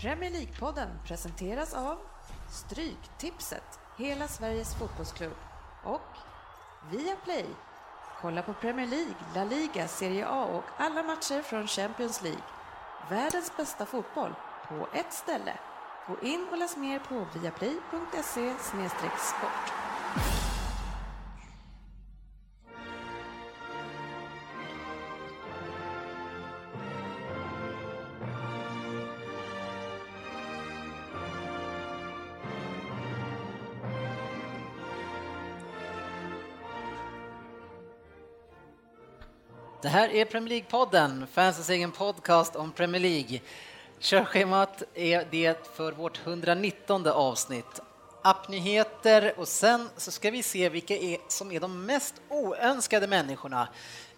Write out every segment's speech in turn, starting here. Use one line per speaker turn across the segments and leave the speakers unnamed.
Premier League-podden presenteras av Stryktipset, hela Sveriges fotbollsklubb och Viaplay. Kolla på Premier League, La Liga, Serie A och alla matcher från Champions League. Världens bästa fotboll på ett ställe. Gå in och läs mer på viaplay.se sport.
Det här är Premier League-podden, fansens egen podcast om Premier League. Körschemat är det för vårt 119 avsnitt. Appnyheter och sen så ska vi se vilka är, som är de mest oönskade människorna.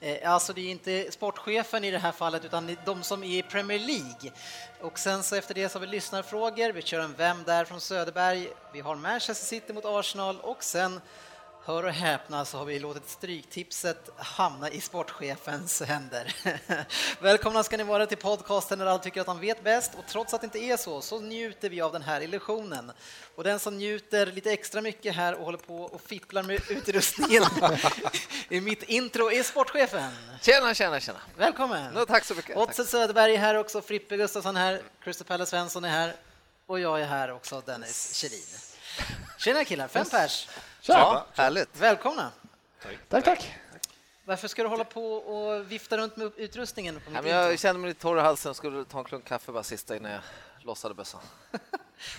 Eh, Alltså det är inte sportchefen i det här fallet utan det är de som är i Premier League. Och sen så efter det så har vi lyssnarfrågor, vi kör en Vem där från Söderberg, vi har Manchester City mot Arsenal och sen Hör och häpna så har vi låtit stryktipset hamna i sportchefens händer. Välkomna ska ni vara till podcasten där alla tycker att de vet bäst och trots att det inte är så så njuter vi av den här illusionen. Och den som njuter lite extra mycket här och håller på och fipplar med utrustningen i mitt intro är sportchefen.
Tjena, tjena, tjena.
Välkommen!
No, tack så mycket. Tack.
Otse Söderberg är här också, Frippe Gustafsson här, Christer Pelle Svensson är här och jag är här också, Dennis Kjellin. Tjena killar, fem pers!
Ja, härligt.
Välkomna!
Tack, tack.
Varför ska du hålla på och vifta runt med utrustningen? På
Nej,
mitt
men
intro?
jag kände mig lite torr i halsen, skulle ta en klunk kaffe bara sista innan jag lossade bössan.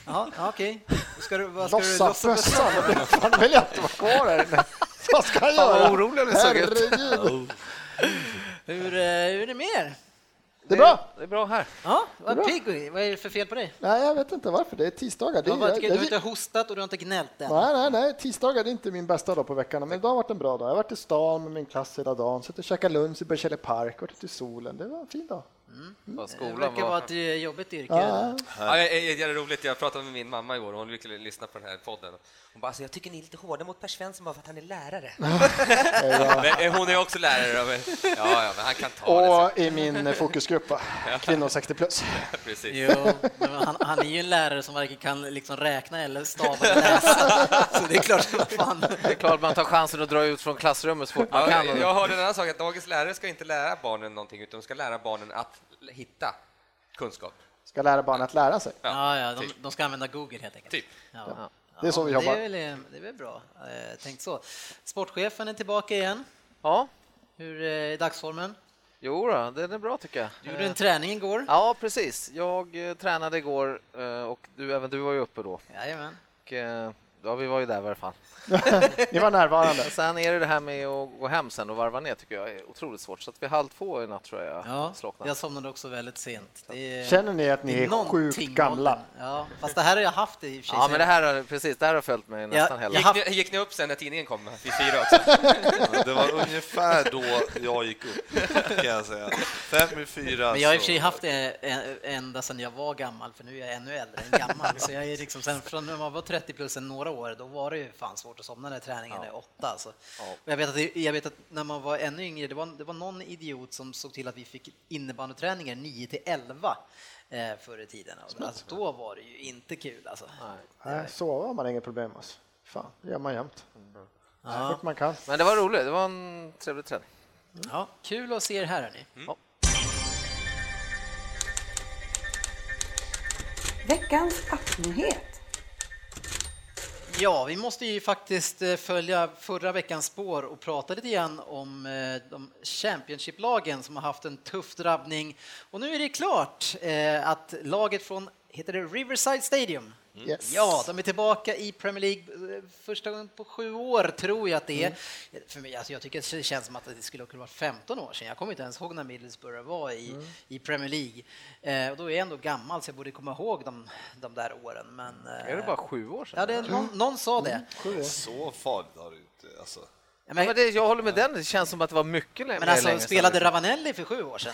Ja, ja, okej. Ska du, vad ska du
Lossa
lossa bössan?
bössan. Fan vill jag inte vara kvar här inne. Vad ska jag
Fan, vad
göra?
orolig ni såg ut.
Herregud.
Hur, eh, hur är det med er?
Det är bra.
Det är bra här.
Ja,
Det
vad
är
pigg du är. Vad är det för fel på dig?
Nej, jag vet inte varför. Det är tisdagar. Det
Du har,
är,
varit, du har
jag-
inte hostat och du har inte gnällt än.
Nej, nej, nej. Tisdagar det är inte min bästa dag på veckan, men idag har varit en bra dag. Jag har varit i stan med min klass hela dagen, suttit och käkat lunch i Bergsele park, varit ute i solen. Det var en fin dag.
Vad
Det
skolan
verkar vara
var.
ett eh, jobbigt yrke.
Ja,
Ja, det är jävligt roligt. Jag pratade med min mamma igår och hon lyckades lyssna på den här podden.
Hon bara, alltså, jag tycker ni är lite hårda mot Per Svensson bara för att han är lärare.
Men, eh, hon är också lärare. då, Men, ja, ja, men han kan ta det.
och i min eh, fokusgrupp, va? kvinnor 60 plus.
Så, precis.
Jo, men han, han är ju en lärare som varken kan liksom räkna eller stava eller läsa. Så det är klart som fan.
Det är klart man tar chansen att dra ut från klassrummet så fort man
Ja,
kan.
jag, jag hörde en annan sak, att dagens lärare ska inte lära barnen någonting, utan de ska lära barnen att l- hitta kunskap.
Ska lära barnen att lära sig.
Ja, ja,
typ.
de, de ska använda Google helt enkelt.
Typ.
Ja.
Det är så vi
Ja,
jobbar.
Det är väl, det är väl bra eh, tänkt så. Sportchefen är tillbaka igen.
Ja,
Hur eh, är dagsformen?
jo då, den är bra tycker jag.
Du gjorde en träning igår.
Ja, precis. Jag eh, tränade igår eh, och du, även du var ju uppe då.
Jajamän.
Och, eh, ja, vi var ju där i alla fall.
Ni var närvarande.
Sen är det det här med att gå hem sen och varva ner tycker jag är otroligt svårt. Så att vid halv två i natt tror jag
Ja,
jag slocknade.
jag somnade också väldigt sent. Det är-
Känner ni att ni
det
är sjukt
någonting
gamla?
med åldern. Ja, fast det här har jag haft i och för sig.
Ja, men det här, har- precis, det här har följt mig nästan hela
Gick ni, gick ni upp sen när tidningen kom? Vi fyra också.
Ja, Det var ungefär då jag gick upp, kan jag säga. Fem i fyra.
Men jag har i och för
så-
sig haft det ä- ända sedan jag var gammal, för nu är jag ännu äldre än gammal. Så jag är liksom sen från när man var 30 plus än några år, då var det ju fan svårt att somna när träningen är åtta. Alltså. Och jag, vet att, det- jag vet att när man var ännu yngre, det var, det var någon idiot som såg till att vi fick innebandyträningar 9 till 11 eh, förr i tiden. Och Alltså, då var det ju inte kul alltså.
Nej, sova har man inget problem med. Alltså. Fan, det gör man jämt. Så fort man kan.
Men det var roligt, det var en trevlig träning.
Ja, kul att se er här hörni. Ja.
Veckans appnyhet.
Ja, vi måste ju faktiskt eh, följa förra veckans spår och prata lite igen om eh, de Championship-lagen som har haft en tuff drabbning. Och nu är det klart eh, att laget från, heter det Riverside Stadium?
Yes.
Ja, de är tillbaka i Premier League eh, första gången på sju år, tror jag att det är. För mig, alltså, jag tycker det känns som att det skulle kunna vara 15 år sedan. Jag kommer inte ens ihåg när Middlesbrough var i, i Premier League. Eh, och då är jag ändå gammal, så jag borde komma ihåg de, de där åren. Men, eh,
Är det bara sju år sedan?
Ja, det, någon, någon sa det.
Så farligt har det inte. Alltså.
Ja,
Mm. Ja,
Men,
men det, jag håller med den, det känns som att det var mycket länge,
men alltså,
länge sedan.
spelade Ravanelli för sju år sedan?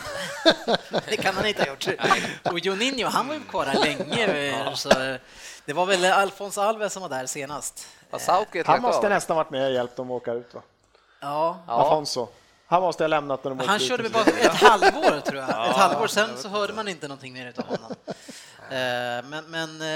det kan han inte ha gjort. Och Juninho, han var ju kvar där länge. Så eh, det var väl Alphonse Alves som var där senast.
Ja, Southgate
Han
lät
måste
av.
nästan varit med och hjälpt dem att åka ut va?
Ja.
Ja,
Afonso. Han måste ha lämnat när de åkte
Han
ut.
körde väl bara ett halvår, tror jag. Ett halvår, sen så hörde man inte någonting mer utav honom. Eh, Men, men eh,
det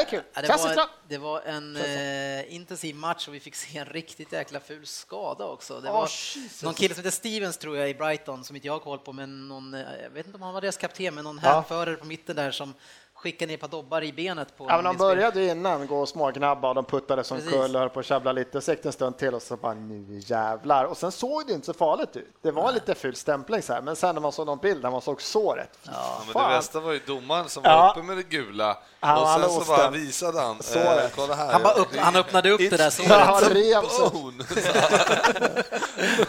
är kul.
ja, det,
Chelsea
var,
tror
det var en eh, intensiv match och vi fick se en riktigt jäkla ful skada också. Det
Åh,
var
Jesus.
någon kille som heter Stevens tror jag i Brighton som inte jag har koll på, men någon, eh, jag vet inte om han var deras kapten, men någon
Ja.
hänförare på mitten där som skickade ner ett par dobbar i benet på
Ja,
någon
men de
inspelning.
började ju innan gå och smågnabba och de puttade som
Precis.
kull och höll på att tjabbla lite. Så gick det en stund till och så bara nu jävlar. Och sen såg det inte så farligt ut. Det var lite ful stämpling så här, men sen när man såg någon bild där man såg såret. fy
Ja, men
fan.
det bästa var ju domaren som
Ja.
var uppe med det gula
Ja,
och
han
sen
har
så
osten.
bara visade han.
Såret.
Eh, kolla här.
Han, bara upp, han öppnade upp det där
It's-
såret.
Ja,
It's a
rev sig.
bone.
Han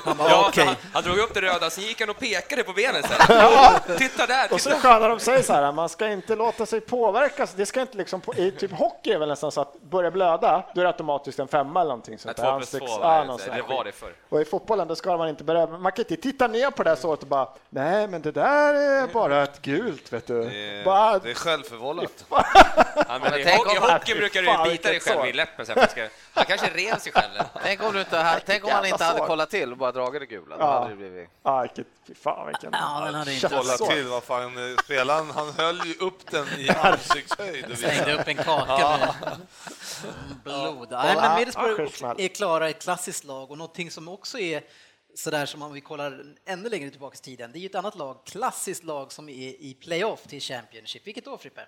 Ja,
bara okej.
han, han drog upp det röda, sen gick han och pekade på benet. Sen. Ja, titta där!
Och så är det
Titta.
sköna de säger så här, man ska inte låta sig påverkas. Det ska inte liksom, på, i typ hockey är väl nästan så att börja blöda, då är det automatiskt en femma eller någonting
Ja,
sånt.
Två plus
Ansikts-
två
ja,
var
någon
det,
sån
det
här
var
skit.
det förr.
Och i fotbollen då ska man inte börja, man kan inte titta ner på det här såret och bara, nej men det där är bara ett gult vet du.
Eh,
Bara,
Det är självförvållat.
Ja, men i,
tänk
ho- I
om-
hockey brukar du
Fan,
ju bita dig
vilket
själv
sår.
i läppen. Så här, för att ska, han kanske rev sig själv.
Tänk om, du inte, ha- tänk om man
jävla
inte hade
svar.
kollat till och bara dragit det gula. Då
Ja.
hade det blivit...
ah, vilket, fy fan vilken...
Ja, den hade inte
Kolla
Såret.
till vad fan eh, spelaren, han höll ju upp den i ansiktshöjd. och visade.
Slängde upp en kaka med blod. Nej,
Ja,
men
skärsmäll.
Middlesbrough är klara ett klassiskt lag och någonting som också är sådär som om vi kollar ännu längre tillbaka i tiden. Det är ju ett annat lag, klassiskt lag som är i playoff till Championship. Vilket då Frippe?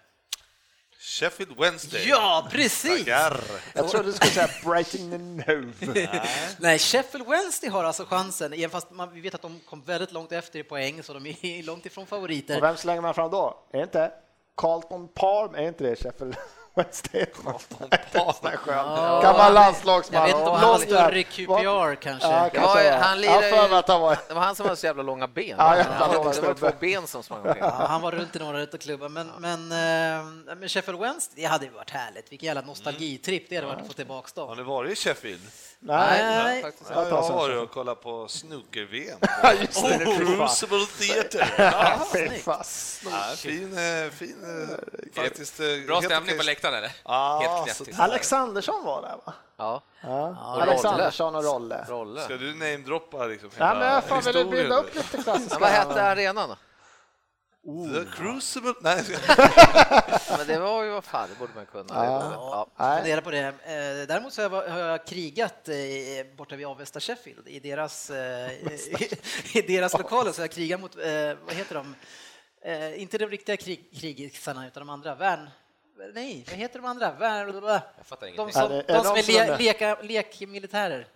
Sheffield Wednesday.
Ja, precis!
Tackar.
Jag trodde du skulle säga Brighton and Hove.
Nej, Sheffield Wednesday har alltså chansen, även fast man, vi vet att de kom väldigt långt efter i poäng så de är långt ifrån
Och
favoriter.
vem slänger man fram då? Är det inte Carlton Palm? Är inte det Sheffield Wednesday? Carlton Palm. Gammal landslagsman.
Jag vet inte om han har
Lång
större
där.
QPR
Ja,
kanske.
Det var,
kanske
ju-
var.
han
Jag har
lirade
för mig
ju,
att han var...
det var han som hade så jävla långa ben.
Ja, jävla
Han hade-
långa
det var två
snubbar.
ben som sprang omkring.
Ja, han var runt i några utav klubbar, men, men, eh, men Sheffield Wednesday, det hade ju varit härligt. Vilken jävla nostalgitripp det hade varit att få tillbaka
Har
dem.
ni varit i Sheffield?
Nej.
Ja, jag
tar sen.
har varit och kollat på snooker-VM.
Ja, just det.
Oh,
Fy fan.
Crucible Theater!
Fy fan.
Ja, fin, eh, fin, eh, faktiskt. eh,
Bra
helt
stämning
okej.
på läktaren eller?
Ja,
Helt
så
knäpptyst.
Alexandersson var där va?
Ja,
Ja.
Rolle.
Alexandersson och Rolle.
Rolle.
Ska du namedroppa liksom?
Nej, men jag fan ville
historien?
bilda upp lite klassiska.
Men vad hette arenan då?
The Crucible? Nej,
Men det var ju, vad fan, det borde man kunna. Det borde- Ja.
Nej.
Fundera på det. Eh, Däremot så har jag va- har jag krigat eh, borta vid Avesta Sheffield i deras, eh, i, i deras lokaler. Så jag krigar mot, eh, vad heter de? Eh, Inte de riktiga krig, krigisarna utan de andra. Värn... Nej, vad heter de andra? Värn...
Jag fattar
De
ingenting.
som,
Ja, det är
de som
de
är
som
le,
är-
leka, lekmilitärer.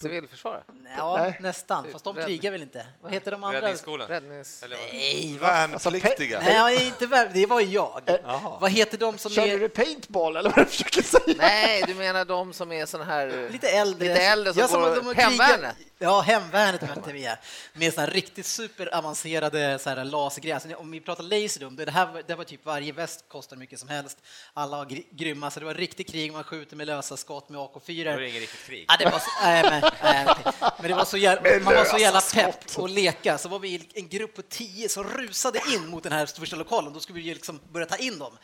Civilförsvar?
Ja,
Nej.
nästan. Fast de
Rädd-
krigar väl inte? Vad heter de andra?
Räddningsskolan?
Räddnings...
Eller vad?
Nej, vad
värnpliktiga.
Nej, jag är inte värv, det var jag. Vad heter de som
Körde
är
Eh, du paintball eller vad du försöker säga?
Nej, du menar de som är sån här...
lite äldre?
Lite äldre som
Ja,
går-
de har
hemvärnet?
krigat- Ja, hemvärnet mötte vi ja. med såna här riktigt superavancerade så här lasergrejer. Alltså, om vi pratar laserdom, det här var- det var typ varje väst kostar mycket som helst. Alla var gr- grymma, så det var riktigt krig. Man skjuter med lösa skott med AK4.
Det var inget riktigt krig.
Ja, det var så, nej, men, nej, okej. men det var så jävla, man var så jävla pepp och leka, så var vi i en grupp på tio som rusade in mot den här första lokalen, då skulle vi ju liksom börja ta in dem.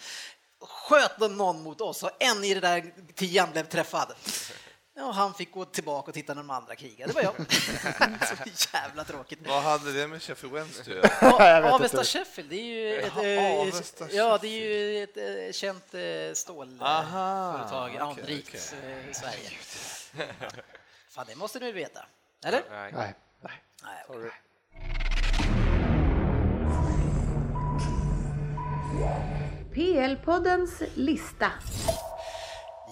Sköt de någon mot oss och en i den där tian blev träffad. Ja, Och han fick gå tillbaka och titta när de andra krigade, det var jag. så jävla tråkigt.
Vad hade det med Sheffield Wednesday att göra?
Jag vet
Avesta
inte.
Sheffield, det är ju ett,
Jaha,
eh,
Avesta
ja, det är ju ett eh, känt eh, stålföretag, anrikt eh, i Sverige. Fan, det måste du veta. Eller?
Nej.
Nej.
Nej, okej.
PL-poddens lista.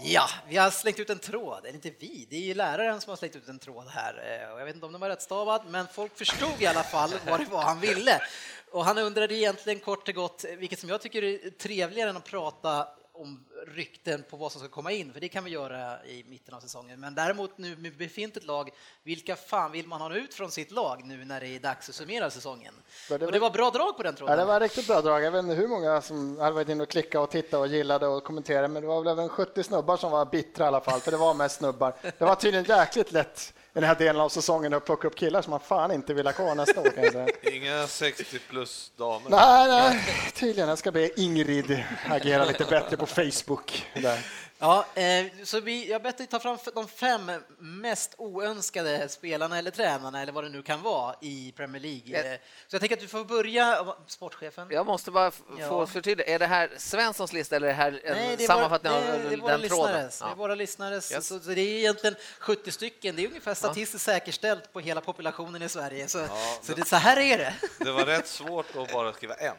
Ja, vi har slängt ut en tråd. Eller inte vi, det är ju läraren som har slängt ut en tråd här. Eh, och Jag vet inte om den var rättstavad, men folk förstod i alla fall vad det var han ville. Och han undrade egentligen kort och gott, eh, vilket som jag tycker är trevligare än att prata om rykten på vad som ska komma in, för det kan vi göra i mitten av säsongen. Men däremot nu med befintligt lag, vilka fan vill man ha ut från sitt lag nu när det är dags att summera säsongen?
Men det
Och det
var-
var bra drag på den
Ja, det
tråden.
var riktigt bra drag. Jag vet inte hur många som hade varit inne och klickat och tittat och gillade och kommenterade, men det var väl även 70 snubbar som var bittra i alla fall, för det var mest snubbar. Det var tydligen jäkligt lätt i den här delen av säsongen att plocka upp killar som man fan inte vill ha kvar nästa år. Kan jag säga.
Inga 60 plus damer.
Nej, nej, tydligen. Jag ska be Ingrid agera lite bättre på Facebook. Där.
Ja, eh, så vi, jag bett dig ta fram f- de fem mest oönskade spelarna eller tränarna eller vad det nu kan vara i Premier League.
Ja.
Eh, Så jag tänker att du får börja, eh, sportchefen.
Jag måste bara f-
Ja.
få förtydliga, är det här Svenssons lista eller är det här en
Nej, det är, våra, det
sammanfattning av
är, det är
den
våra
tråden?
lyssnares. Det är
Ja.
våra lyssnares.
Yes.
Så, så det är egentligen 70 stycken. Det är ungefär statistiskt säkerställt på hela populationen i Sverige. Så, så, det, så här är det.
Det var rätt svårt att bara skriva en.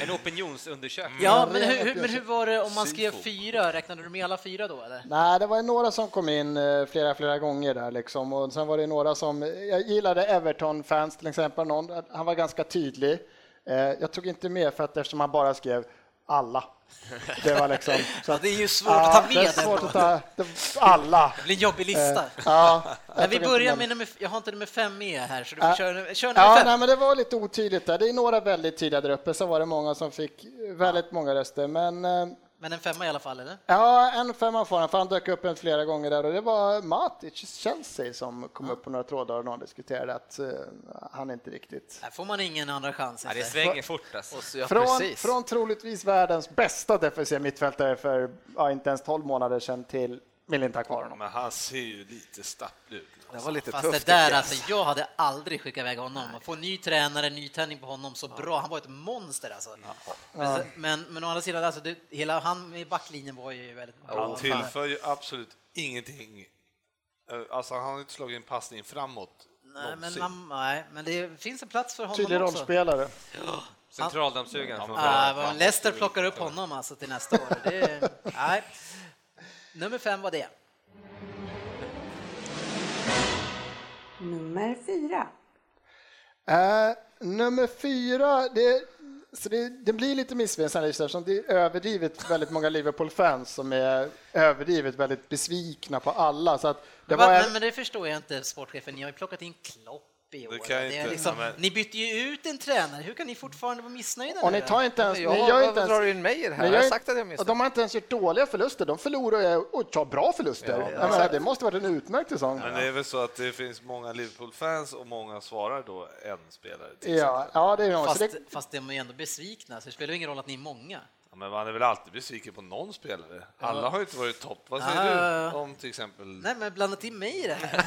En opinionsundersökning.
Ja,
det
men
är
hur,
en
hur, men hur var det om man skrev
Sifo.
fyra? Räknade du med alla fyra då eller?
Nej, det var ju några som kom in eh, flera, flera gånger där liksom. Och sen var det några som, jag gillade Everton-fans till exempel, någon, han var ganska tydlig. Eh, Jag tog inte med för att eftersom han bara skrev alla. Det var liksom... Så
Ja,
att-
det är ju svårt att ta med
det är svårt
ändå.
att ta, det- alla.
Det blir en jobbig lista.
Eh, Ja, jag
Men vi
tog inte
börjar
dem.
med nummer, f- jag har inte nummer fem med här så du får
Ja.
köra, kör nummer
Ja,
fem.
nej, men det var lite otydligt där. Det är några väldigt tidiga där uppe, så var det många som fick väldigt många röster. Men eh,
Men en femma i alla fall eller?
ja, en femma får han, för han dök upp en flera gånger där och det var Matic Chelsea som kom upp på några trådar och någon diskuterade att eh, han inte riktigt...
Här får man ingen andra chans.
Ja, det
inte.
svänger fort alltså.
Och så- ja,
Från,
precis.
från troligtvis världens bästa defensiva mittfältare för ja, inte ens 12 månader sedan till vill inte ha kvar honom.
Men han ser ju lite stapplig ut.
det var lite
Fast
tufft.
det där,
tycker jag.
alltså, jag hade aldrig skickat iväg honom. Att få en ny tränare, ny tändning på honom, så bra. Han var ett monster alltså. Men, så- men, men å andra sidan, alltså, det, hela han i backlinjen var ju väldigt bra.
Han tillför ju absolut ingenting. Eh, Alltså han har inte slagit en passning framåt
Nej, men,
någonsin.
han, nej, men det finns en plats för honom
Tydlig
också.
rollspelare.
Centraldammsugaren. från
Ah,
Bra.
vad om Leicester plockar upp honom alltså till nästa år. Det, nej. Nummer fem var det.
Nummer fyra.
Eh, nummer fyra, det, så det, det blir lite missvisande just eftersom det är överdrivet väldigt många Liverpool-fans som är överdrivet väldigt besvikna på alla. Så att det
Men,
var en,
men, men det förstår jag inte, sportchefen. Ni har ju plockat in Klopp i år.
kan jag
Det är
inte-
liksom,
ja, men-
Ni bytte ju ut en tränare. Hur kan ni fortfarande vara missnöjda?
och
nu
ni
då?
tar inte ens...
Ja,
ni gör
varför
inte ens
drar du in mig i det här?
ni
Jag
gör
har
inte-
sagt att jag missar.
Och de har inte ens gjort dåliga förluster. De förlorar ju och tar bra förluster. jag menar, det måste varit en utmärkt säsong.
Men det är väl så att det finns många Liverpool-fans och många svarar då en spelare till.
Ja, ja, det är nog.
Fast,
Så det,
fast de är ju ändå besvikna, så det spelar ju ingen roll att ni är många.
Ja, men man är väl alltid besviken på någon spelare. Alla har ju inte varit topp. Vad säger
Ja.
du om till exempel...
Nej, men blanda till mig i det här.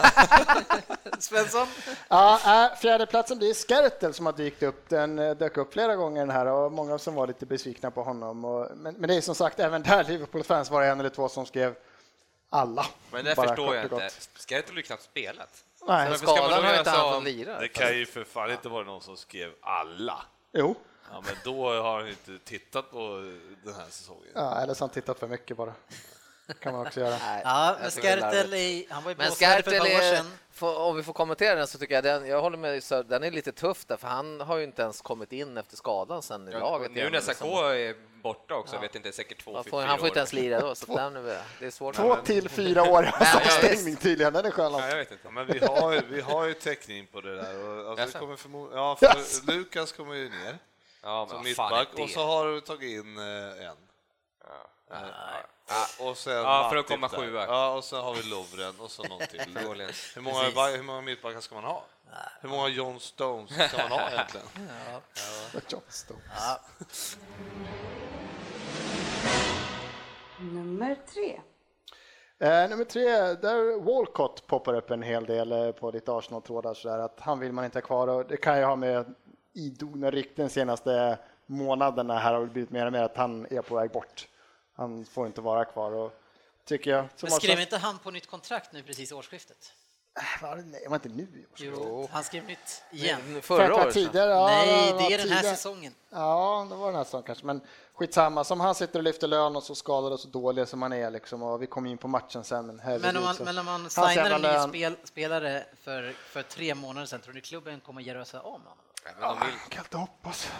Svensson?
Ja, äh, fjärdeplatsen blir Skertel som har dykt upp. Den eh, dök upp flera gånger den här och många som var lite besvikna på honom. Och, men, men det är som sagt, även där Liverpool-fans var det en eller två som skrev alla.
Men det
Bara
förstår
kort
jag
och
inte.
gott.
Skertel har ju knappt spelat.
Nej,
Varför ska man
Skadan
då
har ju
göra
inte
så
han
om-
som lirar.
Det kan ju för fan inte vara någon som skrev alla.
jo.
Ja, men då har han ju inte tittat på den här säsongen.
Ja, eller så har han tittat för mycket bara. kan man också göra.
Nej,
Ja,
jag
men
tycker det är larvigt.
Skertel, är- han var ju
Men
blåsvärd för ett
Skertel
par år
är,
sedan.
får- om vi får kommentera den så tycker jag den, jag håller med så den är lite tuff där för han har ju inte ens kommit in efter skadan sen i laget.
Och nu
igen,
när
liksom.
Sakho är borta också, jag vet inte, säkert två,
Man
fy-
får,
fyra
han får
år.
inte ens lira då, så den, är- det är svårt.
Två till fyra år i avstängning tydligen, den är skön.
Ja,
alltså.
jag vet inte.
Ja, men vi har, ju- vi har ju täckning på det där. Och, alltså,
Jaså?
det kommer förmo- ja, för
Jaså?
Lukas kommer ju ner
Ja,
som
men vad fan
mittback
är det?
och så har du tagit in eh, en. Ja, och sen
Ja, för att
Matip
komma
där.
sjua.
Ja, och sen har vi Lovren och så någon till.
Förmodligen.
hur, många,
Precis.
hur många mittbackar ska man ha? Hur många John Stones ska man ha egentligen?
Johnston.
Nummer tre.
Eh, nummer tre, där Walcott poppar upp en hel del eh, på lite Arsenal-trådar sådär att han vill man inte ha kvar och det kan ju ha med idogna rykten senaste månaderna här har det blivit mer och mer att han är på väg bort. Han får inte vara kvar och tycker jag. Som
Men skrev
Arsenal-
inte han på nytt kontrakt nu precis i årsskiftet?
Äh, var det- Nej, var inte nu i år.
Jo, han skrev nytt igen.
För att
Förra
det var
året. så.
tidigare, ja,
Nej,
var
det är den här
tidigare.
säsongen.
Ja, det var den här säsongen kanske, men skitsamma. Som han sitter och lyfter lön och så skadad och så dålig som han är liksom och vi kommer in på matchen sen. Men, herregud,
Men om man,
så-
men om man
Hans
signar
jävla
en ny
lön.
spel, spelare för, för tre månader sedan, tror ni klubben kommer att göra sig av med honom?
Jag kan inte hoppas.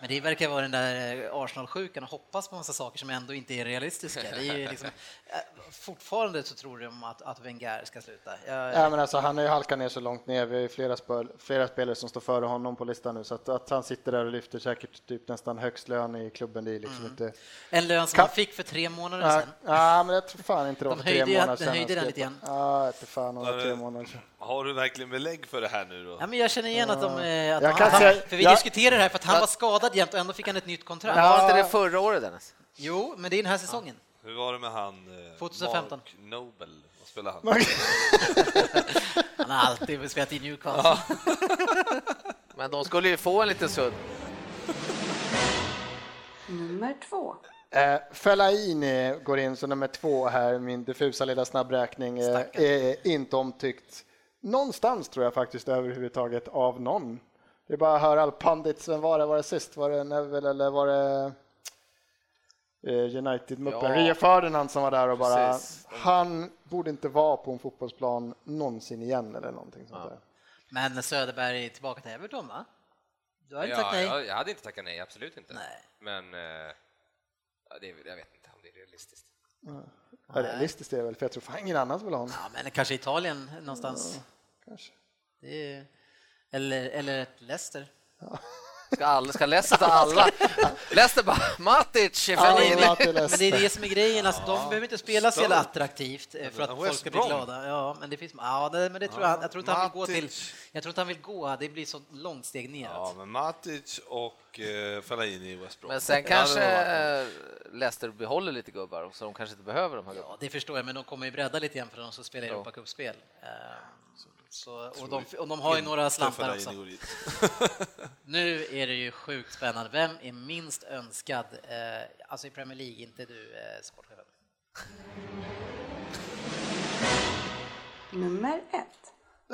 Men det verkar vara den där eh, Arsenal-sjukan och hoppas på massa saker som ändå inte är realistiska. Det är ju liksom, eh, fortfarande så tror de att, att Wenger ska sluta. Jag,
Ja, men alltså, han har ju halkat ner så långt ner. Vi har ju flera, spel, flera spelare som står före honom på listan nu, så att, att han sitter där och lyfter säkert typ nästan högst lön i klubben, det är
Mm.
liksom inte...
en lön som
Kan-
han fick för tre månader
Ja,
sedan.
ja, men jag tror fan inte det var
De
för tre
höjde ju-
månader
de
sedan. han
höjde den lite
skrev på.
gän.
Ja, jag vet fan om det var tre månader sedan.
Har du verkligen belägg för det här nu då?
Ja, men jag känner igen att de... eh, Att
Jag
han,
kan
att han,
säga-
för vi
jag-
diskuterar det här för att han var skadad jämt och ändå fick han ett nytt kontrakt.
Men Var inte det förra året Dennis?
Jo, men det är den här säsongen.
Hur var det med han eh,
2015?
Mark Nobel? Vad spelade han?
Han har alltid spelat i Newcastle.
Men de skulle ju få en liten sudd.
Nummer två.
Eh, Fellaini går in som nummer två här, min diffusa lilla snabbräkning. Eh, är inte omtyckt någonstans tror jag faktiskt överhuvudtaget av någon. Det är bara att höra all pandits, vem var det, var det sist? Var det Neville eller var det eh, United-muppen?
Ja.
Rio Ferdinand som var där och bara,
Precis.
han borde inte vara på en fotbollsplan någonsin igen eller någonting sånt där.
Men Söderberg är tillbaka till Everton, va? Du har inte sagt
ja,
nej?
jag, jag hade inte tackat nej, absolut inte.
Nej.
Men eh, ja, det, är- jag vet inte om det är realistiskt.
Ja, Realistiskt är det väl, för jag tror fan ingen annan som vill ha honom.
Ja, men kanske Italien någonstans.
Kanske.
Det är... Eller, eller ett Leicester.
Ska, alla, ska Leicester ta alla? Leicester bara Matic, Fellaini.
Alla till
Men det är
Leicester.
det som är grejen, alltså, de behöver inte spela så jävla attraktivt eh, för att
Ja,
folk
West
ska bli
Brom.
glada. Ja, men det finns, ja, det, men det tror jag, jag tror inte han vill gå till,
Matic.
jag tror inte han vill gå, det blir så långt steg
Ja,
neråt.
men Matic och eh, Fellaini i West Brom.
Men sen
Det hade
kanske
nog varit något.
eh, Leicester behåller lite gubbar så de kanske inte behöver de här gubbarna.
Ja, det förstår jag, men de kommer ju bredda lite grann för de som spelar Europacupspel. Eh, Så, och, de, och de har ju några slantar
Fellaini
också.
går dit.
Nu är det ju sjukt spännande. Vem är minst önskad? Eh, alltså i Premier League, inte du eh, sportchefen.
Nummer ett.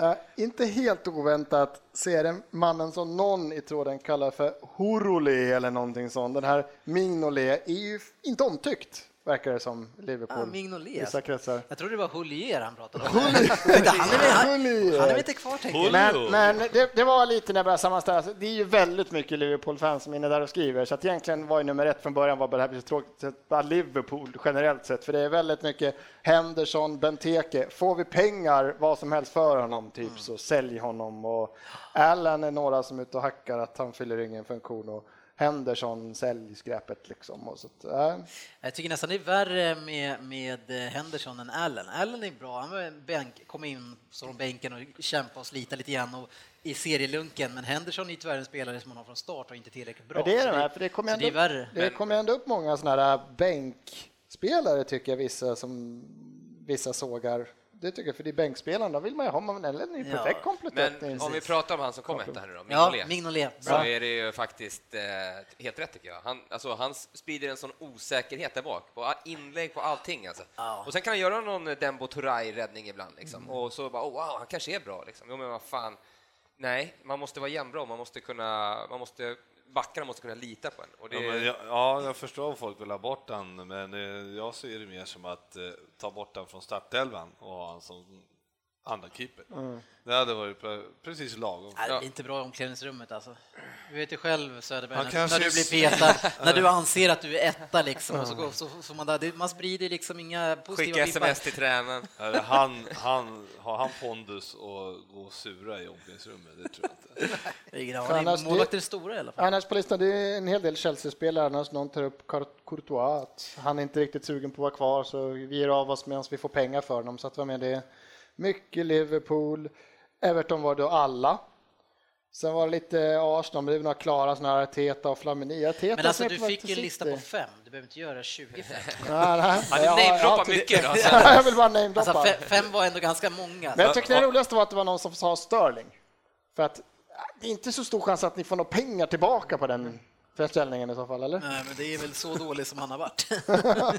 Eh, inte helt oväntat ser den mannen som någon i tråden kallar för Horolé eller någonting sånt. Den här Mignolet är ju f- inte omtyckt, verkar det som, i Liverpool.
Ah, Mignolet.
Vissa kretsar.
Jag trodde det var Hulier han pratade om. Jag tänkte, han, är väl- han, han är väl inte kvar tänkte jag.
Men, men det, det var lite när jag började sammanställa, så det är ju väldigt mycket Liverpool-fans som är inne där och skriver, så att egentligen var ju nummer ett från början var bara det här blir så tråkigt, så att bara Liverpool generellt sett, för det är väldigt mycket Henderson, Benteke, får vi pengar, vad som helst för honom, typ så sälj honom och Allen är några som är ute och hackar att han fyller ingen funktion och Henderson, sälj skräpet liksom. Och så att, äh,
Jag tycker nästan det är värre med, med eh, Henderson än Allen. Allen är bra, han var en bänk, kom in så från bänken och kämpade och slita lite grann och i serielunken, men Henderson är tyvärr en spelare som man har från start och inte tillräckligt bra.
Ja, det är
Så
de här, för det kommer
så
ändå,
det är värre.
det kommer ändå upp många sådana här bänkspelare tycker jag vissa som vissa sågar. Det tycker jag, för det är bänkspelarna, då vill man ju ha, man är en
Ja.
perfekt komplettering.
Men om vi pratar om han som kom etta nu då,
Ja,
Mignolet.
Mignolet.
så
Bra.
är det ju faktiskt eh, helt rätt tycker jag. Han, alltså, han sprider en sån osäkerhet där bak, på a- inlägg, på allting. Alltså.
Ja. Mm.
Och sen kan han göra någon eh, Dembo Turay-räddning ibland, liksom. och så bara oh, wow, han kanske är bra. Liksom. Jo, men vad fan. Nej, man måste vara jämnbra, man måste kunna, man måste, backarna måste kunna lita på en. Och det,
Ja, men jag, ja, jag förstår om folk vill ha bort han, men eh, jag ser det mer som att eh, ta bort han från startelvan och ha han som andra keeper.
Mm.
Det hade varit pre- precis lagom.
Nej, det blir inte bra i omklädningsrummet alltså. Du vet ju själv Söderberg,
Han
när,
kanske
när du
är-
blir petad, när du anser att du är etta liksom, och så, går, så, så man, där, det, man sprider liksom inga positiva
skicka sms till tränaren.
Eller Han, han, har han pondus och gå och sura i omklädningsrummet? Det tror jag inte.
För annars-
till... Målvakter är stora i alla fall.
Annars på listan, det är en hel del Chelsea-spelare, annars någon tar upp Cour- Courtois, att han är inte riktigt sugen på att vara kvar så vi ger av oss medan vi får pengar för dem, så att vad med det. Mycket Liverpool, Everton var då alla. Sen var det lite Arsenal, men det var några klara sådana här Arteta och Flamini. Arteta
Men alltså
som är
du
på väg
fick
till
ju en lista
City.
på fem, du behöver inte göra 25.
Nej, nej.
Han
Jag- jag-
namedroppar
jag-
mycket idag. så-
Jag vill bara namedroppa.
Alltså fe- fem var ändå ganska många.
Men jag tyckte det roligaste var att det var någon som sa Sterling. För att äh, det är inte så stor chans att ni får några pengar tillbaka på den försäljningen i så fall, eller?
Nej, men det är väl så dålig som han har varit.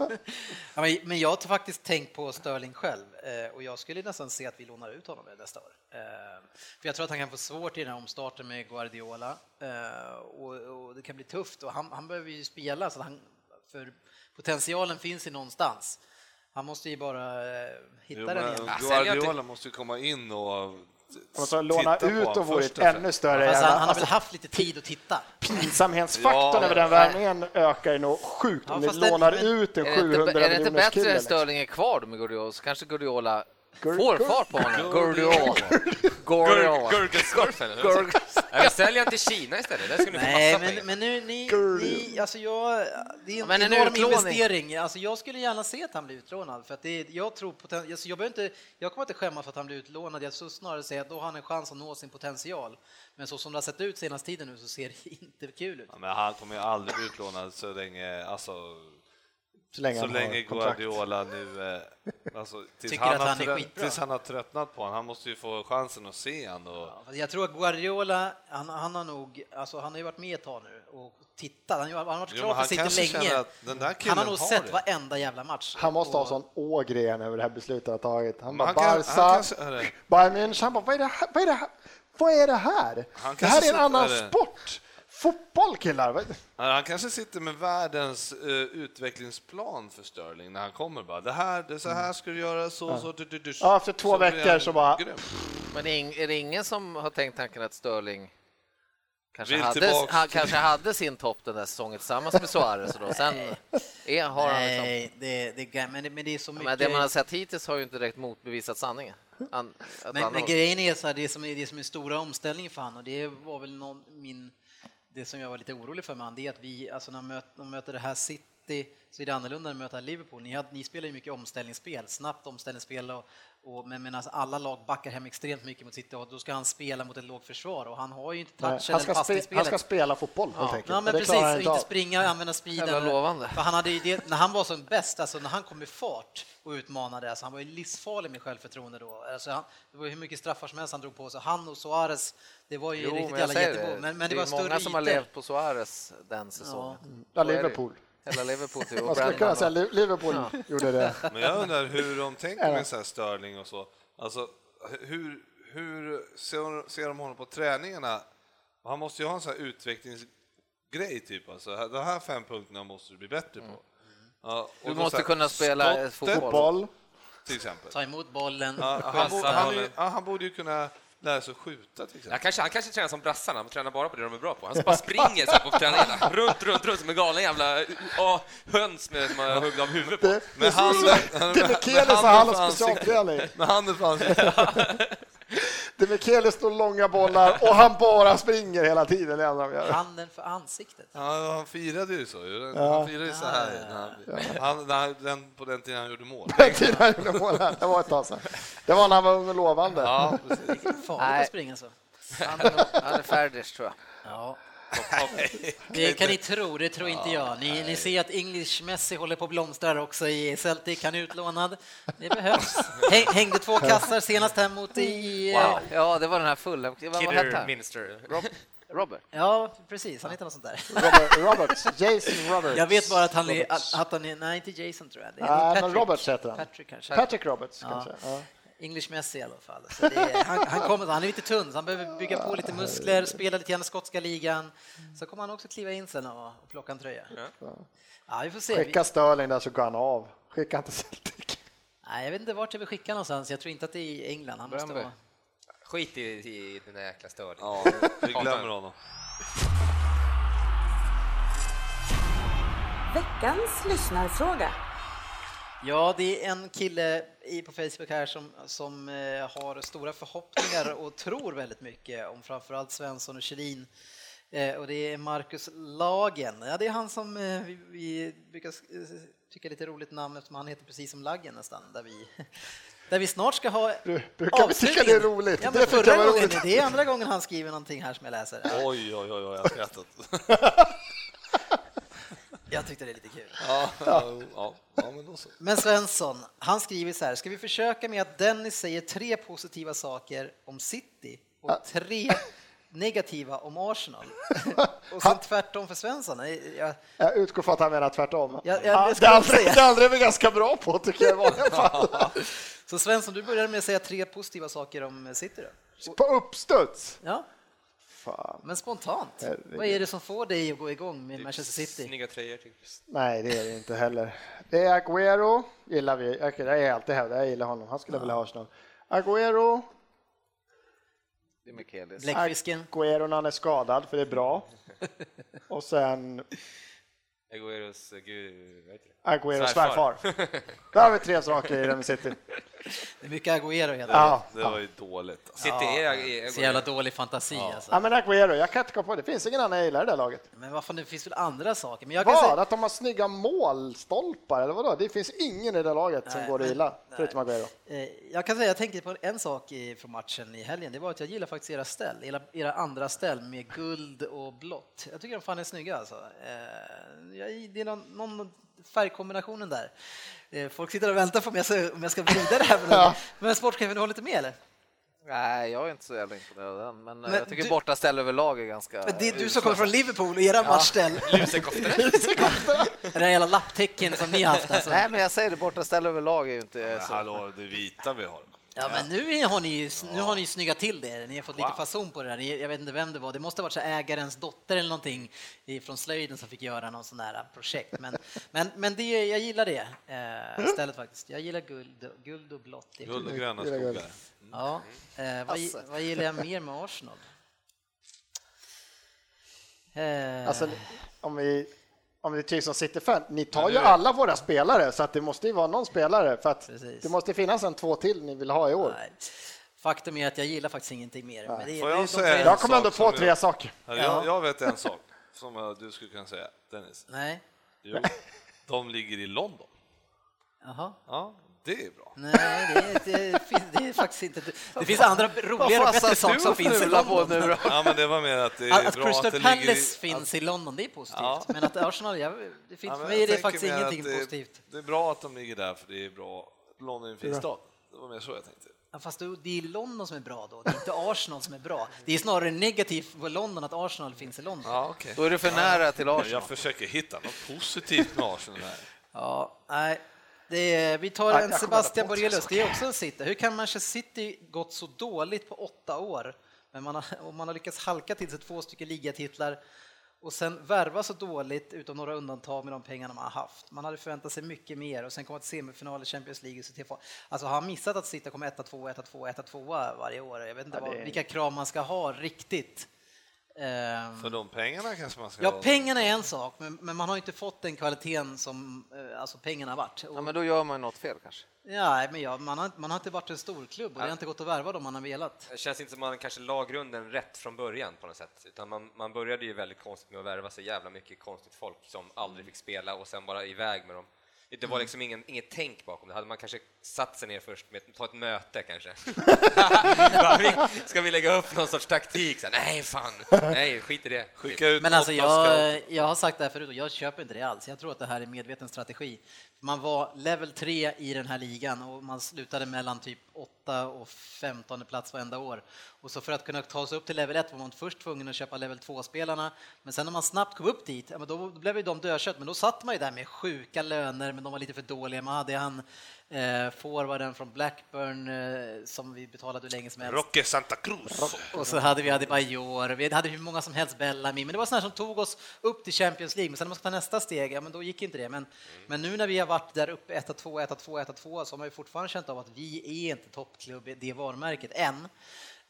Ja, men- men jag har faktiskt tänkt på Sterling själv eh, och jag skulle nästan se att vi lånar ut honom nästa år. Eh, För jag tror att han kan få svårt i den här omstarten med Guardiola eh, och, och det kan bli tufft och han, han behöver ju spela så att han, för potentialen finns ju någonstans. Han måste ju bara eh, hitta
Jo,
den igen.
men
Ah, säljer jag
Guardiola måste ju komma in och
Om så låna
Mm. titta på
ut och
honom
vore
först
ett
och främst.
ännu större
Fast han,
jävla...
han har väl
Alltså,
haft lite tid att titta.
pinsamhetsfaktorn
Ja.
över den värvningen ökar ju nog sjukt
Ja,
om ni
fast den-
lånar
men-
ut en
Är det inte,
700
är det inte
miljoners
bättre
kille.
att
Liksom.
Sterling är kvar då med Guardiola så kanske Guardiola
Gur-
får
gur-
fart på honom? Guardiola.
Gur-
Guardiola.
Gurkaskorpen, eller?
Gurg-
Nej, vi säljer han till Kina istället, där skulle ni få
Nej,
massa pengar.
men, men nu, ni, ni, alltså jag, det är en
Men en
enorm
utlåning.
investering. Alltså jag skulle gärna se att han blir utlånad, för att det, är- jag tror poten, alltså jag, behöver inte, jag kommer inte skämmas för att han blir utlånad, jag skulle snarare säga att då har han en chans att nå sin potential. Men så som det har sett ut senaste tiden nu så ser det inte kul ut.
Ja, men han kommer ju aldrig bli utlånad så länge, alltså
Så länge,
Så
han har
länge
kontrakt.
Guardiola nu... eh, Alltså, tills,
Tycker
han
att
har
han är
trött,
skitbra.
tills han har tröttnat på honom. Han måste ju få chansen att se honom. Och,
Ja, fast Alltså, Jag tror att Guardiola, han, han har nog, alltså han har ju varit med ett tag nu och tittat, han, har ju- han har varit
Jo,
klar
men
för
han kanske
City
känner
länge.
att den där
Han har
killen
nog
har
sett
det.
varenda jävla match.
Han måste ha
Och-
sån ågren över det här beslutet han tagit. Han
Men
bara
han kan- han
Barca,
kanske- är det-
Bayern München, han bara vad är det här? Vad är det här? Vad är det här?
Han
Det här
kanske
är en annan
sitter- är det-
sport! Fotboll killar! Vad-
Ja, Han kanske sitter med världens eh, utvecklingsplan för Sterling när han kommer. Bara, det här, det, så här ska du göra, så, så, du, du, du.
Mm. Ja, efter två
blir
veckor
han
så bara-
grym.
Men ing- är det ingen som har tänkt tanken att Sterling kanske,
Vill
hade,
tillbaks
han kanske hade sin topp den där säsongen tillsammans med Suarez och då sen är, har han liksom...
Nej, det, det, är- men, det, men det är så mycket...
Men det man har sett hittills har ju inte direkt motbevisat sanningen. An, att
Men,
han-
men grejen är så här, det som är, det som är stora omställningen för han och det var väl någon, min, det som jag var lite orolig för med han, det är att vi, alltså när man möter, när man möter det här City så är det annorlunda än att möta Liverpool. Ni, hade, ni spelar ju mycket omställningsspel, snabbt omställningsspel och, och men, men alltså alla lag backar hem extremt mycket mot City och då ska han spela mot ett lågt försvar och han har ju inte
Han
touchen
ska,
eller
spe, han ska
passningsspelet.
spela fotboll helt
Ja,
enkelt.
ja, men
det
precis,
klarar han
och
inte
inte
av.
springa, använda
Jävla
speeden.
lovande.
För han hade ju det, när han var som bäst, alltså när han kom i fart och utmanade, alltså han var ju livsfarlig med självförtroende då. Alltså han, det var ju hur mycket straffar som helst han drog på sig. Han och Suarez, det var ju
Jo,
riktigt
men jag
jävla
säger
jättebo. Men, men det,
är
var
många
större
som har
ytor.
levt på Suarez den säsongen.
Mm. Ja,
Så är det ju.
Liverpool.
Hela Liverpool. typ. Och
Man skulle
Brandon
kunna
då.
säga Li- Liverpool gjorde det.
Men jag undrar hur de tänker med så här Sterling och så. Alltså, hur, hur ser, ser de honom på träningarna? Han måste ju ha en sån här utvecklingsgrej, typ. Alltså, de här fem punkterna måste du bli bättre på. Ja, och
Du
då så
måste
här,
kunna spela eh,
skottet,
fotboll.
Boll.
Till exempel.
Ta emot bollen,
Ja, han,
chansa.
borde, han, är ju- ja, han borde ju kunna lära sig att skjuta, till
Ja,
exempel.
kanske, han kanske tränar som brassarna, han tränar bara på det de är bra på. Han bara springer så här på träningarna, runt, runt, runt som en galen jävla ja, höns med, som man huggit av huvudet på.
Men han,
Det är Mikelis och han har specialträning.
Med handen för ansiktet.
Det är Mikelis står långa bollar och han bara springer hela tiden. Det är det han gör.
handen för ansiktet.
Ja, han firade ju så. ju. Han firade ju så här när han, han, när han, den, på den tiden han gjorde mål.
Den tiden han gjorde mål här. Det var ett tag sedan. Det var när han var ung och lovande.
Ja, precis.
Farligt
Nej.
att springa så.
Han är färdig tror jag.
Ja. Det kan ni tro, det tror inte jag. Ni, ni ser att English Messi håller på att blomstra också i Celtic, han är utlånad. Det behövs. Häng, hängde två kassar senast här mot i...
Wow. Ja, det var den här fulla... Vad vad hette
Kidder
han?
Minster.
Rob, Robert?
Ja, precis, han heter något sånt där.
Robert, Roberts. Jason Roberts.
Jag vet bara att han är...
Roberts.
Att han är nej, inte Jason tror jag. Det är
Nej, men
Patrick.
Roberts heter han.
Patrick kanske.
Patrick Roberts
Ja.
kanske. Ja.
English Messi i alla fall. Så det är, han, han, kommer, han är lite tunn, så han behöver bygga på lite muskler, spela lite grann i skotska ligan. Så kommer han också kliva in sen och, och plocka en tröja. Ja, vi får se. Vi-
Skicka Sterling där så går han av. Skicka inte Celtic.
Nej, jag vet inte vart jag vill skicka någonstans. Jag tror inte att det är i England. Han måste
Brännberg.
vara...
Skit i, i den där jäkla störingen.
Ja, vi glömmer honom.
Veckans lyssnarfråga.
Ja, det är en kille i- på Facebook här som, som eh, har stora förhoppningar och tror väldigt mycket om framförallt Svensson och Kjellin. Eh, Och det är Marcus Lagen. Ja, det är han som eh, vi, vi brukar sk- eh, tycka är lite roligt namn eftersom han heter precis som Lagen nästan. Där vi, där vi snart ska ha
brukar vi tycka det är roligt?
Ja,
Det
men
tycker
förra
jag var
gången,
roligt.
det är andra gången han skriver någonting här som jag läser.
Oj, oj, oj, oj, jag har skrattat.
Jag tyckte det är lite kul.
Ja, ja, ja, men då så.
Men Svensson, han skriver så här, ska vi försöka med att Dennis säger tre positiva saker om City och tre negativa om Arsenal? Och sen tvärtom för Svensson. Nej, Jag,
Jag utgår från att han menar tvärtom.
Ja, jag-
Ja,
jag
det
skulle
andra
säga.
det andra är vi ganska bra på tycker jag i vanliga fall.
så Svensson, du började med att säga tre positiva saker om City då?
På uppstuds.
Ja,
Fan.
men spontant.
Herregud.
Vad är det som får dig att gå igång med Manchester City?
Snygga tröjor, tycker jag.
Nej, det är det inte heller. Det är Agüero, gillar vi. Jag jag är alltid hävdat, jag gillar honom. Han skulle vilja ha Arsenal. Agüero,
Det är Mikelis.
Bläckfisken?
Agüero när han är skadad, för det är bra. Och sen
Agueros, eh, gud, vad heter det?
Agüeros
Svärfar.
svärfar. Där har vi tre saker i Remi City.
Det är mycket Agüero hela tiden.
Ja.
Det var ju dåligt. Alltså.
City är, är,
Så jävla dålig fantasi alltså.
ja, men Agüero, jag kan inte komma på det. Det finns ingen annan jag gillar i det där laget.
Men vad fan, det finns väl andra saker? Men jag kan
Vad?
säga,
Att de har snygga målstolpar eller vadå? Det finns ingen i det laget som
Nej,
går att
men-
gilla,
nej.
förutom Agüero.
Eh, Jag kan säga, jag tänkte på en sak i- från matchen i helgen. Det var att jag gillar faktiskt era ställ, era, era andra ställ med guld och blått. Jag tycker de fan är snygga alltså. Eh, jag- Det är någon, någon färgkombinationen där. Eh, Folk sitter och väntar på mig så- om jag ska vrida det här. på något. Men sportchefen, du håller inte med eller?
Nej, jag är inte så jävla imponerad än, men, eh,
Men
jag tycker
du-
bortaställ överlag är ganska...
Men det är du
usla.
som kommer från Liverpool och era matchställ. Det där jävla lapptäcken som ni har haft alltså.
Nej, men jag säger det, bortaställ överlag är ju inte eh, så...
Hallå, det vita vi har.
Ja, men nu har ni ju, nu har ni ju snyggat till det. Ni har fått lite fason på det där. Ni- Jag vet inte vem det var. Det måste ha varit så här ägarens dotter eller någonting i- från slöjden som fick göra någon sån där äh, projekt. Men, men, men det, jag gillar det eh, stället faktiskt. Jag gillar guld, och- guld och blått. Det är
Mm. Guld Alltså. och gröna
Det är guld.
skogar.
Ja, eh, vad, gi- vad gillar jag mer med Arsenal? Eh,
Alltså, om vi, om vi tycks som City-fan, ni tar ju
nu-
alla våra spelare så att det måste ju vara någon spelare för att
Precis.
det måste finnas en två till ni vill ha i år.
nej. Faktum är att jag gillar faktiskt ingenting mer. Men det,
Får
det-
jag
de
säga
tre-
en
Jag kommer ändå
sak
på
som
tre
jag-
saker.
Ja, Jag, jag vet en sak som eh, du skulle kunna säga, Dennis.
Nej,
Jo, de ligger i London.
jaha.
Ja, det är bra.
Nej, det, det, finns, det är faktiskt inte. Det finns andra roligare och bättre saker som finns i
på
London.
nu då?
Ja, men det var mer att det är
Att, att
bra att det
Crystal
ligger
Palace
i...
finns i London, det är positivt.
Ja.
Men att Arsenal, jag, det finns,
Ja,
för
men
mig
jag
är det
tänker
faktiskt
mer att
ingenting
det,
positivt.
Det är bra att de ligger där, för det är bra. London är en fin stad. Det var mer så jag tänkte.
Ja, Fast det det är London som är bra då, det är inte Arsenal som är bra. Det är snarare negativt för London att Arsenal finns i London.
Ja, okej.
Då är du för nära till Arsenal.
Jag försöker hitta något positivt med Arsenal här.
Ja, nej. Det är, vi tar en Sebastian Borelius, det är också en sitter. Hur kan Manchester City gått så dåligt på åtta år? Men man har, och man har lyckats halka till sig två stycken ligatitlar och sen värva så dåligt utan några undantag med de pengarna man har haft. Man hade förväntat sig mycket mer och sen komma till semifinal i Champions League och så till Alltså har han missat att City kommer etta, tvåa, etta, tvåa, etta, tvåa varje år? Jag vet inte vad, vilka krav man ska ha riktigt. Ehm.
För de pengarna kanske man ska...
Ja, pengarna är en sak, men, men man har inte fått den kvaliteten som eh, alltså pengarna har varit. Och,
Ja, men då gör man ju något fel kanske.
nej, men ja, man, har, man har inte varit en stor klubb och det har inte gått att värva dem man har velat.
Det känns inte som man kanske la grunden rätt från början på något sätt, utan man, man började ju väldigt konstigt med att värva så jävla mycket konstigt folk som aldrig fick spela och sen bara iväg med dem. Det var liksom ingen, inget tänk bakom det. Hade man kanske satt sig ner först med ta ett möte kanske? Bara, vi- Ska vi lägga upp någon sorts taktik? Så, här, nej, fan, nej, skit i det.
Skicka ut
Men alltså,
åtta scout.
jag, jag har sagt det här förut och jag köper inte det alls. Jag tror att det här är medveten strategi. Man var level 3 i den här ligan och man slutade mellan typ 8 och 15 plats varenda år. Och så för att kunna ta sig upp till level 1 var man först tvungen att köpa level 2-spelarna, men sen när man snabbt kom upp dit, ja, men då blev ju de dödkött, men då satt man ju där med sjuka löner, men de var lite för dåliga. Man hade han eh, forwarden från Blackburn eh, som vi betalade hur länge som helst.
Rocky Santa Cruz.
Och så hade vi Adebayor, vi hade hur många som helst Bellamy, men det var sådana som tog oss upp till Champions League, men sen när man ska ta nästa steg, ja men då gick inte det. Men,
Mm.
men nu när vi har varit där uppe, 1 2 1 2 1 2 så har man ju fortfarande känt av att vi är inte toppklubb i det varumärket än.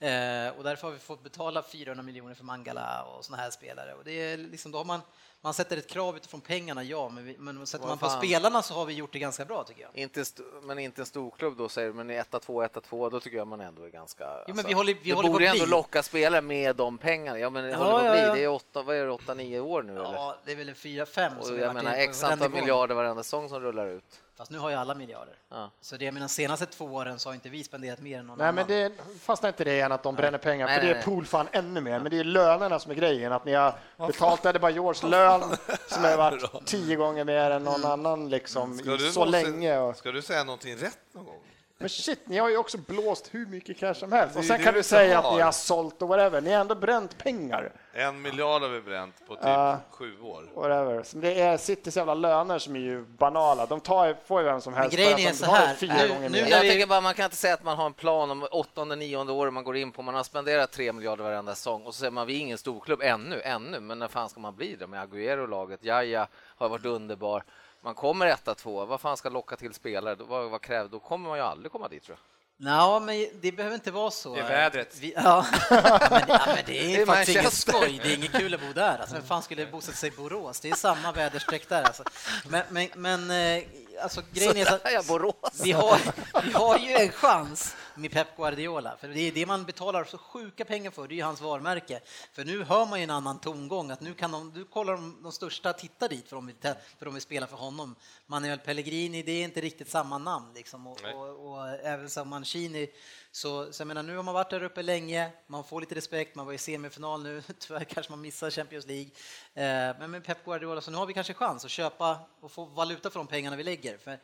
Eh, och därför har vi fått betala 400 miljoner för Mangala och sådana här spelare. Och det är liksom, då har man, man sätter ett krav utifrån pengarna, ja, men, vi, men sätter
Vad
man på
fan.
spelarna så har vi gjort det ganska bra tycker jag.
Inte st- men inte en storklubb då säger du, men i etta, två, etta, två, då tycker jag man ändå är ganska... alltså,
men vi håller- vi
det
håller på
borde
att
ändå
bli.
locka spelare med de pengarna. Ja, men det
Ja,
håller på att
ja,
bli.
ja.
Det är åtta, vad är det, åtta, nio år nu eller?
Ja, det är väl en 4-5
Och
som vi har
jag
varit
menar
i- på
x
den
antal
nivån.
miljarder varenda säsong som rullar ut.
Fast nu har ju alla miljarder.
Ja.
Så det jag menar, senaste två åren så har inte vi spenderat mer än någon
Nej, men
annan.
det fastnar inte det igen att de bränner pengar,
Nej,
för
nej,
det är
nej.
poolfan ännu mer. Men det är lönerna som är grejen, att ni har betalt Adebayors lön som har varit tio gånger mer än någon annan liksom
Ska
i
du
så
någonsin-
länge. Och...
Ska du säga någonting rätt någon gång?
Men shit, ni har ju också blåst hur mycket cash som helst.
Det är
Och
ju
sen
det
kan du
vi
säga
har.
att ni har sålt och whatever. Ni har ändå bränt pengar.
En miljard har vi bränt på typ
Ja.
sju år.
Whatever. Så det är Citys jävla löner som är ju banala. De tar, ju- får ju vem som helst.
grejen
bara för
är
att de
så
har
här.
Fyra
Nu-
gånger
nu-
mer.
när
Jag
vi-
tänker bara, man kan inte säga att man har en plan om åttonde, nionde året man går in på. Man har spenderat tre miljarder varenda säsong och så säger man vi är ingen storklubb ännu, ännu, men när fan ska man bli det med Agüero och laget? Jaja har varit underbar. Man kommer etta, två. vad fan ska locka till spelare? Då- Vad, vad krävs? Då kommer man ju aldrig komma dit tror jag.
Nå, men det behöver inte vara så.
Det är vädret.
Vi, ja. ja, men, ja, men det är,
Det är
faktiskt inget
Manchester.
skoj. Det är inget kul att bo där. Alltså, vem fan skulle bosätta sig i Borås? Det är samma väderstreck där. Alltså. Men, men, men eh, alltså, grejen är så
Sådär,
att
ja, Borås.
vi har, vi har ju en chans, med Pep Guardiola. För det är det man betalar så sjuka pengar för, det är ju hans varumärke. För nu hör man ju en annan tongång, att nu kan de, nu kollar de, de största titta dit för de, vill, tä- för de vill spela för honom. Manuel Pellegrini, det är inte riktigt samma namn liksom. Och,
Nej.
och, och även som Mancini, så, så jag menar nu har man varit där uppe länge, man får lite respekt, man var i semifinal nu, tyvärr kanske man missar Champions League. Eh, men med Pep Guardiola, så nu har vi kanske chans att köpa och få valuta för de pengarna vi lägger. För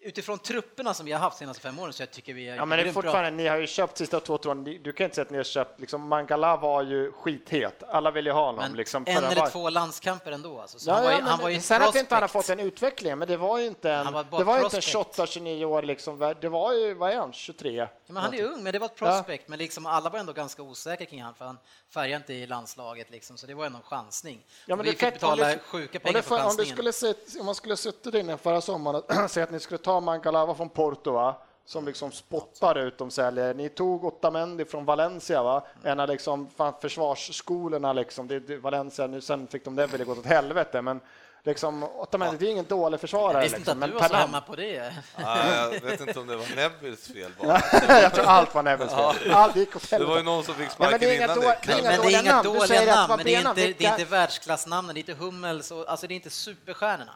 utifrån trupperna som vi har haft de senaste fem åren så jag tycker vi är
Ja, men det är
grymt bra.
fortfarande, ni har ju köpt sista två åren. Ni- Du kan inte säga att ni har köpt, liksom, Mangala var ju skithet. Alla ville ju ha honom.
Men
liksom, för
en
den
eller
var-
två landskamper ändå. Alltså. Så
Ja,
han var ju,
ja, men
han var ju
sen att inte han har
prospect.
fått en utveckling, men det var ju inte en,
Han var bara
det var ju inte en
prospect.
28, 29 år liksom. Det var ju, vad är han, 23?
Ja, men han är ju ung, men det var ett prospect. Men liksom alla var ändå ganska osäkra kring han för han färgade inte i landslaget liksom, så det var ändå en chansning.
Ja,
Och vi
men det
fick
fett-
betala
om du-
sjuka
om du
pengar för
får- om, du
chansningen.
skulle se, om man skulle suttit inne förra sommaren och säga att ni skulle ta Mancalava från Porto, va? som liksom spottar ut de säljer. Ni tog Otamendi från Valencia, va? en av liksom, fan, försvarsskolorna. Liksom. Det, det, Valencia, nu sen fick de det väl gått åt helvete, men liksom, Otamendi det är ingen dålig
Jag
försvarare.
visste inte
Liksom.
att
Men
du var så
talang,
hemma på det.
Ja, Ah, jag vet inte om det var Nevilles fel bara.
jag tror allt var Neves fel. Allt gick åt
Det var ju
helvete.
någon som fick
Ja, men
sparken
det är inga
innan
dåliga-
det.
det är inga
Men det
dåliga
är inga
namn. Du
dåliga
säger att det
namn,
var
men det är
benamn.
inte, det är
Vilka-
inte världsklassnamnen, det är inte Hummels, och, alltså det är inte superstjärnorna.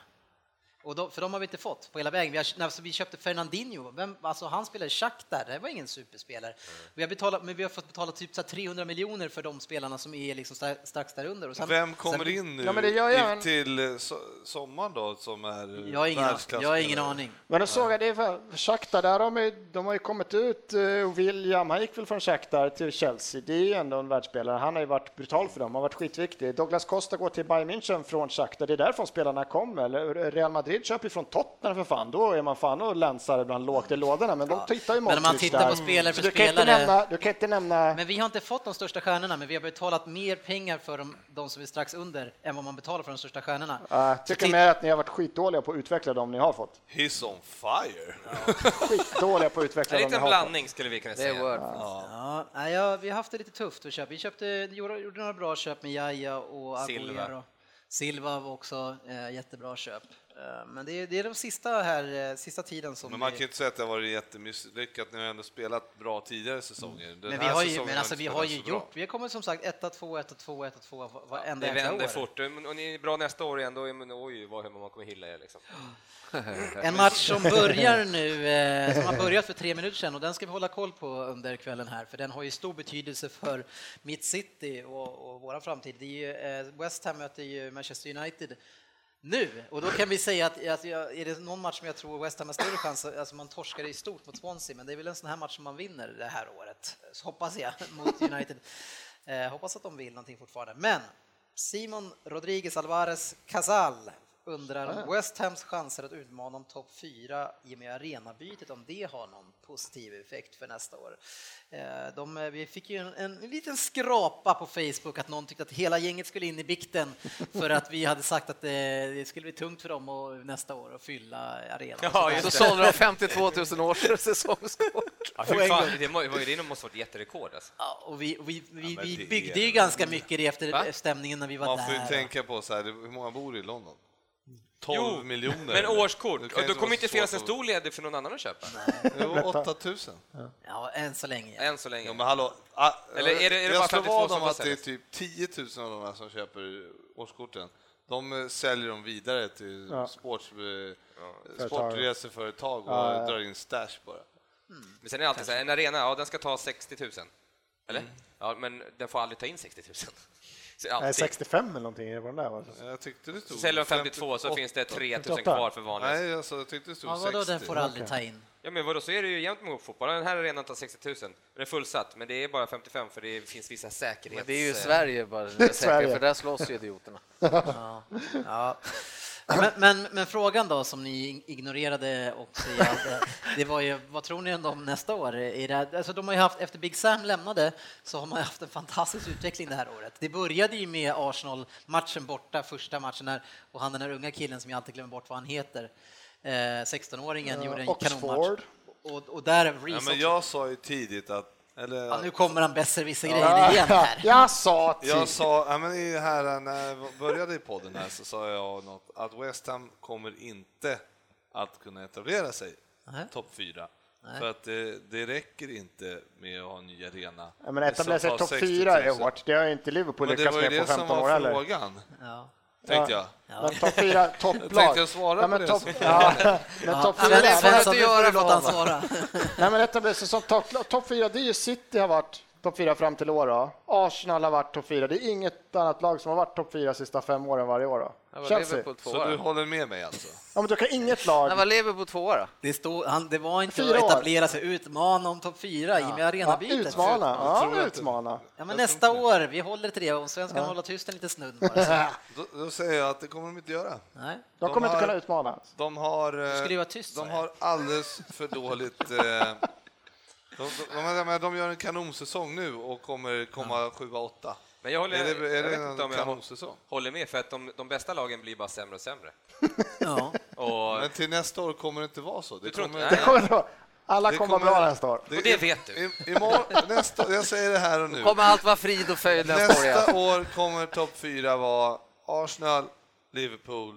Och de, för de har vi inte fått på hela vägen. Vi, har, när vi köpte Fernandinho, vem, alltså han spelade i Shakhtar, det var ingen superspelare.
Mm.
Vi har betalat, men vi har fått betala typ så här 300 miljoner för de spelarna som är liksom stra- strax där under. Och sen-
Vem kommer
sen-
in nu
Ja, men det gör jag
i-
en-
till eh, so- sommaren då som är
Jag har ingen, jag har ingen
världsklasspelare?
aning.
Men då såg jag det för Shakhtar, där har de, ju- de har ju kommit ut, eh, och William, han gick väl från Shakhtar till Chelsea, det är ju ändå en världsspelare, han har ju varit brutal för dem, han har varit skitviktig. Douglas Costa går till Bayern München från Shakhtar, det är därifrån spelarna kommer. Real Madrid köper ju från Tottenham för fan, då är man fan och länsar bland lågt i lådorna, men de tittar ju
Men om man
Modric
tittar
där.
på spelare för
Så du kan inte
spelare-
nämna, du kan inte nämna
Men vi har inte fått de största stjärnorna, men vi har betalat mer pengar för de, de som är strax under än vad man betalar för de största stjärnorna.
jag
Så
tycker
titt-
mer att ni har varit skitdåliga på att utveckla dem ni har fått.
He's on fire!
Skitdåliga på att
En
utveckla dem ni
liten
har fått.
blandning skulle vi kunna
Det är
säga.
word.
Ja, nej, ja, vi har haft det lite tufft att köpa. Vi köpte, gjorde gjorde några bra köp med Jaja och
Silva.
Aguero. Silva var också eh, jättebra köp. Eh, men det är, det är de sista här, eh, sista tiden som
Men man
vi-
kan ju inte säga att det har varit jättemisslyckat. Ni har ändå spelat bra tidigare säsonger. Den
men vi
här
har ju,
säsongen
men alltså,
inte
vi har
spelat
ju
så bra.
gjort, vi kommer som sagt etta, två, etta, två, etta, två varenda
Det
jäkla
vänder
år.
fort. Men- Och ni är bra nästa år igen, då är men oj, vad hur man kommer hylla er liksom.
En match som börjar nu, eh, som har börjat för tre minuter sedan och den ska vi hålla koll på under kvällen här för den har ju stor betydelse för mitt city och, och vår framtid. Det är ju, eh, West Ham möter ju Manchester United nu och då kan vi säga att, att jag, är det någon match som jag tror West Ham har större chans, alltså man torskar i stort mot Swansea men det är väl en sån här match som man vinner det här året, så hoppas jag, mot United. Eh, hoppas att de vill någonting fortfarande. Men Simon Rodriguez Alvarez Casal undrar
Ah.
om West Hams chanser att utmana om topp 4 i och med arenabytet, om det har någon positiv effekt för nästa år. Eh, De, eh, vi fick ju en, en liten skrapa på Facebook att någon tyckte att hela gänget skulle in i bikten för att vi hade sagt att det, det skulle bli tungt för dem och, nästa år att fylla arenan. och sådär.
Så sålde de 52 000 års säsongskort.
Ja, fy fan, det må- det var ju- det måste varit jätterekord alltså.
Ja, och vi, och vi, vi,
men det
vi
är
byggde ju
väl-
ganska mycket det efter
Va?
stämningen när vi var
Man
där.
får ju tänka på så här, det- hur många bor i London? 12
Jo,
miljoner.
Men årskort,
Det
och
kan ju
då
inte vara
kommer inte
så
finnas en
svårt
stor ledig för någon annan att köpa,
att- Det var 8000.
Ja, än så länge.
än så länge.
Ja, men hallå. ah,
Eller är det- är det bara
jag slår
52
vad
som
om att det är
säljs?
typ 10 000 av de här som köper årskorten. De eh, säljer dem vidare till sports, eh, sportreseföretag och drar in stash bara.
Men sen är det alltid så här, en arena, ja den ska ta 60 000. Eller? Ja, men den får aldrig ta in 60 000. Så
Nej,
alltid.
65 eller någonting, är det vad den där var?
Jag tyckte det stod...
Säljer de 52 så finns det 3 000 kvar för vanliga.
Nej, alltså, jag tyckte det stod
Ja, vadå,
60.
den får aldrig ta in?
Ja, men vadå, så är det ju jämnt med fotboll. Den här arenan tar 60 000. Den är fullsatt, men det är bara 55 för det finns vissa säkerhets...
Men det är ju Sverige bara, det är säkert,
Sverige.
för där slåss ju idioterna.
Ja. Men, men, men frågan då som ni ignorerade också, i allt det- det var ju vad tror ni om dem nästa år? Är det, här- alltså de har ju haft, efter Big Sam lämnade så har man ju haft en fantastisk utveckling det här året. Det började ju med Arsenal-matchen borta, första matchen, där, och han den där unga killen som jag alltid glömmer bort vad han heter, eh, 16-åringen, gjorde en
Oxford.
kanonmatch. Och, och där
Ja,
Reece
men
också.
jag sa ju tidigt att... Eller,
ja, Nu kommer han besserwisser grejen igen här.
Jag sa
Jag sa, ja, men i här, när jag började i podden här så sa jag något, att West Ham kommer inte att kunna etablera sig
Nej.
topp fyra. För att det, det räcker inte med att ha en ny arena.
Ja, men
Det
ett av dessa
tar
topp
60 000.
fyra är hårt. Det har ju inte Liverpool
Men det
lyckats
var ju
med
det
på
som
15 år heller.
var frågan,
Ja.
tänkte jag.
Men topp fyra, topplag.
Jag tänkte jag svara
ja, men
på det
Topp,
som-
ja, men alltså- topp fyra,
Sven-
nej,
Svensson, nu får du låta han svara.
nej, men ett av dessa som topplag. Topp fyra, det är ju City har varit topp fyra fram till i år. Då. Arsenal har varit topp fyra. Det är inget annat lag som har varit topp fyra sista fem åren varje år.
När
Då.
var
Chelsea.
Liverpool tvåa?
Så du
då?
håller med mig alltså?
Ja, men då kan inget
När var
lag...
Liverpool tvåa då?
Det, stod, han, det var inte
Fyra
att
år.
etablera sig, utmana om topp fyra i och med
Ja,
arenabytet.
utmana.
tror
Ja,
jag inte.
utmana.
Ja, men nästa år, vi håller till det. Om svenskan håller tyst en liten snudd bara. så-
Då, då säger jag att det kommer de inte göra.
Nej.
De kommer
har-
inte kunna utmana.
De har, eh,
skulle ju vara tyst, sa
de
jag.
har alldeles för dåligt... eh, De, de, de, de, de gör en kanonsäsong nu och kommer komma sjua, åtta.
Men jag håller,
Är det- är
jag
det
vet
en
inte om jag
kanonsäsong?
håller med, för att de, de bästa lagen blir bara sämre och sämre.
Ja.
Och,
Men till nästa år kommer det inte vara så. Det
tror inte-
kommer-
nej.
Kommer då. Alla
det
kommer vara bra nästa år.
Och det vet du.
I, imorgon, nästa, jag säger det här och nu.
Kommer allt vara frid och fröjd nästa år igen?
Nästa år kommer topp fyra vara Arsenal, Liverpool,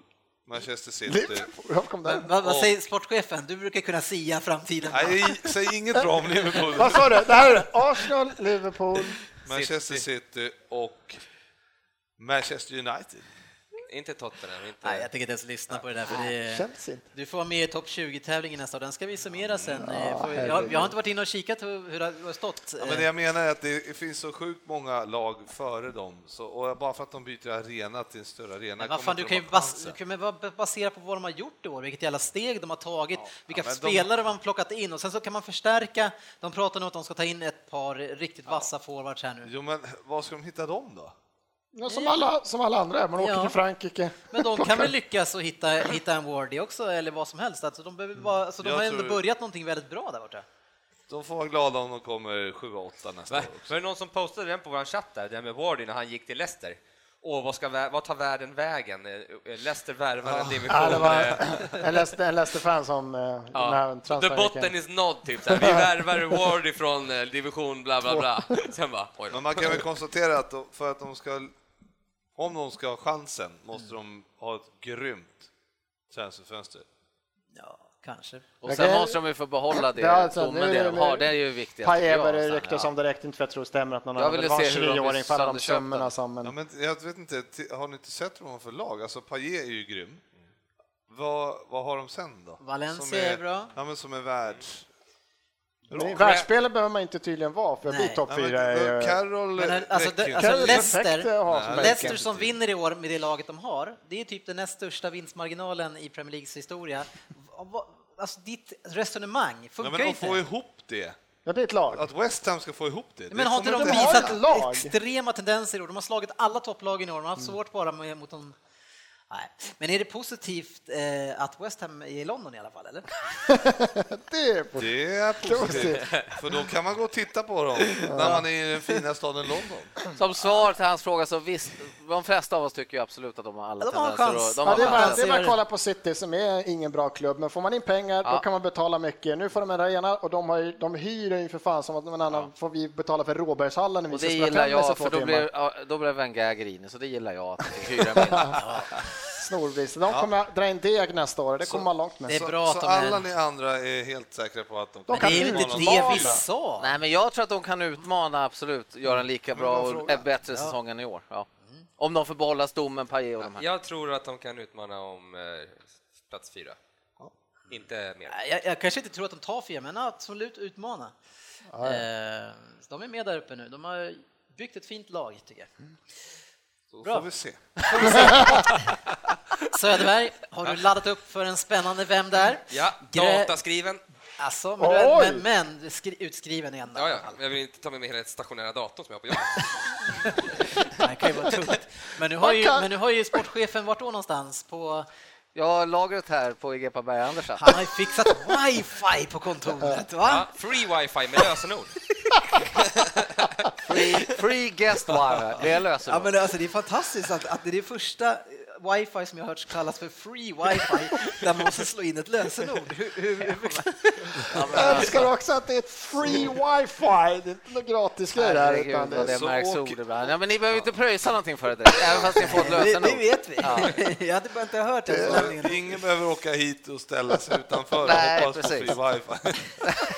Manchester City.
Hur kom det?
Vad, vad säger sportchefen? Du brukar kunna sia framtiden.
Nej, säg inget bra om Liverpool.
Vad sa du? Det här är Arsenal, Liverpool.
Manchester City och Manchester United.
Inte Tottenham, inte...
Nej, jag tänker inte ens lyssna på det där. För det,
Känns inte.
du får vara med i topp 20-tävlingen nästa år. Den ska vi summera sen. Eh, får vi- Jag, jag har inte varit inne och kikat hur hur det har stått.
Ja, men det jag menar är att det finns så sjukt många lag före dem, så, och bara för att de byter arena till en större arena
Men vad
kommer
fan,
inte
du
de
kan ju
ha
bas,
chansen.
du kan ju bara basera på vad de har gjort i år, vilket jävla steg de har tagit, vilka
men de-
spelare de har plockat in och sen så kan man förstärka. De pratar nu om att de ska ta in ett par riktigt vassa forwards här nu.
Jo, men var ska de hitta dem då?
Ja, som, alla, som alla andra är, man åker
Ja.
till Frankrike.
Men de kan väl lyckas och hitta, hitta en Wardy också eller vad som helst. Alltså, de, behöver bara, så de
Mm. Jag
har ändå
tror-
börjat någonting väldigt bra där borta.
De får vara glada om de kommer 7-8 nästa
Va?
år. också.
Var det någon som postade den på vår chatt där, den med Wardy när han gick till Leicester? Åh, vad, ska vä- vad tar världen vägen? Eh, eh, Leicester värvar en division.
Ah, Ja, det var
eh,
en Leicester- en Leicester-fan som eh, den här
Ja. The
transferveckan.
botten is not, typ. Så här. Vi värvar Wardy från eh, division bla bla bla. Sen bara, oj då.
Men man kan väl konstatera att de- för att de ska, om de ska ha chansen, måste de ha ett grymt transferfönster.
Ja, kanske.
Och sen
Okej.
måste de ju få behålla det,
Det har jag sett.
domen
Nu är alltså-
det
det-
de har. Det är ju viktigt. tycker jag, alltså.
Paever
någonstans.
ryktas om direkt, inte för jag tror det stämmer att någon
Jag
annan
ville
vill ha en
se hur de
20-åring för alla de
sönderköpte.
summorna som...
Ja,
Men,
men jag vet inte, ti- har ni inte sett vad de har för lag? Alltså Payet är ju grym. Vad, vad har de sen då?
Valencia
Som är,
är bra.
Ja, men som är världs...
men världsspelare behöver man inte tydligen vara för att bli
Nej.
topp
Ja, men,
fyra. är ju-
då- Carroll
Men här- alltså,
räcker ju
det,
inte.
Kan
alltså
det perfekt
Leicester,
att ha som
Leicester
backup? typ.
som vinner i år med det laget de har, det är typ den näst största vinstmarginalen i Premier Leagues historia. Vad- vad- Alltså ditt resonemang
Ja,
funkar
men
ju
de
inte.
får ihop det.
Ja, det är ett lag.
Att West Ham ska få ihop det. det
Men har inte
kommer
de
inte ha
visat
ett lag.
extrema tendenser i år? De har slagit alla topplagen i år, de har haft svårt bara med, mot dem. Nej. Men är det positivt eh, att West Ham är i London i alla fall? Eller?
Det är på-
Det är positivt, för då kan man gå och titta på dem när man är i den fina staden London.
Som svar till hans fråga så visst, de flesta av oss tycker ju absolut att de har alla
Ja, de har en
tendenser.
chans.
och- de
Ja, det, är
har
bara,
chans.
det är bara att kolla på City som är ingen bra klubb, men får man in pengar då
Ja.
kan man betala mycket. Nu får de en arena och de, har ju, de hyr ju för fan som att någon annan får vi betala för Råbergshallen när vi
Och
ska
det
spela
gillar
tennis i
jag,
två
för då
timmar.
blir, ja, då blir Van Gaag grinig, så det gillar jag att vi hyra min.
Snorvis. De kommer att dra in deg nästa år, det kommer man långt med.
Det är
Så,
bra att
så
de är-
alla ni andra är helt säkra på att de
De
Det
kan
är ju
inte
inte det
utmana.
vi sa.
Nej, men jag tror att de kan utmana, absolut, göra en lika bra och en bättre säsong än i år. Ja. Mm. Om de får behålla stommen, Paille och
Mm.
de här.
Jag tror att de kan utmana om eh, plats fyra. Inte mer.
Nej, Jag, jag kanske inte tror att de tar fyra, men absolut utmana. Eh, så de är med där uppe nu. De har byggt ett fint lag, tycker jag.
Då
Bra.
får vi se.
Söderberg, har du laddat upp för en spännande Vem där?
Ja,
Grä-
dataskriven.
Alltså, men, du-
Oj!
men, men skri- utskriven igen. då.
Ja, ja. Jag vill inte ta med mig hela stationära datorn som jag har på jobbet.
Det här kan ju vara tungt. Men nu, har ju,
kan-
men nu har ju sportchefen varit då någonstans på...
Jag har lagret här på E IG Parberg Andersen.
Han har ju fixat wifi på kontoret, va?
Ja, free wifi med lösenord.
Free, free guest wire, det löser
Ja,
de.
men alltså, det är fantastiskt att, att det är det första wifi som jag har hört kallas för free wifi där man måste slå in ett lösenord. Hur, hur, hur,
Jag älskar också att det är ett free wifi. Det är inte någon gratis grej där.
Herregud,
Utan det
vad
är
det
så...
märks ord ibland. Ja, men ni behöver inte pröjsa någonting för det, direkt, även fast ni får ett
Eh, det,
lösenord.
det vet vi. Jag hade bara inte hört den
Så
förklaringen.
Eh, Ingen behöver åka hit och ställa sig utanför och
Nej,
hoppas på free
precis.
wifi.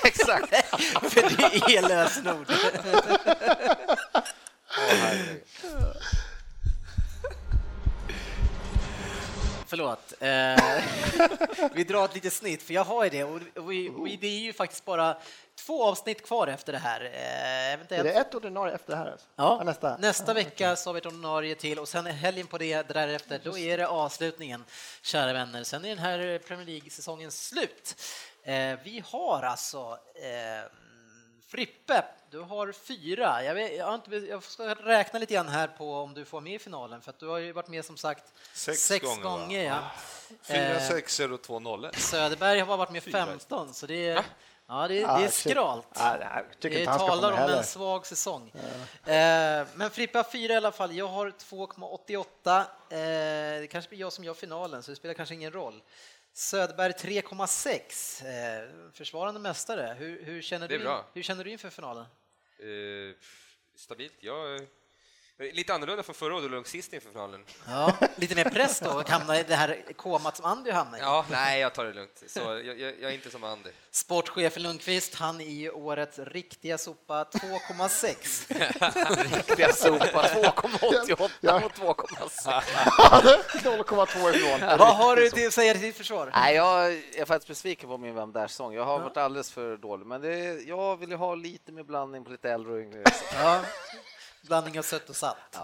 Exakt.
För det är lösenord. Förlåt. Eh, vi drar ett litet snitt, för jag har ju det. Och, och, vi- och det är ju faktiskt bara två avsnitt kvar efter det här. Eh,
Är
eventuellt-
det ett ordinarie efter det här? alltså?
Ja,
nästa.
vecka så har vi ett ordinarie till och sen är helgen på det därefter, då är det avslutningen, kära vänner. Sen är den här Premier League-säsongen slut. Eh, vi har alltså eh, Frippe, du har fyra. Jag, vet, jag, har inte, jag ska räkna lite grann här på om du får med i finalen, för att du har ju varit med som sagt
Sex gånger, va?
gånger ja.
Fyra
Eh,
sexor och två nollor.
Söderberg har bara varit med
Fyra.
15, så det är, ja, det, är- det
Ah,
är
shit.
skralt.
Ah, nej, jag tycker
Det
inte han ska få
Eh, talar
med
om en
heller.
svag säsong. Eh, Men Frippa har fyra i alla fall. Jag har 2,88. Eh, Det kanske blir jag som gör finalen, så det spelar kanske ingen roll. Söderberg 3,6. Eh, Försvarande mästare. Hur, hur, känner
Det är
du,
bra.
hur känner du inför finalen?
Eh, stabilt. Jag är jag är lite annorlunda från förra året, och låg sist inför finalen.
Ja, lite mer press då, att hamna i det här komat som Andy hamnar i.
Ja, nej, jag tar det lugnt. Så jag, jag, jag är inte som Andy.
Sportchefen Lundqvist, han är ju årets riktiga sopa 2,6.
Riktiga sopa. 2,88
Ja.
mot 2,6.
0,2 ifrån.
Vad har du till att säga till ditt försvar?
Nej, jag är faktiskt besviken på min Vem Där-sång. Jag har varit alldeles för dålig, men det är, jag vill ju ha lite med blandning på lite äldre och yngre.
Ja. Blandning av sött och salt.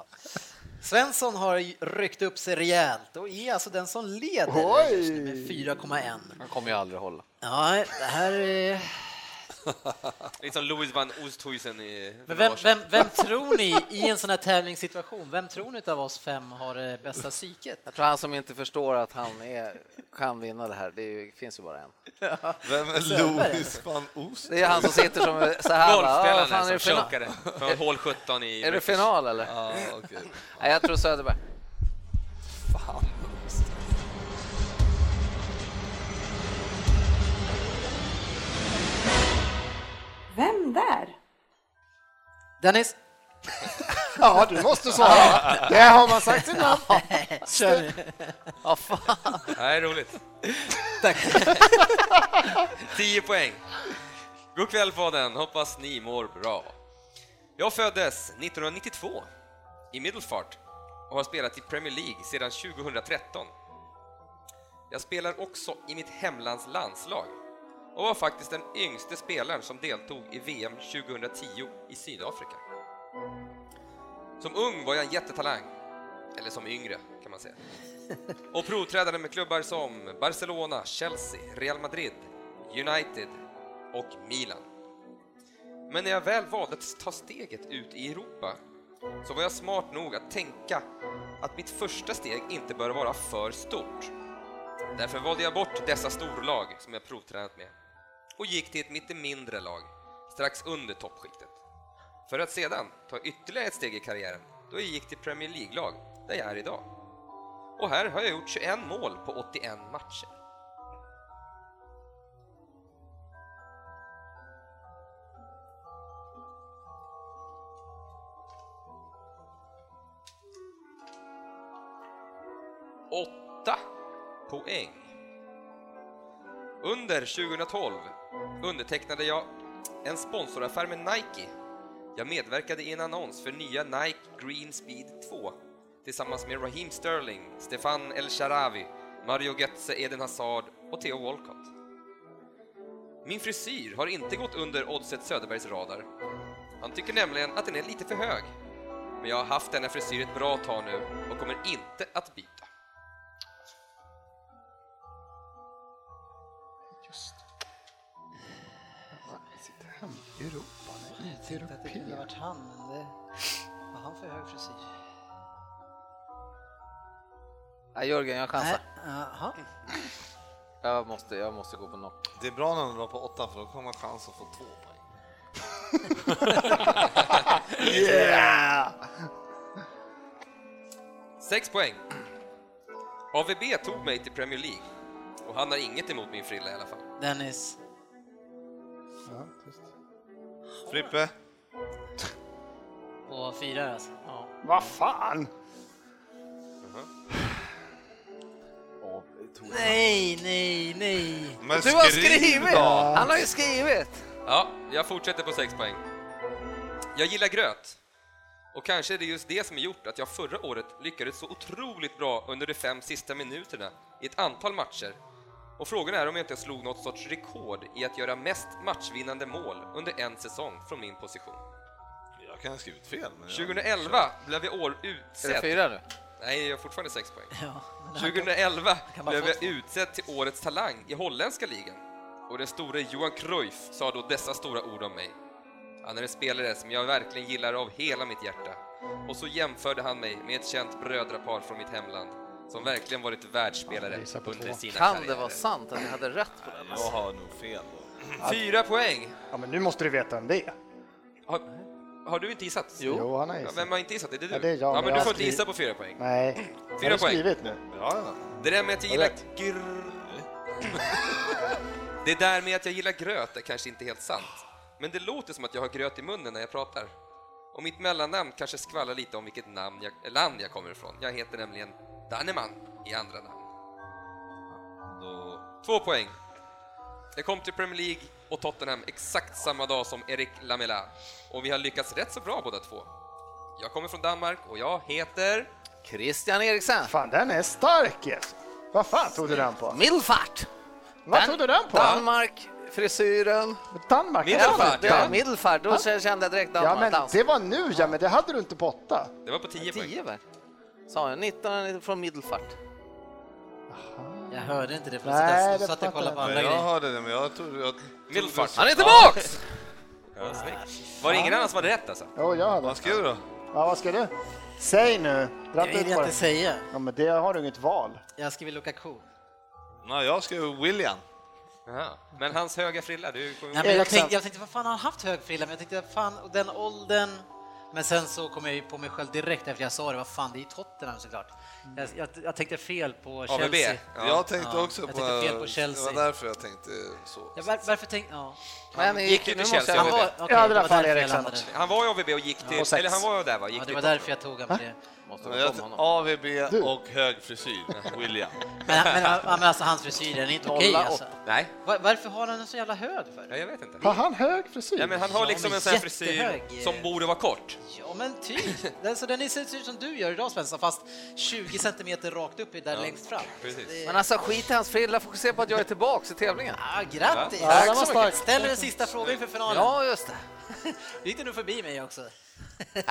Svensson har ryckt upp sig rejält och är alltså den som leder
Oj!
just nu med 4,1.
Han kommer ju aldrig hålla.
Ja, det här är...
Lite som Louis van Oosthuizen i...
Men vem, vem, vem tror ni i en sån här tävlingssituation, vem tror ni av oss fem har det bästa psyket?
Jag tror han som inte förstår att han är, kan vinna det här, det är, ju- finns ju bara en.
Vem är Louis van Oos?
Det är han som sitter som så här. va? Ja, vad fan, är,
Golfspelaren
det
som
final?
chokade från hål 17 i...
är det final eller?
Ah, okej.
Nej, jag tror Söderberg.
Vem där?
Dennis?
Ja, du måste svara. Det har man sagt innan.
Ja, fan.
Nej, roligt.
Tack.
10 poäng. God kväll fadern, hoppas ni mår bra. Jag föddes 1992 i Middlefart och har spelat i Premier League sedan 2013. Jag spelar också i mitt hemlands landslag och var faktiskt den yngste spelaren som deltog i VM 2010 i Sydafrika. Som ung var jag en jättetalang, eller som yngre kan man säga och provträdande med klubbar som Barcelona, Chelsea, Real Madrid, United och Milan. Men när jag väl valde att ta steget ut i Europa så var jag smart nog att tänka att mitt första steg inte bör vara för stort. Därför valde jag bort dessa storlag som jag provtränat med och gick till ett lite mindre lag strax under toppskiktet. För att sedan ta ytterligare ett steg i karriären då jag gick till Premier League-lag där jag är idag och här har jag gjort 21 mål på 81 matcher. Åtta poäng. Under 2012 undertecknade jag en sponsoraffär med Nike. Jag medverkade i en annons för nya Nike Green Speed 2 tillsammans med Raheem Sterling, Stefan El Sharawi, Mario Götze, Eden Hazard och Theo Walcott. Min frisyr har inte gått under Oddset Söderbergs radar. Han tycker nämligen att den är lite för hög. Men jag har haft denna frisyr ett bra tag nu och kommer inte att byta.
Det kunde varit han, men det... Vad han för hög frisyr?
Ja, Jörgen, jag
Nej,
Äh,
chansar.
jaha.
Jag måste, jag måste gå på något.
Det är bra när de drar på åtta för då kommer man chans att få två poäng.
Yeah!
Sex poäng. AVB tog mig till Premier League och han har inget emot min frilla i alla fall.
Dennis,
Ja, tyst.
Frippe?
på fyra alltså. Ja.
Vad fan!
Nej, nej, nej.
Men
Du har
skriv
skrivit!
då!
Han har ju skrivit!
Ja, jag fortsätter på sex poäng. Jag gillar gröt. Och kanske är det just det som gjort att jag förra året lyckades så otroligt bra under de fem sista minuterna i ett antal matcher. Och frågan är om jag inte slog något sorts rekord i att göra mest matchvinnande mål under en säsong från min position.
Jag kan ha skrivit fel. Men jag-
2011 blev jag år
Är det
utsedd...
fyra nu?
Nej, jag har fortfarande sex poäng.
Ja, men han-
2011
kan bara
blev
få
jag utsedd till Årets talang i holländska ligan och den store Johan Cruyff sa då dessa stora ord om mig. Han är en spelare som jag verkligen gillar av hela mitt hjärta. Och så jämförde han mig med ett känt brödrapar från mitt hemland som verkligen varit världsspelare under sina
Kan det
karriärer.
vara sant att jag hade rätt på den?
Jag har nog fel då.
Fyra poäng!
Ja, men nu måste du veta vem det är.
Har, har du inte gissat?
Jo, han har
Ja,
gissat.
vem har inte gissat? Det är du.
Ja, det är jag,
ja,
men
men
jag
du
har
får inte
skrivit-
gissa på fyra poäng.
Nej.
Fyra
har du
poäng.
skrivit nu?
Ja,
Det där med att jag gillar
Rätt.
gr... Det där med att jag gillar gröt är kanske inte helt sant, men det låter som att jag har gröt i munnen när jag pratar. Och mitt mellannamn kanske skvallrar lite om vilket namn jag, eh, land jag kommer ifrån. Jag heter nämligen Danneman i andra namn.
då...
Två poäng. Jag kom till Premier League och Tottenham exakt samma dag som Erik Lamela och vi har lyckats rätt så bra båda två. Jag kommer från Danmark och jag heter...
Christian Eriksen!
Fan, den är stark yes. Vad fan tog du den på?
Middelfart!
Vad tog du den på?
Danmark, frisyren.
Danmark?
Middelfart,
Ja,
Ja,
ja.
Middelfart, då kände jag direkt
Ja,
Danmark.
men
dans.
det var nu ja, men det hade du inte på åtta.
Det var på tio poäng.
Tio väl? Sa jag, 19 från Middelfart.
Jag hörde inte det för
Nej,
jag
det
satt och kollade på
fattar
andra
Men jag
grejer.
hörde det, men jag trodde... Jag trodde
Middelfart.
Han är tillbaks!
Var det ingen annan som hade rätt alltså?
Jo, jag hade.
Vad skrev du då?
Ja, vad ska du? Säg nu.
Jag
Dratt
vill
ut på
inte
det.
säga.
Ja, men det har du inget val.
Jag skriver Lukaku.
Nej, jag skrev William.
Jaha. Men hans höga frilla, du kommer
Nej, men jag,
Eriksen.
tänkte, jag tänkte, vad fan har han haft hög frilla? Men jag tänkte, fan, och den åldern. Men sen så kom jag ju på mig själv direkt efter jag sa det, vad fan, det är ju Tottenham såklart. Jag, jag, jag tänkte fel på
ABB.
Chelsea.
Ja.
Jag tänkte
Ja,
också
jag
på...
tänkte fel på Chelsea.
Det var därför jag tänkte så.
Ja, var, varför tänkte... Ja.
Men
gick ju till Chelsea,
jag-
ABB.
var, okej,
Ja, det
det
där
var
fan
därför jag
Eriksen.
landade.
Han var i AVB och gick till...
Och sex.
eller han var där va? Gick
Ja, det
till
var
Tottenham.
därför jag tog honom på det.
Måste
Men
veta
jag,
om honom.
AVB och hög frisyr, William.
Men, men, ja, men alltså hans frisyr, den är inte okej
Nolla
alltså.
Nej,
Var, varför har han den så jävla hög
ja,
för?
jag vet inte.
Har han hög frisyr?
Ja, men han har
Ja,
liksom
men
en sån här frisyr
jättehög.
som borde vara kort.
Ja men typ! Den, så den är- ser ut som du gör idag Svensson, fast 20 centimeter rakt upp i där längst fram.
precis.
Det-
Men alltså skit i hans frilla, fokusera på att jag är tillbaks i tävlingen.
Ah, grattis!
Ja, den
Ja,
var stark.
Ställer den sista frågan inför finalen.
Ja, just det.
Du gick det nog förbi mig också.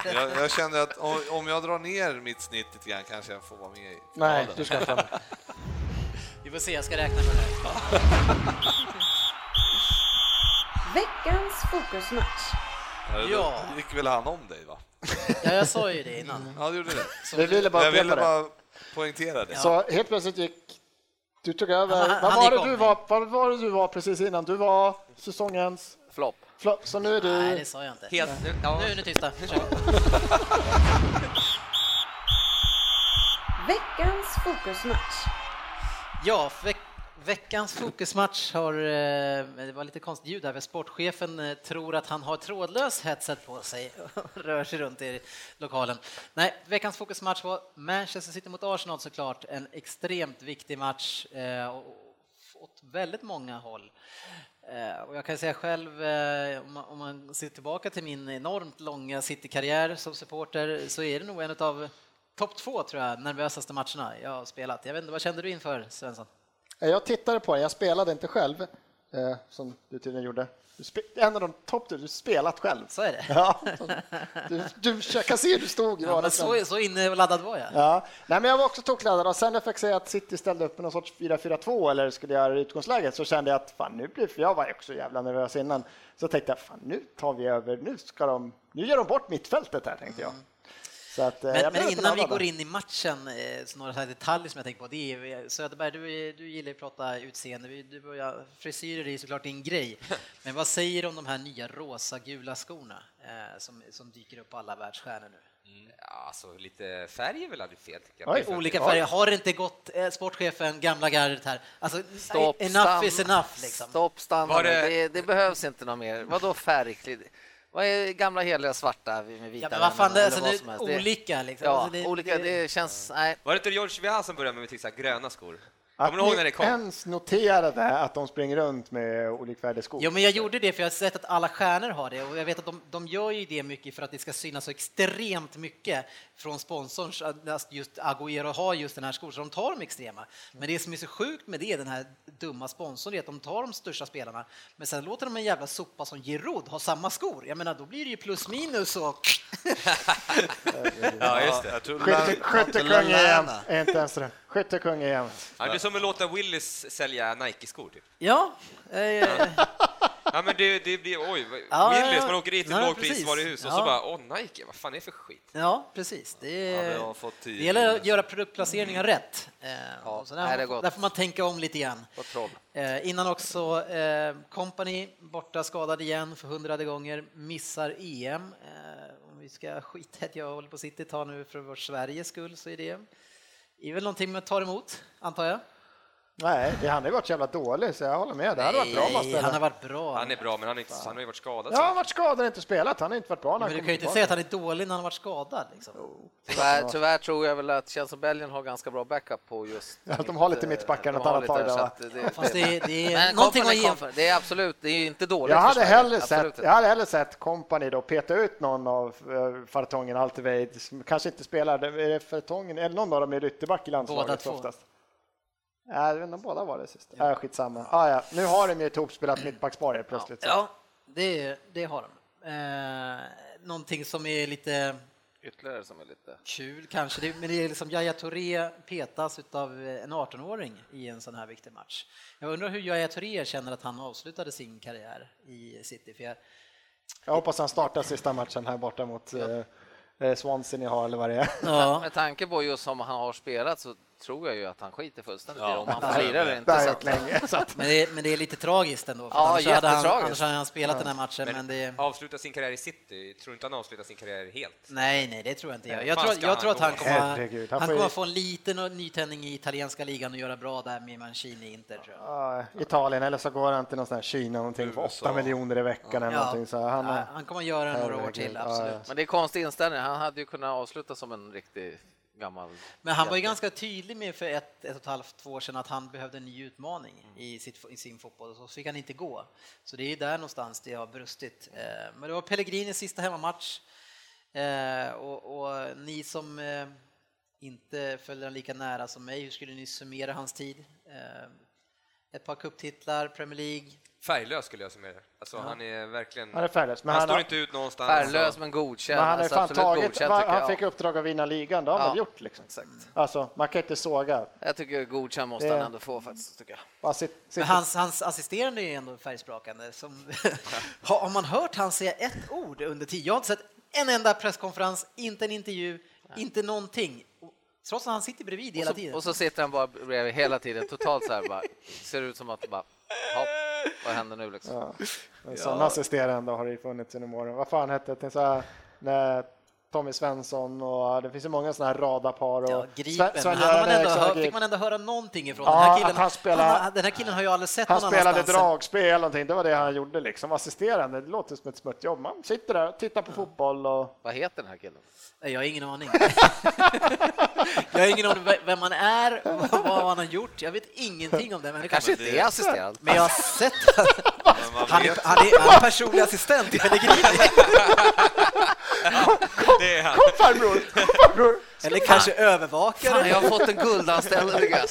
Jag, jag kände att om, om jag drar ner mitt snitt lite grann kanske jag får vara med i
Nej,
finalen.
du ska inte.
Vi får se, jag ska räkna med det här.
Veckans fokusmatch.
Ja.
Då gick väl han om dig, va?
Ja, jag sa ju det innan.
Ja, du gjorde det.
Vi ville bara
jag ville
upprepa det.
bara poängtera det.
Så helt plötsligt gick... Du tog över.
Han- han-
vad,
han
var
gick
det
om
du
mig.
var, vad var det du var precis innan? Du var säsongens...
Flopp.
Fla- Så nu är du...
Nej, det sa jag inte.
Helt, ja.
Nu är ni tysta. Kör.
Veckans fokusmatch.
Ja, veck veckans fokusmatch har... eh, Det var lite konstigt ljud där, för sportchefen eh, tror att han har trådlös headset på sig och rör sig runt i lokalen. Nej, veckans fokusmatch var Manchester City mot Arsenal såklart. En extremt viktig match eh, och- och åt väldigt många håll. Eh, Och jag kan säga själv, eh, om man- om man ser tillbaka till min enormt långa City-karriär som supporter så är det nog en av topp två, tror jag, nervösaste matcherna jag har spelat. Jag vet inte, vad kände du inför, Svensson?
Eh, Jag tittade på den, jag spelade inte själv, eh, som du tydligen gjorde. Du spe- en av de topp du spelat själv.
Så är det.
Ja, du, du, jag kan se hur du stod i
Ja, men
vardagsrummet.
så, så inne och laddad var jag.
Ja. Nej, men jag var också tokladdad och sen när jag fick se att City ställde upp med någon sorts 4-4-2 eller skulle göra det i utgångsläget så kände jag att fan nu blir för jag var ju också jävla nervös innan. Så tänkte jag fan nu tar vi över, nu ska de, nu gör de bort mittfältet här tänkte jag. Så att, eh, jag
Men,
blev
men
lite
innan vi
laddad
går
där.
in i matchen, eh, så några sådana här detaljer som jag tänker på. Det är, ju- Söderberg, du, är- du gillar ju att prata utseende. Vi- Du och jag, frisyrer är ju såklart din grej. Men vad säger du om de här nya rosa-gula skorna eh, som, som dyker upp på alla världsstjärnor nu?
Ja, alltså, lite färg är väl aldrig fel, tycker jag.
Oj.
Det är för-
Olika färger. Har det inte gått eh, sportchefen, gamla gardet här? Alltså,
Stopp,
enough
stanna.
is enough. Liksom.
Stopp, stanna
Var
det...
det-
Det, det behövs inte något mer. Vadå färgklid? Vad är gamla heliga svarta med vita
Ja, men vad fan,
ränder
det,
eller
alltså,
vad
nu,
som helst? Det-
olika liksom.
Ja,
alltså, det,
olika,
det-
det känns... Nej.
Var det inte George Weah som började med till så här gröna skor?
Att
Kommer ni ihåg när det
ni
kom?
ens noterade att de springer runt med olikfärdig skor.
Jo, men jag gjorde det för jag har sett att alla stjärnor har det och jag vet att de, de gör ju det mycket för att det ska synas så extremt mycket från sponsorns, att just Agüero har just den här skon, så de tar de extrema. Men det som är så sjukt med det, den här dumma sponsorn, det är att de tar de största spelarna, men sen låter de en jävla sopa som Giroud ha samma skor. Jag menar, då blir det ju plus minus och...
Ja, just det.
Jag tror
Skytte-
Lan-
Skyttekung
Lallana.
igen. Är inte ens det. Skyttekung igen.
Ja, det är som att låta Willis sälja Nike-skor, typ.
Ja, eh,
Ja, men det, det blir, oj, vad-
Ja, ja,
Willys,
ja.
man åker dit till
Nej,
ett lågprisvaruhus och så
precis.
bara, åh, Nike, vad fan är det för skit?
ja precis. Det,
Ja,
är,
men de har fått
det
tio
gäller att
minus.
göra produktplaceringar rätt. Eh, och så
nej,
där,
det är gott.
där får man tänka om lite grann.
Och troll.
Eh, innan också, eh, Company borta skadad igen för hundrade gånger, missar EM. Eh, om vi ska skita i att jag håller på City tar nu för vår Sveriges skull så är det är väl någonting man tar emot, antar jag?
Nej, det- han har ju varit så jävla dålig så jag håller med. Det hade varit bra om han
Nej, han har
spelade.
varit bra.
Han är bra, men han, är inte, han har ju varit skadad.
Ja, han har varit skadad och inte spelat. Han har inte varit bra när
Men
han
du
kom
kan ju inte
tillbaka.
säga att han är dålig när han har varit skadad. Liksom.
Tyvärr, tyvärr tror jag väl att känns som Belgien har ganska bra backup på just...
Ja, de
mitt-
har lite
eh,
mittbackar
de
något
har
annat
lite
tag
där,
där,
så
va?
att det-
Fast det, det är
Men
någonting att
Kompany,
ge.
Kompany, Det är absolut, det är inte dåligt
Jag
för
hade,
Sverige,
hellre
absolut
sett, jag hade hellre sett kompani då peta ut någon av eh, Fartongen, Alteveid, som kanske inte spelar. Det- Är det Fartongen eller någon av dem är rytterback i
Båda
landslaget
två.
oftast? Nej, jag vet inte om båda var det sist. Ja. skitsamma. Ah, ja. Nu har de ju ett hopspelat mittbackspar helt plötsligt. så.
Ja, det, det har de. Eh, någonting som är lite
Ytterligare som är lite...
Kul kanske, det, men det är liksom Yahya Touré petas av en 18-åring i en sån här viktig match. Jag undrar hur Yahya Touré känner att han avslutade sin karriär i City. För jag,
Jag hoppas han startar sista matchen här borta mot eh, eh, Swansea ni har eller vad det är.
ja.
Med tanke på just som han har spelat så tror jag ju att han skiter fullständigt i det,
Ja.
om han firar eller
Det
inte.
har
Så
jag
att,
gjort länge. Så att,
men, det, men det är lite tragiskt ändå, för
Ja,
annars, hade han,
jättetragiskt.
annars hade han spelat den här matchen. Men,
Men
det,
avsluta sin karriär i City, tror inte han avslutar sin karriär helt?
nej, nej, det tror jag inte. Jag, jag,
Fan,
tror,
ska
jag
han
tror att han
gå?
kommer,
Herregud, han
han
får ju-
kommer få en liten nytändning i italienska ligan och göra bra där med Mancini i Inter. Tror jag.
ja, Italien eller så går han till någon sån här Kina någonting för 8 miljoner i veckan eller någonting. Så han,
Ja, han kommer göra några år
Herregud,
till,
ja,
absolut.
ja.
men det är konstig inställning, han hade ju kunnat avsluta som en riktig gammal...
Men han var ju ganska tydlig med för ett, ett och ett halvt, två år sedan att han behövde en ny utmaning
Mm.
i, sitt, i sin fotboll och så fick han inte gå. Så det är ju där någonstans det har brustit. Eh, Men det var Pellegrinis sista hemmamatch Eh, och, och ni som eh, inte följer han lika nära som mig, hur skulle ni summera hans tid? Eh, Ett par cuptitlar, Premier League.
Färglös skulle jag summera det. Alltså, han är verkligen...
han är färglös. Men
han,
han,
står
har-
inte ut någonstans.
Färglös
och-
men godkänd.
men han, har ju
alltså
fan
absolut
tagit,
godkänd,
va-
tycker
han
jag.
fick
Ja,
uppdrag att vinna ligan, det har han
Ja.
väl gjort liksom.
Exakt.
Alltså, man kan inte såga.
Jag tycker godkänd måste
Det-
han ändå få faktiskt. Tycker jag.
Bara sit,
Men
sit,
hans, hans assisterande är ändå färgsprakande. Som, har har man hört han säga ett ord under tio? Jag har inte sett en enda presskonferens, inte en intervju, inte någonting. Och- Trots att han sitter bredvid hela
Och så-
tiden.
Och så sitter han bara bredvid hela tiden, totalt så här bara, ser ut som att bara, hopp, vad händer nu liksom?
Men Sådana assisterande har det ju funnits genom åren. Vad fan hette det? Så här, när Tommy Svensson och det finns ju många sådana här radapar. Och
Ja,
Sven-
gripen.
Sven
Men han har man
Göran
ändå
Eriksson och
hör, fick
Grip.
man ändå höra någonting ifrån.
Ja,
den, här killen,
att han spelar-
han- den här killen har jag aldrig sett
Han
någon
spelade
annanstans än-
dragspel eller någonting. Det var det han gjorde liksom. Assisterande, det låter som ett smutsjobb. Man sitter där och tittar på fotboll och
Vad heter den här killen?
Nej, Jag har ingen aning. jag har ingen aning vem han är, vad vad han har gjort. Jag vet ingenting om den människan.
Kanske inte är assisterande.
Men jag har sett han,
Men man
han,
vet
är, han, är, han är personlig assistent till Pellegrini.
Det är han.
farbror, farbror.
Eller kanske övervakare.
Fan, jag har fått en guldanställning tycker jag.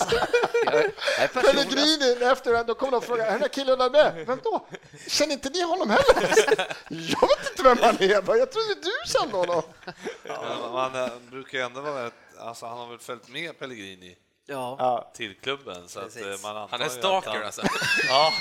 Jag är- jag är personlig.
Pellegrini efter då kommer de och frågar, är den där killen där med? Vem då? Känner inte ni honom heller? Jag vet inte vem han är, bara, jag trodde du kände honom.
Men Man eh, brukar ju ändå vara ett, alltså han har väl följt med Pellegrini
Ja.
Ja,
till klubben så att eh,
Precis.
man antar
Han är
ju att
stalker alltså.
Ja,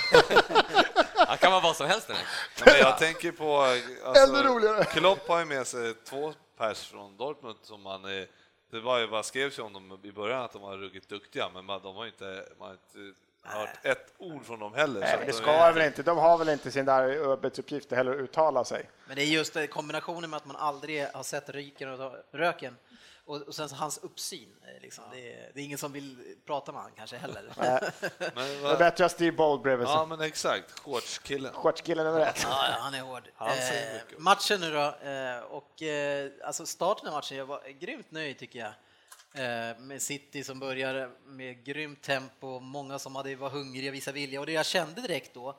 Han kan vara vad som helst den här.
Ja, men jag tänker på... Alltså,
Ännu roligare.
Klopp har ju med sig två pers från Dortmund som man... eh, Det var ju vad skrevs ju om dem i början att de var ruggigt duktiga, men man, de har ju inte, man har inte hört ett ord från dem heller. så
Nej,
att
det
de
ska
är-
jag väl inte. De har väl inte sin där arbetsuppgift heller att uttala sig.
Men det är just det, kombinationen med att man aldrig har sett ryken och röken och, och sen så hans uppsyn. eh, Liksom. Det, är, det är ingen som vill prata med han kanske heller.
Men,
Det är
vad-
bättre alltså. att Steve Bold bredvid sig.
ja, men exakt. Shortskillen.
Shortskillen över ett.
Ja, ja, han är hård.
Han säger
eh,
mycket.
matchen nu då, eh, och eh, alltså starten av matchen, jag var grymt nöjd tycker jag. Eh, med City som börjar med grymt tempo, många som hade var hungriga, visade vilja och det jag kände direkt då, eh,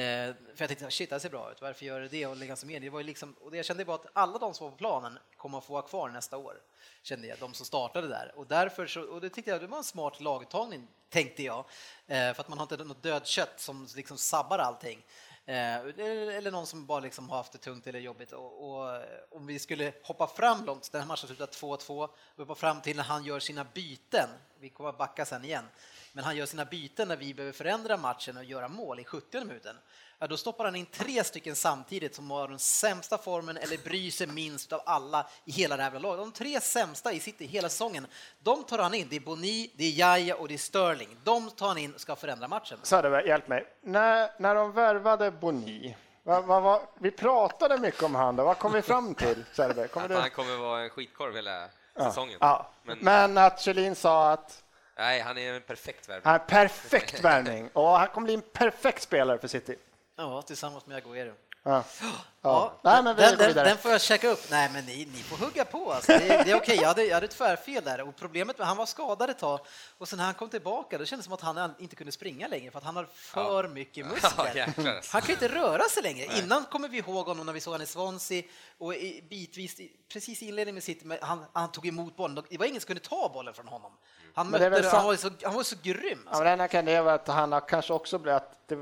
för jag tänkte shit det här ser bra ut, varför gör det det och lägga sig med? Det var ju liksom, och det jag kände var att alla de som var på planen kommer att få vara kvar nästa år, kände jag, de som startade där. Och därför så, och det tyckte jag det var en smart lagtagning, tänkte jag, eh, för att man har inte något dödkött som liksom sabbar allting. Eh, eller eller någon som bara liksom har haft det tungt eller jobbigt. Och, och, eh, om vi skulle hoppa fram långt, den här matchen slutar 2-2, och hoppa fram till när han gör sina byten, vi kommer att backa sen igen, men han gör sina byten när vi behöver förändra matchen och göra mål i 70 minuten. Ja, då stoppar han in tre stycken samtidigt som har den sämsta formen eller bryr sig minst av alla i hela det här jävla laget. De tre sämsta i City hela säsongen, de tar han in. Det är Boni, det är Jaya och det är Sterling. De tar han in och ska förändra matchen.
Söderberg, hjälp mig. När, när de värvade Boni, vad, vad, vad, vi pratade mycket om han då. Vad kom vi fram till, Söderberg? Kommer
Att
du?
han kommer vara en skitkorv hela säsongen.
Ja.
Men,
Men att Kjellin sa att
nej, han är en perfekt värvning.
han är perfekt värvning och han kommer bli en perfekt spelare för City.
Ja, tillsammans med Aguero.
Ja.
Ja.
Ja. Nej, men vi
den,
går
den,
vidare.
den får jag checka upp. Nej, men ni, ni får hugga på. Alltså. Det, det är okej, jag, hade, jag hade ett tvärfel där. Och problemet var han var skadad ett tag och sen när han kom tillbaka då kändes det som att han inte kunde springa längre för att han hade för mycket
Ja,
muskler.
jäklar, alltså.
han kunde inte röra sig längre. Innan kommer vi ihåg honom när vi såg honom i Swansea och i, bitvis i- precis i inledningen med City, men han, han tog emot bollen. Det var ingen som kunde ta bollen från honom. Han,
Men det är
mötte,
väl-
han, var ju så, han var så grym.
Ja,
Alltså.
men den här kan det vara att han har kanske också blivit, att det,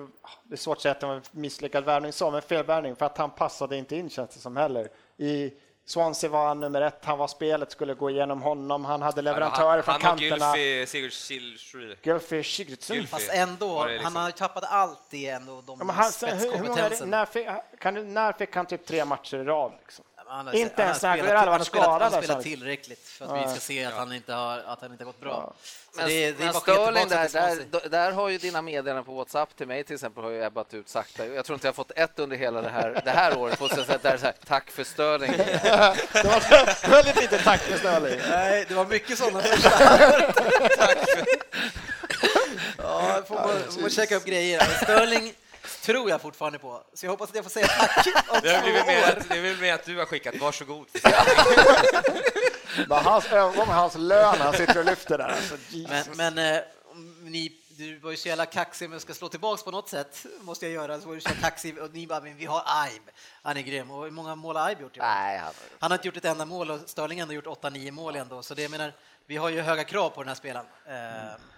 det är svårt att säga att det var en misslyckad värvning så, men felvärvning för att han passade inte in känns det som heller. I Swansea var han nummer ett, han var spelet, skulle gå igenom honom, han hade leverantörer
han,
från
han och
kanterna.
Gylfi Sigurdsdóttir.
Gylfi Sigurdsson.
Gylfi.
Fast ändå,
Var det liksom-
han har ju tappat allt det ändå, de
Ja, men han, hur, hur många,
spetskompetensen.
när, fick, kan du, när fick han typ tre matcher i rad? Liksom?
Han har-
Inte
han
ens
har
när
spelat-
Aguero hade
han har
varit
spelat-
skadad.
Han har
alltså.
spelat tillräckligt för att vi ska se att han inte har, att han inte har gått bra. Så
Men,
det, det är
men
bara att skicka
Sterling,
tillbaka
där,
till Swansea.
där, där har ju dina meddelanden på Whatsapp till mig till exempel har ju ebbat ut sakta. Jag tror inte jag har fått ett under hela det här, det här året. På så sätt där det är så här, tack för Sterling.
Det var väldigt lite taktiskt Sterling.
Nej, det var mycket sådana Ja, får man, får man checka upp grejer. Sterling tror jag fortfarande på, så jag hoppas att jag får säga tack om
Det har blivit
två
mer
år.
att, det är väl mer att du har skickat, varsågod.
Men hans ögon, hans lön, han sitter och lyfter där. Alltså, Jesus.
Men, men eh, om ni, du var ju så jävla kaxig, men jag ska slå tillbaks på något sätt. Måste jag göra, så var du så kaxig och ni bara, men vi har Aib. Han är grym. Och hur många mål har Aib gjort i år?
Nej, han-
Han har inte gjort ett enda mål och Störling har ändå gjort 8-9 mål ändå, så det jag menar, vi har ju höga krav på den här spelaren. Eh,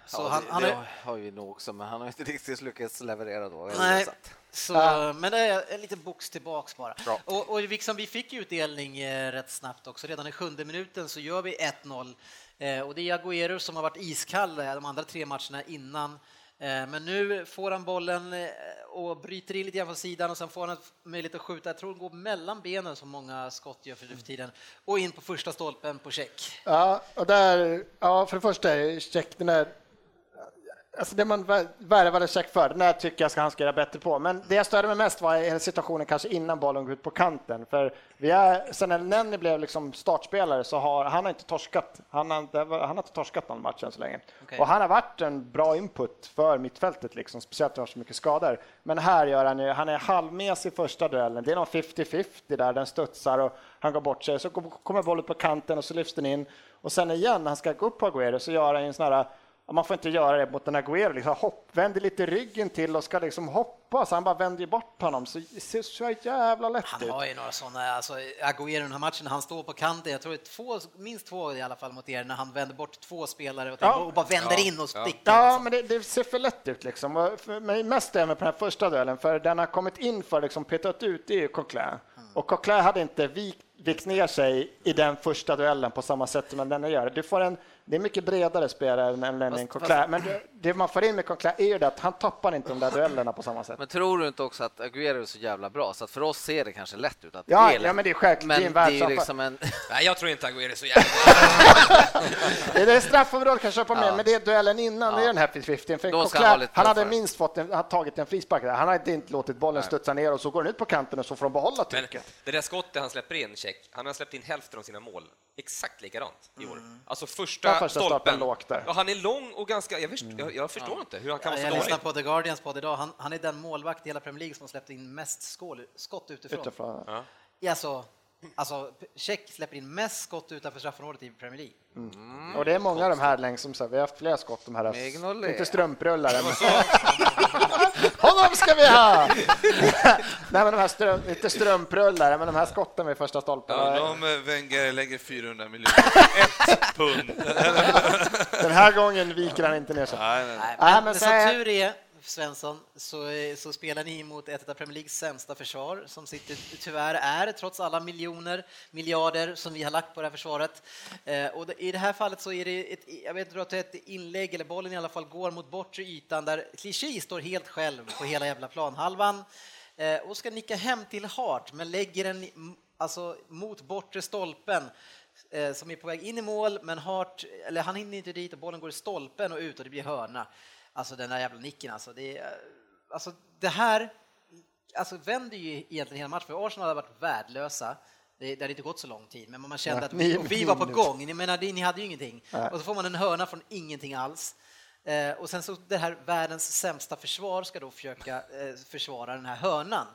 Så
Mm. ja,
han,
det,
han
det
är,
har ju nog också, men han har ju inte riktigt lyckats leverera då.
nej,
Så att-
så, men det är en liten box tillbaks bara. Och, och liksom, vi fick ju utdelning eh, rätt snabbt också, redan i sjunde minuten så gör vi 1-0 eh, och det är Agüero som har varit iskall eh, de andra tre matcherna innan. Eh, Men nu får han bollen eh, och bryter in lite grann från sidan och sen får han möjlighet att skjuta, jag tror den går mellan benen som många skott gör för nu för tiden, och in på första stolpen på check.
Ja, och där, ja, för det första är check den där Alltså det man vär- värvade check för, den här tycker jag ska han ska göra bättre på. Men det jag störde mig mest var i situationen kanske innan bollen går ut på kanten. För vi är, sen när Nenny blev liksom startspelare så har han har inte torskat. Han har, inte- han har inte torskat någon match än så länge.
Okej.
Och han har varit en bra input för mittfältet, liksom, speciellt när det har så mycket skador. Men här gör han ju, han är halvmes i första duellen. Det är någon 50-50 där, den studsar och han går bort sig. Så kom- kommer bollen på kanten och så lyfts den in. Och sen igen, när han ska gå upp på Aguero så gör han ju en sån här Ja, Man får inte göra det mot en Aguero. Liksom hopp, vänder lite ryggen till och ska liksom hoppa, så han bara vänder ju bort honom. Så det ser så jävla lätt
Han
ut.
har ju några sådana, alltså Agüero i den här matchen, han står på kanten, jag tror det är två, minst två i alla fall mot er, när han vänder bort två spelare och,
Ja.
och bara vänder in och sticker.
Ja, men det, det ser för lätt ut liksom. Och för mig mest är jag med på den här första duellen, för den har kommit in för liksom petat ut, det är ju Coquelin. Och Coquelin hade inte vikt, vikt ner sig i den första duellen på samma sätt som den gör. Du får en, det är mycket bredare spelare än Lennon
Fast-
Coquelin, men du, det man får in med Conclair är ju det att han tappar inte de där duellerna på samma sätt.
Men tror du inte också att Aguero är så jävla bra så att för oss ser det kanske lätt ut att
Ja,
det är lätt.
ja, men det är självklart, det är
Men
en
det är
världsaffär.
liksom en...
Nej, jag tror inte Aguero är så jävla
Det är det straffområdet kanske jag på med, men det är duellen innan, det är den här 50-50. För
Då ska han
Coquelin,
ha lite
han hade
tuffare.
minst fått en, han tagit en frispark där. Han hade inte låtit bollen studsa ner och så går den ut på kanten och så får de behålla
Men
trycket.
det där skottet han släpper in, check, han har släppt in hälften av sina mål exakt likadant i år.
Mm.
Alltså första,
Ja, första stolpen
stolpen.
låg där.
Ja, han är lång och ganska, jag, först,
Mm.
jag, jag förstår inte hur han kan vara
Jag
så dålig.
lyssnade på The Guardians podd idag. Han, han är den målvakt i hela Premier League som har släppt in mest skål, skott utifrån.
Utifrån.
Ja, Alltså, alltså, Tjeck släpper in mest skott utanför straffområdet i Premier League.
Mm. och det är många av de här längs som så här, vi har haft flera skott de här.
Mignolet.
Inte strumprullar. men- Honom ska vi ha! Nej, men de här ström, inte strumprullar, men de här skotten vid första stolpen.
Undrar om eh, Wenger lägger 400 miljoner. Ett pund.
Den här gången viker han inte ner sig.
Nej, nej.
Nej,
Nej,
men,
men
men
så
som
är-
tur är, Svensson, så, så spelar ni emot ett av Premier Leagues sämsta försvar som sitter, tyvärr är, trots alla miljoner, miljarder som vi har lagt på det här försvaret. Eh, och det, I det här fallet så är det ett, jag vet inte, ett inlägg, eller bollen i alla fall, går mot bortre ytan där Clichy står helt själv på hela jävla planhalvan eh, och ska nicka hem till Hart, men lägger den i- m- alltså, mot bortre stolpen eh, som är på väg in i mål, men Hart, eller han hinner inte dit och bollen går i stolpen och ut och det blir hörna. Alltså den där jävla nicken alltså. Det, är, eh, alltså, det här alltså, vänder ju egentligen hela matchen, för Arsenal har varit värdelösa. Det, det hade inte gått så lång tid, men man kände
Nej,
att vi,
nio
och vi var på
minuter.
gång. Ni, menar, ni hade ju ingenting. Och så får man en hörna från ingenting alls. Eh, och sen så det här världens sämsta försvar ska då försöka eh, försvara den här hörnan.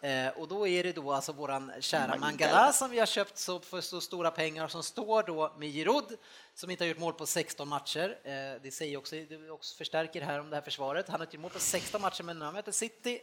Eh, och då är det då alltså våran kära Mangala som vi har köpt så, för så stora pengar som står då med Giroud som inte har gjort mål på 16 matcher. Eh, det säger också, det också förstärker det här om det här försvaret. Han har inte gjort mål på 16 matcher men när han möter City,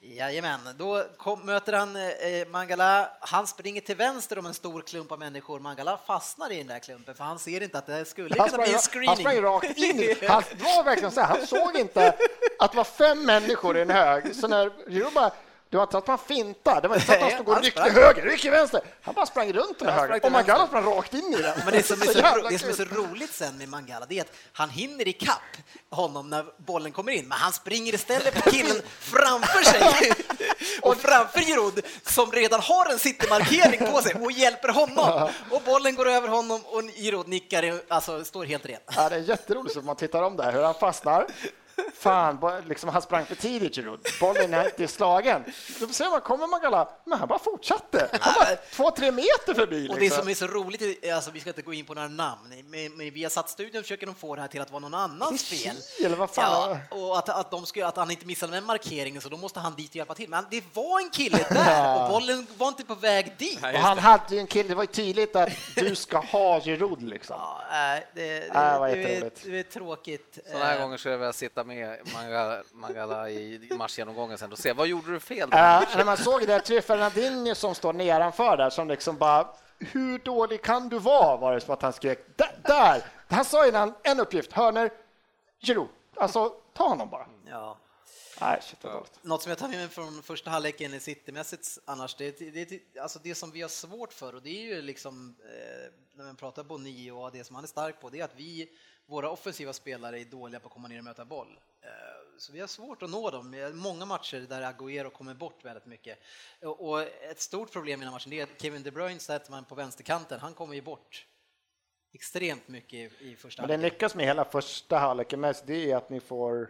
jajamän, då kom, möter han eh, Mangala. Han springer till vänster om en stor klump av människor. Mangala fastnar i den där klumpen för han ser inte att det här skulle
Han
kunna
sprang,
bli en screening.
han sprang rakt in. i- Han det var verkligen så här, han såg inte att det var fem människor i en hög. Så när Jiro bara, det var inte så att man fintade, det var inte så att han stod och ryckte höger, ryckte vänster. Han bara sprang runt den höger och Magala sprang rakt in i den.
Men det som, är så,
jävla
det som är så
kul.
roligt sen med Mangala det är att han hinner ikapp honom när bollen kommer in, men han springer istället på killen framför sig och framför Giroud som redan har en citymarkering på sig och hjälper honom. Och bollen går över honom och Giroud nickar, alltså står helt ren.
Ja, det är jätteroligt att man tittar om där, hur han fastnar. Fan, bo- liksom, han sprang för tidigt, Giroud. Bollen är inte slagen. Då ser man, kommer Magala, men han bara fortsatte. Han bara två, tre meter förbi.
Och det
liksom.
som är så roligt, är- alltså vi ska inte gå in på några namn, men, men vi har satt studion försöker de få det här till att vara någon annans fel.
Eller vad
Ja,
fan?
och att, att, de skulle, att han inte missade den markeringen så då måste han dit och hjälpa till. Men det var en kille där och bollen var inte på väg dit.
Och han hade ju en kille, det var ju tydligt att du ska ha Giroud liksom.
Ja, nej, det, det,
Ah, vad
det, är,
jätteroligt.
det är tråkigt.
Sådana här
Eh,
gånger skulle jag vilja sitta med Mangala, Mangala i matchgenomgången sen och se vad gjorde du fel? där?"
Ja, Eh, när man såg det där Trio Fernandinho som står nedanför där som liksom bara hur dålig kan du vara var det som att han skrek där, där. Han sa innan en uppgift hörner Giroud. Alltså ta honom bara.
Ja.
Nej, shit vad dåligt.
Något som jag tar med mig från första halvleken i citymässigt annars, det, det, det, alltså det som vi har svårt för och det är ju liksom eh, när man pratar Boni och det som han är stark på, det är att vi, våra offensiva spelare är dåliga på att komma ner och möta boll. Eh, så vi har svårt att nå dem. Vi har Många matcher där Agüero kommer bort väldigt mycket. Och, och ett stort problem i den här matchen det är att Kevin De Bruyne sätter man på vänsterkanten, han kommer ju bort extremt mycket i, i första
Men det
halvlek.
ni lyckas med hela första halvleken mest det är att ni får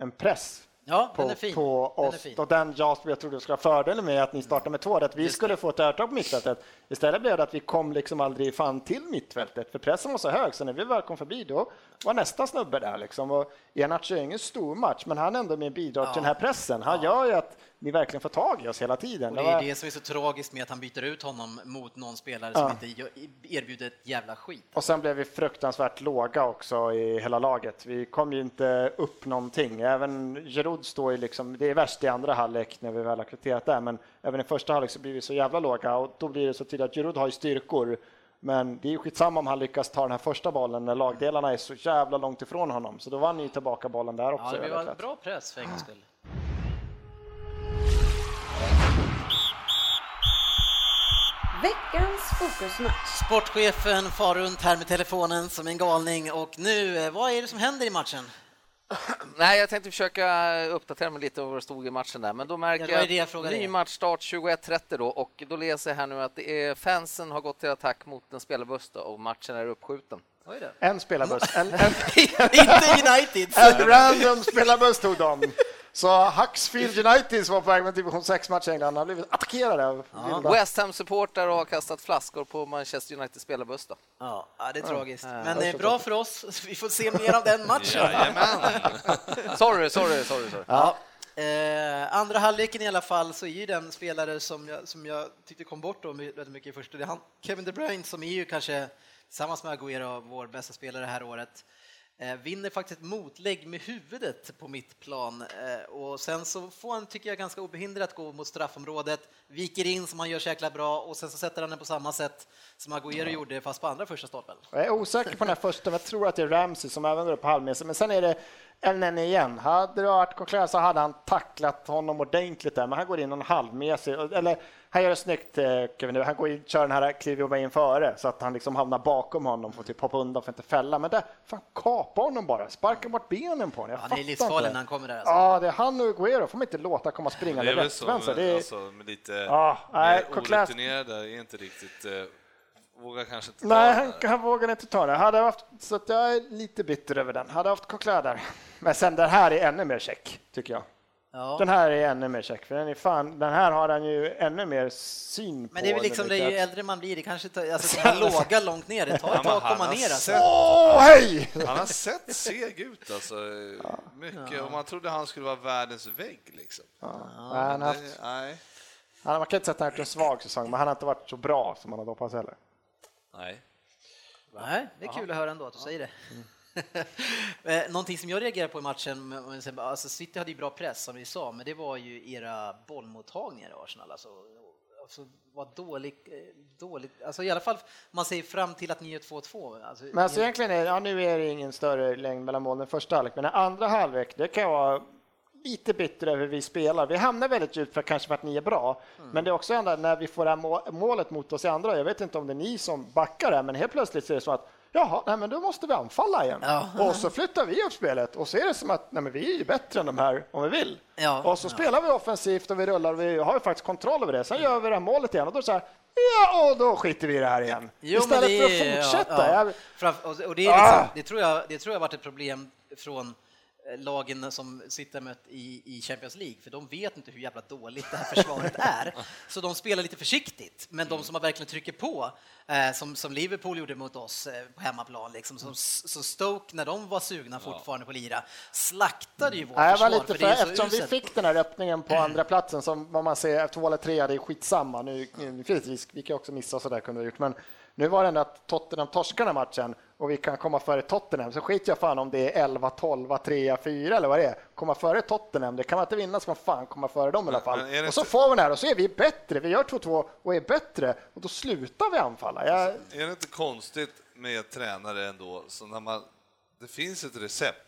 en press
Ja, den
på,
är fin.
på
Den är
oss.
fin.
och den jag, jag trodde skulle ha fördelen med att ni startade med två, att vi skulle få ett övertag på mittfältet. Istället blev det att vi kom liksom aldrig fan till mittfältet, för pressen var så hög, så när vi väl kom förbi då var nästa snubbe där liksom. Och Enacho är ingen stor match, men han ändå med bidrag till den här pressen. Han gör ju att ni verkligen får tag i oss hela tiden.
Och det
Det var-
är det som är så tragiskt med att han byter ut honom mot någon spelare som inte gör- erbjuder ett jävla skit.
Och sen blev vi fruktansvärt låga också i hela laget. Vi kom ju inte upp någonting. Även Giroud står ju liksom, det är värst i andra halvlek när vi väl har kvitterat där, men även i första halvlek så blir vi så jävla låga och då blir det så tydligt att Giroud har ju styrkor. Men det är ju skitsamma om han lyckas ta den här första bollen när lagdelarna är så jävla långt ifrån honom. Så då vann ju tillbaka bollen där också.
Ja, det
jag
var
vet rätt.
bra press för en gångs skull.
Veckans fokusmatch.
Sportchefen far runt här med telefonen som en galning och nu, eh, vad är det som händer i matchen?
Nej, jag tänkte försöka uppdatera mig lite om vad det stod i matchen där, men då
Ja,
märker
det var ju det jag
jag
frågade
ny
dig.
matchstart 21.30 då och då läser jag här nu att det är, fansen har gått till attack mot en spelarbuss då, och matchen är uppskjuten.
Oj då.
En spelarbuss. En, en,
Inte United.
en random spelarbuss tog de. Så Huxfield United som var på väg med division 6-match i England har blivit attackerade av vilda.
West Ham-supportrar har kastat flaskor på Manchester Uniteds spelarbuss. Då.
Ja, ja, det är tragiskt. Men
ja,
det är
så
bra för oss. Vi får se mer av den matchen.
Sorry, sorry, sorry. sorry.
Ja. Eh, andra halvleken i alla fall så är ju den spelare som jag, som jag tyckte kom bort då väldigt mycket i första, det är han, Kevin De Bruyne som är ju kanske tillsammans med Aguero vår bästa spelare det här året. Eh, vinner faktiskt ett motlägg med huvudet på mitt plan eh, och sen så får han, tycker jag, ganska obehindrat gå mot straffområdet, viker in som han gör så jäkla bra och sen så sätter han den på samma sätt som Aguero gjorde fast på andra första stolpen.
Jag är osäker på den här första, men jag tror att det är Ramsey som även går upp på halvmeter. Men sen är det Elneny igen. Hade det varit Conclair så hade han tacklat honom ordentligt där, men han går in en halvmeter. Eller han gör det snyggt, eh, Kevin. Han går in, kör den här kliver bara in före så att han liksom hamnar bakom honom och typ hoppa undan för att inte fälla. Men där, fan kapa honom bara, sparka bort benen på honom. Jag
Han
fattar
är
inte.
livsfarlig när han kommer där. Alltså.
Ja, det är han och Guerrero. Får man inte låta komma
Det
springande
är väl så, men,
rättvänster. Det är...
alltså, med lite
Ja, nej,
mer
Koklas-
orutinerade är inte riktigt... Eh, vågar kanske inte ta
Nej,
den
han,
här.
han vågar inte ta det. Hade jag haft, så att jag är lite bitter över den. Hade jag haft Coquelin där. Men sen den här är ännu mer check, tycker jag.
Ja.
Den här är ännu mer check, för den är fan, den här har han ju ännu mer syn på.
Men det är väl
nu,
liksom det,
tycker
ju
jag.
äldre man blir, det kanske tar, alltså, det låga långt ner, det tar ett tag att komma
har
ner. Alltså.
sett-
Åh, hej!
Han har sett seg ut alltså. Mycket. Och man trodde han skulle vara världens vägg liksom.
Nej, han har haft,
Det- Nej.
han, man kan inte säga att han har gjort en svag säsong, men han har inte varit så bra som man hade hoppats heller.
Nej.
Nej, det är kul att höra ändå att du säger det. Eh, Någonting som jag reagerar på i matchen, om vi säger bara, alltså City hade ju bra press som vi sa, men det var ju era bollmottagningar i Arsenal. Alltså, alltså var dåligt, dåligt, alltså i alla fall man säger fram till att ni är 2-2. Alltså,
Men alltså egentligen är, ja, nu är det ingen större längd mellan målen i första halvlek, men den andra halvlek, det kan jag vara lite bitter över hur vi spelar. Vi hamnar väldigt djupt för kanske för att ni är bra,
Mm.
men det är också ändå när vi får det här må- målet mot oss i andra. Jag vet inte om det är ni som backar det, här, men helt plötsligt så är det så att jaha, nej, men då måste vi anfalla igen.
Ja.
Och så flyttar vi upp spelet och så är det som att nej, men vi är ju bättre än de här om vi vill.
Ja. Mm.
och så spelar vi offensivt och vi rullar och vi har ju faktiskt kontroll över det. Sen gör vi det här målet igen och då så här, ja, och då skiter vi i det här igen.
Jo, men
Istället
det
för
är-
att fortsätta.
ja, ja.
Jag-
Framf- och- och det, är liksom,
Ah!
det, tror jag, det tror jag varit ett problem från eh, lagen som sitter mött i, i Champions League, för de vet inte hur jävla dåligt det här försvaret är. Så de spelar lite försiktigt, men de som har verkligen trycker på, eh, som, som Liverpool gjorde mot oss eh, på hemmaplan, liksom, som, som Stoke när de var sugna fortfarande på att lira, slaktade ju vårt
Nej, jag
försvar.
var lite
för det är
för,
så
eftersom vi
uselt. Mm.
fick den här öppningen på andra platsen som vad man säger, två eller trea, det är skitsamma. Nu, nu finns risk, vi kan också missa och sådär kunde vi ha gjort, men nu var det ändå att Tottenham torskar den här matchen och vi kan komma före Tottenham, så skit jag fan om det är 11, 12, 3, 4 eller vad det är. Komma före Tottenham, det kan man inte vinna så man fan komma före dem i alla fall.
men är det
Och så
inte-
får vi den här och så är vi bättre, vi gör 2-2 och är bättre och då slutar vi anfalla. Jag,
Är det inte konstigt med tränare ändå, så när man, det finns ett recept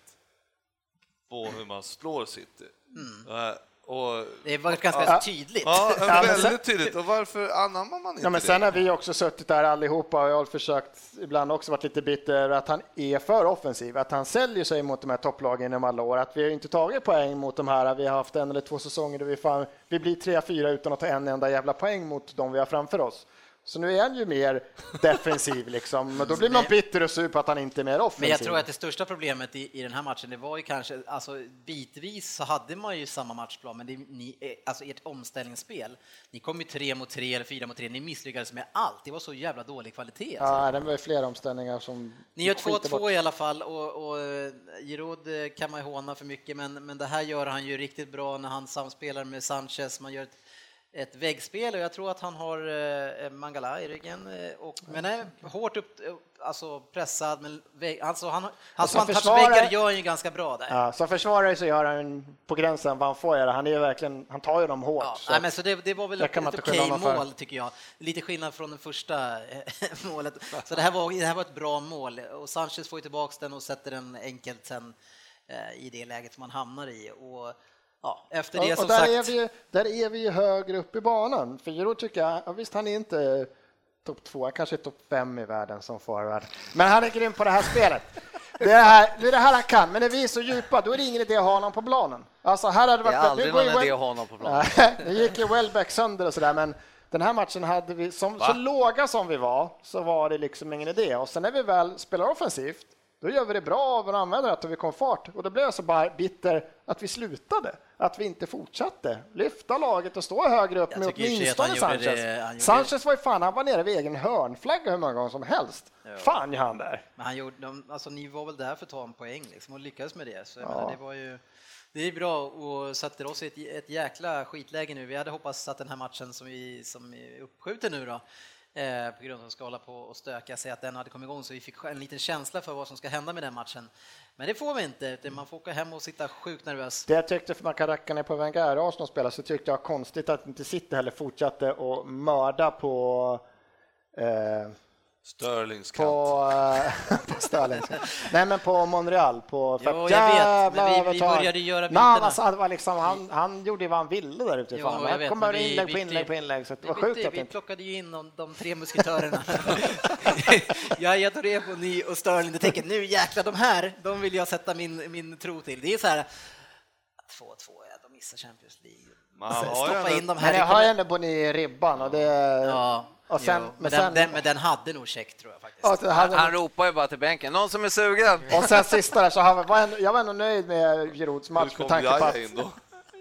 på hur man slår City. Eh, Och,
Det var ganska tydligt.
ja,
Mm. Ja, men sen-
väldigt tydligt. Och varför anammar man inte
Ja, men
det?
sen har vi också suttit där allihopa och jag har försökt ibland också varit lite bitter att han är för offensiv, att han säljer sig mot de här topplagen inom alla år, att vi har inte tagit poäng mot de här, vi har haft en eller två säsonger där vi, fan, vi blir tre, fyra utan att ta en enda jävla poäng mot de vi har framför oss. Så nu är han ju mer defensiv liksom, men då blir man bitter och sur på att han inte är mer offensiv.
Men jag tror att det största problemet i, i den här matchen, det var ju kanske, alltså bitvis så hade man ju samma matchplan, men det, ni, eh, alltså ert omställningsspel, ni kom ju tre mot tre eller fyra mot tre, ni misslyckades med allt, det var så jävla dålig kvalitet. Alltså.
Ja, det var ju flera omställningar som...
Ni gör
skiter bort.
2-2 i alla fall och, och eh, Giroud eh, kan man ju håna för mycket, men, men det här gör han ju riktigt bra när han samspelar med Sanchez, man gör ett, ett väggspel och jag tror att han har eh, Mangala i ryggen, eh, och, men är hårt upp, upp- alltså pressad, men vägg, alltså han, hans
så
one-touch-väggar
försvarar-
gör han ju ganska bra där.
Ja, som försvarare så gör han på gränsen vad han får göra. Han är ju verkligen, han tar ju dem hårt.
Ja,
så
nej,
att-
men så det, det var väl
Där
ett
kan man
ett
inte skylla
okej mål,
någon för.
tycker jag. Lite skillnad från det första eh, målet. Så det här, var, det här var ett bra mål och Sanchez får ju tillbaka den och sätter den enkelt sen eh, i det läget man hamnar i. Och, ja, efter det
och,
som
och där,
sagt...
är vi, ju- där är vi ju högre upp i banan. För Giroud tycker jag, ja, visst han är inte topp två, han kanske är topp fem i världen som forward. Men han är grym på det här spelet. Det är det, här, det är det här han kan, men när vi är så djupa då är det ingen idé att ha honom på planen. Alltså, här hade
Det är
varit- nu
aldrig
går
någon
ju
idé
Wel-
att ha honom på planen.
Nej, det gick ju Welbeck sönder och sådär, men den här matchen hade vi, som, så låga som vi var, så var det liksom ingen idé. Och sen när vi väl spelar offensivt, då gör vi det bra av vår användare, att vi kom fart. Och då blev jag så bara bitter att vi slutade, att vi inte fortsatte lyfta laget och stå högre upp
Jag
med
tycker i och för sig att
åtminstone
han gjorde
Sanchez.
det- han gjorde-
Sanchez var ju fan, han var nere vid egen hörnflagga hur många gånger som helst. Fan ju han där.
Men han gjorde, de, alltså, ni var väl där för att ta en poäng liksom, och lyckades med det. Så jag menar, det, var ju, det är bra och satte oss i ett, ett jäkla skitläge nu. Vi hade hoppats att den här matchen som, vi, som är uppskjuten nu då, eh, på grund av att de ska hålla på och stöka sig, att den hade kommit igång så vi fick en liten känsla för vad som ska hända med den matchen. Men det får vi inte, utan man får åka hem och sitta sjukt nervös.
Det jag tyckte för Makarackan är på väg att Arsenal spela så tyckte jag konstigt att inte City heller fortsatte att mörda på eh,
Sterlings kant.
på, eh, på Sterling. Nej men på Monreal på
Jo, jag
jävla
vet, men vi- vi
övertag.
började ju göra
Nej,
bytena.
alltså, det var liksom, han, han gjorde ju vad han ville där ute.
Jo,
fan.
jag
Han
vet,
kom
men
bara
vi
inlägg på
bytte
inlägg på
ju-
inlägg så det
vi
var
bytte-
sjukt att
Vi
inte...
plockade ju in de, de tre musketörerna. Yahya Touré, Boni och Sterling. Jag tänker nu jäklar, de här, de vill jag sätta min, min tro till. Det är så här, 2-2, ja, de missar Champions League.
Man har ju
Stoppa
ändå-
in de här.
Men
det
jag har
kommer-
ju ändå Boni i ribban och det...
Ja,
och sen,
jo,
men
men,
sen,
den, den, men den hade nog check tror jag faktiskt.
och sen hade-
Han ropar ju bara till bänken, någon som är sugen?
och sen sista där så han var- var ändå, jag var ändå nöjd med Girouds
Hur
match
kom
med tanke på att
Jaja in då?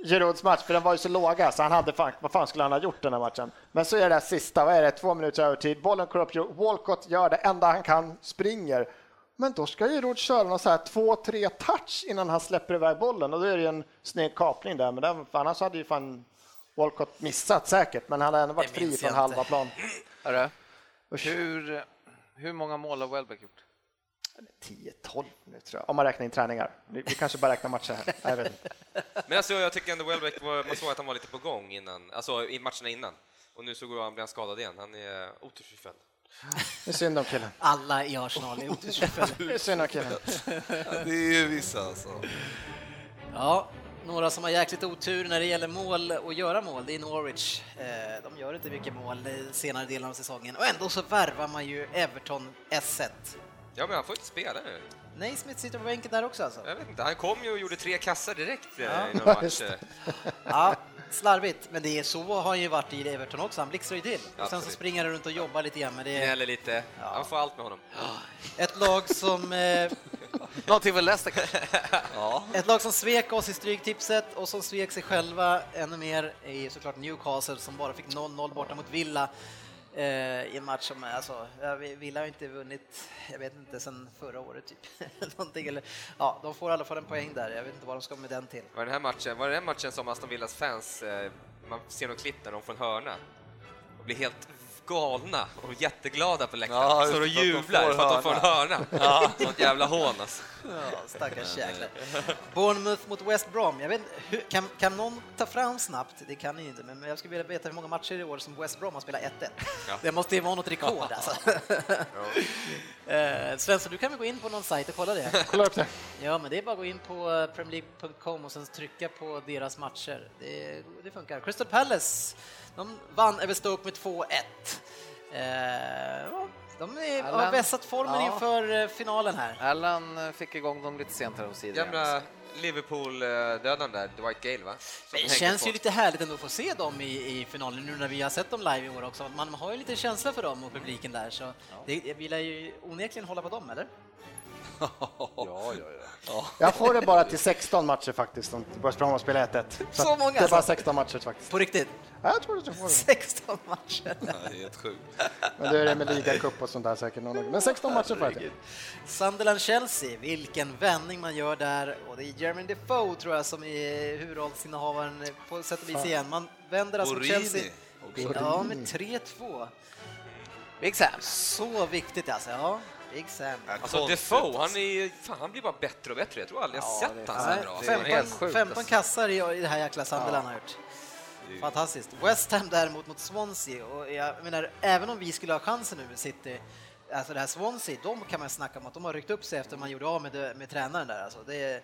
Girouds match, för den var ju så låga så han hade fan, vad fan skulle han ha gjort den här matchen? Men så är det där sista, vad är det, två minuter övertid, bollen går upp, Walcott gör det enda han kan, springer. Men då ska Giroud köra någon så här två, tre touch innan han släpper iväg bollen och då är det ju en sned kapning där, men där, för annars hade ju fan Walcott missat säkert, men han hade ändå varit
Det
fri
minns
från
jag inte.
halva plan.
Hörru,
Usch.
hur, hur många mål har Welbeck gjort?
10-12 nu tror jag, om man räknar in träningar. Vi, vi kanske bara räknar matcher här. Nej, Jag vet inte.
Men alltså, jag tycker ändå Welbeck, var, man såg att han var lite på gång innan, alltså i matcherna innan. Och nu så går han, blir han skadad igen. Han är otursförföljd.
Det är synd om killen.
Alla i Arsenal är otursförföljda.
Det är synd om killen.
Det är ju vissa alltså.
Ja, några som har jäkligt otur när det gäller mål och göra mål, det är Norwich. Eh, De gör inte mycket mål i senare delen av säsongen och ändå så värvar man ju Everton S1.
Ja, men han får inte spela nu.
Nej, Smith sitter på bänken där också alltså.
Jag vet inte, han kom ju och gjorde tre kassar direkt eh,
Ja.
i någon match. eh.
Ja, slarvigt, men det är så har han ju varit i Everton också, han blixtrar ju till. Och sen så
Absolut.
springer han runt och jobbar lite grann, men det är
Gnäller lite. Han får allt med honom.
ett lag som eh,
Någonting för Leicester kanske?
Ett lag som svek oss i stryktipset och som svek sig själva ännu mer är såklart Newcastle som bara fick 0-0 borta mot Villa eh, i en match som, alltså, ja, vi- Villa har inte vunnit, jag vet inte, sedan förra året typ. Någonting, eller, ja, de får i alla fall en poäng där, jag vet inte vad de ska med den till.
Var det den här matchen, var det den matchen som Aston Villas fans, eh, man ser några klipp när de får en hörna och blir helt galna och jätteglada på läktaren.
Ja,
Står och
just för att
jublar
de får
för att de får en hörna. Sånt jävla hån alltså.
Ja, stackars jäklar. Bournemouth mot West Brom, jag vet inte, hur, kan, kan någon ta fram snabbt? Det kan ni ju inte, men jag skulle vilja veta hur många matcher i år som West Brom har spelat 1-1. Det måste ju vara något rekord alltså. Eh, Svensson, du kan väl gå in på någon sajt och kolla det?
Kolla upp det.
Ja, men det är bara att gå in på eh, premierleague.com och sen trycka på deras matcher. Det, det funkar. Crystal Palace, de vann över Stoke med 2-1. Eh, ja, de är, har
Allan.
vässat formen
Ja.
inför eh, finalen här.
Allan eh, fick igång dem lite sent häromsidan.
Gamla Liverpool-dödaren där, Dwight Gale va? Som
Men det
hängde
känns
på.
ju lite härligt ändå att få se dem i, i finalen nu när vi har sett dem live i år också. Man har ju lite känsla för dem och publiken där så det, vi lär ju onekligen hålla på dem, eller?
Jag får det bara till 16 matcher faktiskt, om West Brom har spelat 1-1.
Så
att
många
Det är bara
alltså?
16 matcher faktiskt.
På riktigt?
Ja, Jag tror att jag får det.
16 matcher.
Det är helt sjukt.
Men då är det med ligacup och sånt där säkert. Någon. Men 16 matcher får jag till.
Sunderland-Chelsea, vilken vändning man gör där. Och det är Jeremy Defoe tror jag som är huvudrollsinnehavaren på sätt och vis igen. Man vänder alltså mot
Borini
Chelsea. Ja, med 3-2.
Big Sam.
Så viktigt alltså. Ja, Big Sam.
Alltså Defoe, han, är, ju- fan, han blir bara bättre och bättre. Jag tror aldrig jag sett han så här
Nej,
bra. Han är
15,
helt sjukt,
15
alltså.
kassar i i det här jäkla Sunderland har gjort. Fantastiskt. West Ham däremot mot Swansea. Och jag menar, även om vi skulle ha chansen nu med City, alltså det här Swansea, de kan man snacka om att de har ryckt upp sig efter man gjorde av med, med tränaren där. Alltså det, är-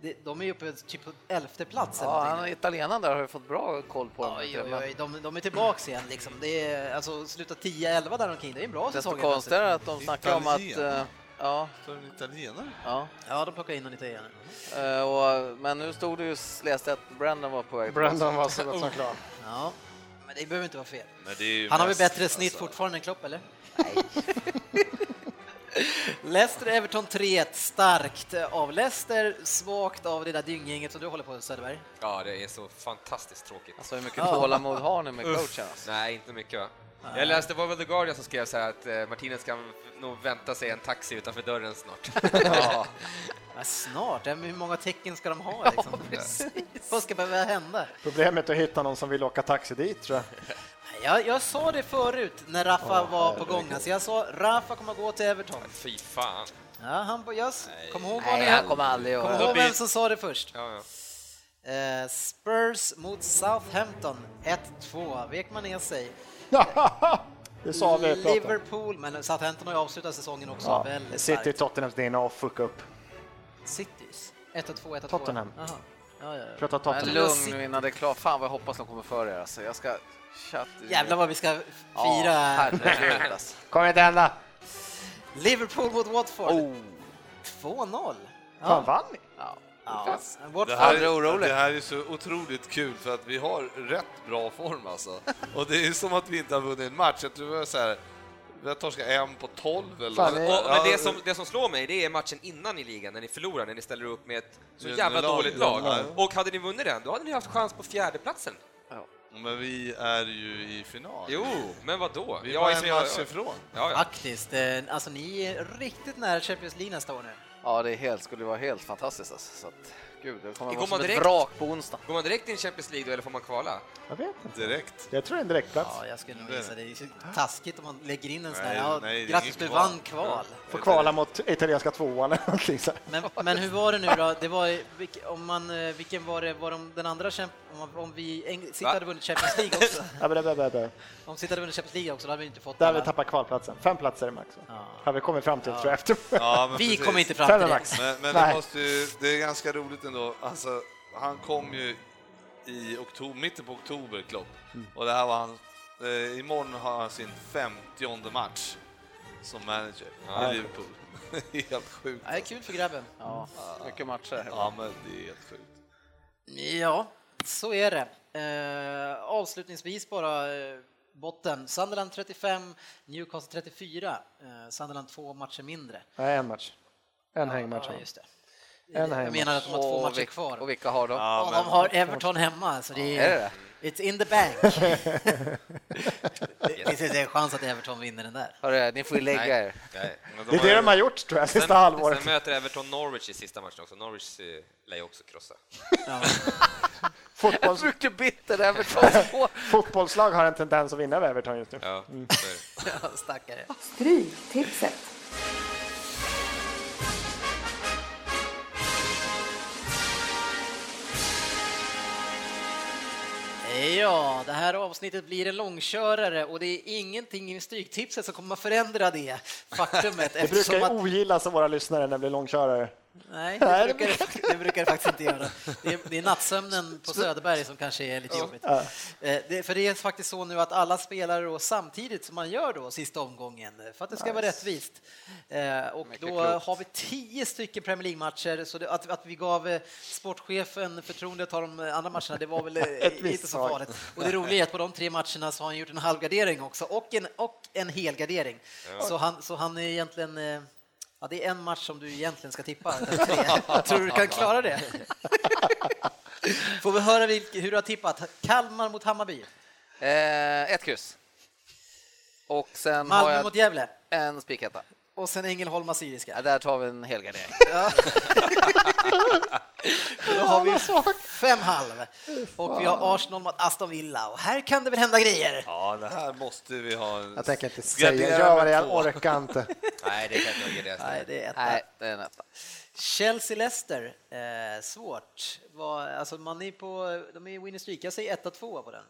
det, de är ju uppe typ på elfte plats. eller
Ja,
någonting.
han är italienaren där har ju fått bra koll på dem.
Oj, oj, oj, de, de är tillbaks igen liksom. Det är, alltså sluta 10-11 där omkring, det är en bra
Desto
säsong.
konstigare att de snackar om att
Italien.
eh, Ja,
Står det en italienare?
ja.
Ja, de plockar in en italienare.
Eh, och, men nu stod det ju, läste jag att Brandon var på väg tillbaka.
Brandon var så
Oh.
gott som klar.
Ja, men det behöver inte vara fel.
Men det är ju
Han har väl
mest- alltså.
bättre snitt fortfarande än Klopp, eller? Leicester-Everton 3-1, starkt av Leicester, svagt av det där dynggänget som du håller på Söderberg.
Ja, det är så fantastiskt tråkigt.
Alltså hur mycket tålamod har ni med coachen? alltså?
Nej, inte mycket va? Jag läste, det var väl The Guardian som skrev så här att eh, Martinez kan nog vänta sig en taxi utanför dörren snart. ja.
Ja, snart, ja, men hur många tecken ska de ha? Liksom? Vad ska behöva hända?
Problemet är att hitta någon som vill åka taxi dit tror jag.
Jag, jag sa det förut när Rafa var på gång, alltså jag sa Rafa kommer gå till Everton.
Fy fan.
Ja, han, jag kom ihåg vad ni
Nej, han kommer aldrig
Kom
göra
ihåg
det.
vem som sa det först.
Ja, ja.
Eh, Spurs mot Southampton 1-2, vek man ner sig.
Det sa vi. i praten.
Liverpool, men Southampton har ju avslutat säsongen också
Ja.
väldigt
City,
starkt.
Tottenhams DNA och fuck upp.
Citys. 1 2 1 2
Tottenham.
Jaha. Ja, ja, ja.
Prata
Men
Tottenham.
lugn nu innan det är klart. Fan vad jag hoppas de kommer före er. Alltså. Jag ska... Chatt...
Jävlar vad vi ska f-
Ja,
fira.
herregud, alltså.
Kom inte hända.
Liverpool mot Watford.
Oh.
2-0.
Fan, vann ni?
Ja.
Ja.
Det
Watford.
här,
Aldrig
är,
orolig.
det här är så otroligt kul för att vi har rätt bra form alltså. Och det är som att vi inte har vunnit en match. Jag tror vi har så här, vi har torskat en på 12 eller
Fan,
något.
det-
Och, men
Ja, eh,
det som, det som slår mig, det är matchen innan i ligan, när ni förlorar, när ni ställer upp med ett så
Det är
jävla
lag,
dåligt
ja.
lag.
Ja.
Och hade ni vunnit den, då hade ni haft chans på fjärdeplatsen.
Men vi är ju i final.
Jo, men vadå?
Vi
Ja,
var
i
en
final-
match ifrån.
Ja, ja.
Faktiskt, eh, alltså ni är riktigt nära Champions League nästa år nu.
ja, det är helt, skulle vara helt fantastiskt. Alltså. Så att, gud, det kommer
Går
vara som
man
ett
direkt?
vrak på onsdag.
Går man direkt in i Champions League då, eller får man kvala?
Jag vet inte.
Direkt.
Jag tror det är en direktplats.
Ja, jag skulle nog
Det är
gissa det. Det är så taskigt om man lägger in en sån här,
Nej,
ja,
nej, det är
grattis
inget
du
kval.
vann kval.
Får kvala mot italienska tvåan eller någonting så. här.
Men, men hur var det nu då? Det var, ju- vilk- om man, eh, vilken var det, var de den andra, kämp- om, man- om vi, Eng- City
Va?
hade vunnit Champions League också,
Ja, men det, det, det.
om City hade vunnit Champions League också, då hade vi inte fått
Där vi
alla-
tappar kvalplatsen. Fem platser i max. Ja. Har vi kommit fram till tror jag efter.
Ja, men
Vi
precis.
kommer inte fram
Fem
till
i
det.
max.
Men, men det,
Nej.
måste ju, det är ganska roligt ändå. Alltså, han kom ju i oktober, mitten på oktober, Klopp.
Mm.
Och det här var han, eh, imorgon har han sin 50 match som manager i Liverpool. helt sjukt.
Ja, det är kul för grabben. Ja.
Mycket matcher.
Ja, men det är helt sjukt.
ja, så är det. Eh, avslutningsvis bara eh, botten. Sunderland 35, Newcastle 34. Eh, Sunderland två matcher mindre.
Nej, en match. En hängmatch.
Ja,
har vi.
just det.
En
Jag menar
hängmatch.
att de har två
Och
matcher
vilk-
kvar.
Och vilka har de?
Ja,
Ja,
men-
de har Everton hemma, så det
Är det
är...
det?
It's in the bank. det det finns inte en chans att Everton vinner den där.
Hörru, ni får ju lägga er.
Nej. men
Det är det de har gjort tror jag, sista halvåret.
Sen möter Everton Norwich i sista matchen också. Norwich eh, lär ju också krossa.
Ja.
Fotbolls,
Mycket bitter Everton.
fotbollslag har en tendens att vinna över Everton just nu.
Ja, Mm. så är det.
Stackare.
Stryktipset.
Ja, det här avsnittet blir en långkörare och det är ingenting i Stryktipset som kommer att förändra det faktumet.
Det brukar
eftersom
ju
att-
ogillas av våra lyssnare när det blir långkörare.
Nej, det brukar det, fakt- det brukar det faktiskt inte göra. Det är, det är nattsömnen på Söderberg som kanske är lite jobbigt. Eh, Det, för det är faktiskt så nu att alla spelar då samtidigt som man gör då sista omgången eh, för att det ska vara rättvist. Eh, Och då har vi tio stycken Premier League-matcher så det, att, att vi gav eh, sportchefen förtroende att ta de andra matcherna det var väl eh, inte så
misstag.
farligt. Och det roliga är att på de tre matcherna så har han gjort en halvgardering också och en, och en helgardering. Så, han, så han är egentligen eh, Ja, det är en match som du egentligen ska tippa. utav tre. Tror du du kan klara det? Får vi höra vilk, hur du har tippat? Kalmar mot Hammarby,
eh, ett kryss. Och sen har
Malmö
jag
mot Gävle
en spikhetta.
och sen Ängelholm
Ja,
Assyriska.
där tar vi en helgardering.
Då har vi fem halv och vi har Arsenal mot Aston Villa och här kan det väl hända grejer.
Ja, det här måste vi ha. en-
Jag tänker inte
Gardera
säga, gör
med
det, jag
två.
orkar inte.
Nej, det kan jag inte göra.
Nej, det är
Nej,
ett.
det är en etta.
Chelsea-Leicester, eh, svårt. Vad- alltså man är på, de är winner streak. Jag säger 1-2 på den.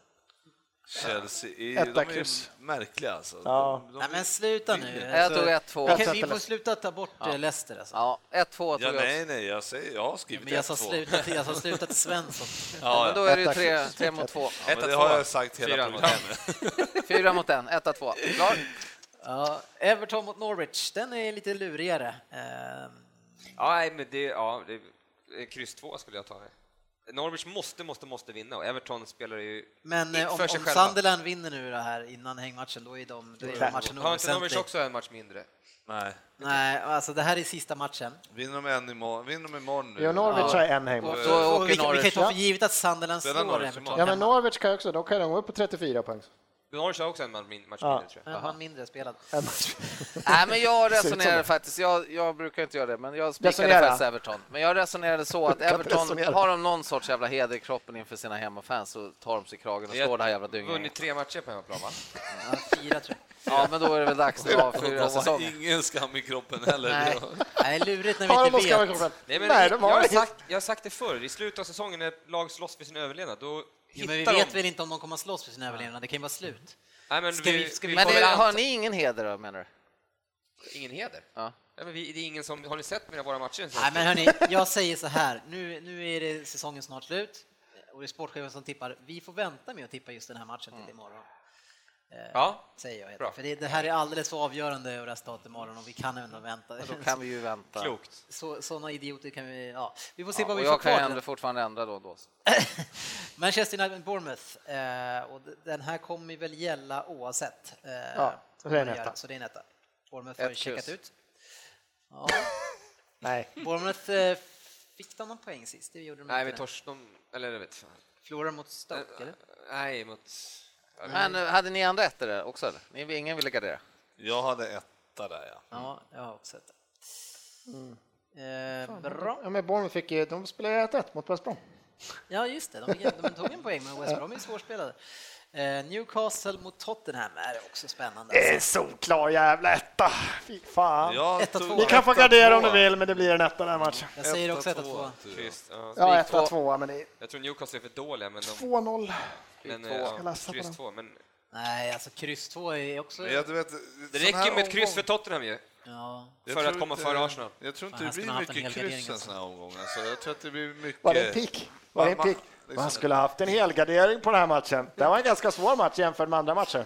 Chelsea är,
Etta
de är ju
kryss.
märkliga alltså.
Ja.
De, de,
Nej men sluta nu.
Jag tog ett, två.
Okej, vi får sluta ta bort eh, Leicester alltså.
Ja, ett, två tog
ja,
jag också.
nej, nej, jag, säger, jag har skrivit
Men jag sa
1-2.
sluta till, jag sa sluta till Svensson.
Ja, men då är det ju
Etta,
tre,
kryss.
tre mot två.
Ja, men
Etta,
det har
två.
jag sagt hela
Fyra mot
programmet.
Fyra mot en, etta, två. Klar.
Ja, Everton mot Norwich, den är lite lurigare. Eh,
Ja, nej, men det, ja, det, eh, kryss två skulle jag ta. Norwich måste, måste, måste vinna och Everton spelar ju
Men eh, om,
för sig
om
själva.
Sunderland vinner nu det här innan hängmatchen, då är, de, då är matchen
Har inte Norwich
oväsentlig.
också en match mindre?
Nej.
Nej, alltså det här är sista matchen.
Vinner de, en imorgon, vinner de imorgon nu?
Jo, Norwich har en hemma.
Och,
Då
och
åker
vi, kan- vi kan ju
Norwich,
ta för
ja.
givet att Sunderland
Spelar
slår
Norwich
Everton.
imorgon?
Ja, men Norwich kan också, då kan de gå upp på 34 poäng.
Norwich har också en match min- match
Ja.
mindre, tror jag.
Men man mindre spelad.
En match.
Nej, men jag
ut som
resonerade
det.
faktiskt, jag, jag brukar inte göra det, men jag spikade
Resonera.
faktiskt Everton. Men jag resonerade så att
kan inte
Everton,
resonera.
har de någon sorts jävla heder i kroppen inför sina hemmafans så tar de sig i kragen och
Vi har
slår det här jävla
Vunnit
dynggänget.
tre matcher på hemmaplan, va?
Ja, fyra tror jag.
Ja, men då är det väl dags att
Och
avfyra
de har
säsongen.
ingen skam i kroppen heller.
Nej,
Det-
Nej, lurigt när vi
Har
inte
de någon skam i
vet.
kroppen?
Nej, men
Nej,
vi-
de
jag,
har
har
inget.
sagt, jag har sagt det förr, i slutet av säsongen när ett lag slåss för sin överlevnad, då
Jo,
hittar
men vi
de...
vet väl inte om de kommer att slåss för sin överlevnad, det kan ju vara slut.
Nej, men
Ska
vi,
vi- ska vi
vi
Men
får
det,
väl
har
anta-
ni ingen heder då, menar du?
Ingen heder.
Ja.
Nej, men vi, det är ingen som... Har ni sett mina våra matcher?
Nej, men hörni, jag säger så här, nu, nu är det säsongen snart slut och det är sportchefen som tippar. Vi får vänta med att tippa just den här matchen
Mm.
till imorgon.
Ja,
säger jag.
Bra.
För det, det här är alldeles för avgörande över resultat imorgon och vi kan ändå vänta.
Då kan vi ju vänta.
klokt.
Så, såna idioter kan vi... Ja. Vi får se
Ja,
vad vi
och
får
jag kan ju
kvar.
ändå fortfarande ändra då och då.
Manchester United Bournemouth. Eh, och d- den här kommer väl gälla oavsett. Eh,
så det är
vad de gör.
en etta.
Så det är en etta. Bournemouth har ju
Ett
checkat
kryss.
ut. Ja,
Nej.
Bournemouth eh, fick de någon poäng sist? Det gjorde de
Nej,
inte.
vi tors... De, eller jag vet fan.
Förlorade mot Stoke, eller?
Nej, mot...
Men eh, hade ni andra ett i det också? Eller? Ni- Ingen ville gardera?
Jag hade etta där, ja.
Ja, jag har också ett.
Mm.
Eh, bra.
Ja, men Bournemouth fick ju, de spelade 1-1 mot West Brom.
Ja, just det. De, fick- de tog en poäng, men West Brom är svårspelade. Eh, Newcastle mot Tottenham är också spännande.
Det är solklar jävla etta. Fy fan.
Jag
Etta,
tog
tvåa.
Ni kan få
etta,
gardera om ni
tvåa.
vill, men det blir en etta den här matchen.
Jag säger också 1
Etta,
2
tror jag.
Kryss, ja.
Ja,
Spik två.
1 2 men det är
Jag tror Newcastle är för dåliga, men de...
2-0.
Men,
två.
eh,
Jag
ja,
läste på
kryss
den.
två, men...
Nej, alltså kryss 2 är också...
Men jag vet,
Det räcker ju med ett kryss för Tottenham ju.
Ja.
Jag
för
tror
att komma
inte-
före Arsenal.
Jag tror
Fan,
inte
här
det
skulle man
blir
haft en hel
mycket
gardering
kryss en
alltså.
sån här omgång. Alltså, jag tror att det blir mycket...
Var det en pick? Var det en
Man-
pick?
man-
Man skulle ha haft en helgardering på den här matchen. Det var en ganska svår match jämfört med andra matcher.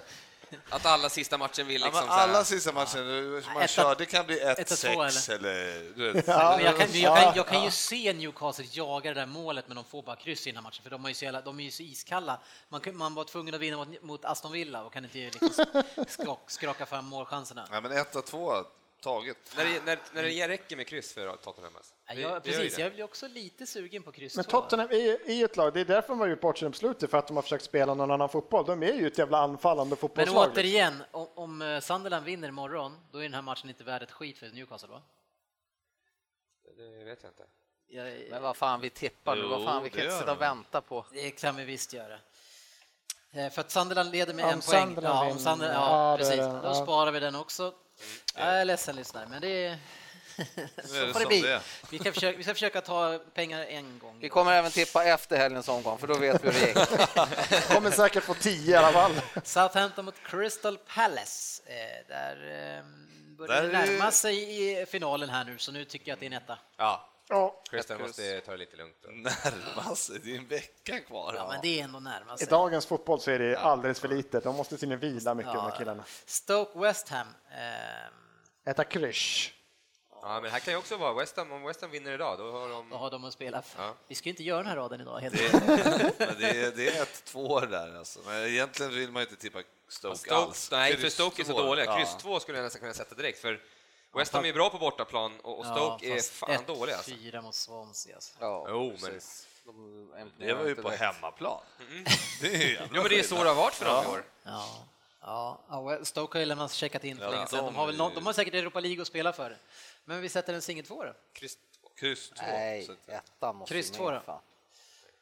Att alla sista matchen vill
Ja,
liksom
men
så här-
alla sista matcher som man
Etta-
kör, det kan bli
etta, tvåa,
1-6 eller... du vet.
Ja.
Men jag kan, jag kan, jag kan
Ja.
ju se Newcastle jaga det där målet, men de får bara kryss innan matchen, för de, har ju så jävla, de är ju så iskalla. Man, kan- man var tvungen att vinna mot, mot Aston Villa och kan inte liksom skrock, skraka fram målchanserna.
Ja, men 1-2 taget.
När det, när, när det riktigt med kryss för Tottenham. Alltså.
Ja,
Det- det gör
Jag, precis,
det.
jag blir också lite sugen på kryss
Men
två.
Tottenham är är ju ett lag, det är därför de har gjort bort sig på slutet, för att de har försökt spela någon annan fotboll. De är ju ett jävla anfallande
Men
fotbollslag.
återigen, om, om eh, Sunderland vinner imorgon, då är den här matchen inte värd ett skit för Newcastle, va?
Det vet jag inte.
Jag,
Men vad fan, vi tippar nu. Vad
Jo,
fan, vi
det
kan inte
gör
sitta
de.
och vänta på.
Det kan vi visst göra. Eh, För att Sunderland leder med
Om
en poäng.
Sunderland
Ja, om
vinner.
Sunderland,
Ja,
ja,
det är
precis.
det.
Då
Ja.
sparar vi den också. Jag är ledsen lyssnare, men det är...
Nu är
Så
det
får det
som det
bli.
är.
Vi, kan försöka, vi ska försöka ta pengar en gång.
Vi kommer även tippa efter helgens omgång, för då vet vi hur det gick.
Kommer säkert få 10 i alla fall.
Southampton mot Crystal Palace. Eh, Där eh, börjar
Där
det
är-
närma sig i finalen här nu, så nu tycker jag att det är en etta.
Ja,
Ja,
Christian måste ta det lite lugnt. Då.
Närma sig, det är en vecka kvar.
Ja, men det är ändå närmast.
I dagens fotboll så är det alldeles för lite. De måste tydligen vila mycket, de här killarna.
Stoke West Ham. ehm,
Äta krysch.
Ja, men här kan ju också vara West Ham. Om West Ham vinner idag, då har
Vad
de...
har de att spela för?
Ja.
Vi ska ju inte göra den här raden idag. Helt
Det
enkelt.
är, men det är, det är ett två där alltså. Men egentligen vill man ju inte tippa Stoke,
Stoke,
alls.
nej, för
Kryss
Stoke är så
två.
dåliga.
Ja.
Kryss 2 skulle jag nästan kunna sätta direkt, för West Ham är bra på bortaplan och och Stoke är
fast
fan
ett,
dåliga. Alltså.
Fyra mot Swansea. Alltså.
Ja,
Jo, men-
precis. De
Det var ju
inte
på
direkt.
hemmaplan. Det är ju jävla
Mm. Jo, men det är så det har varit för dem i år.
Ja. Ja, ja, well, Stoke har ju lämnat checkat in för
Ja,
länge sedan. De
de
har, väl
är-
någon, de har säkert Europa League att spela för. Men vi sätter en singel två då.
Kryss två.
Kryss två.
Nej,
Så att-
ettan måste
Kryss
med.
två då.
fan.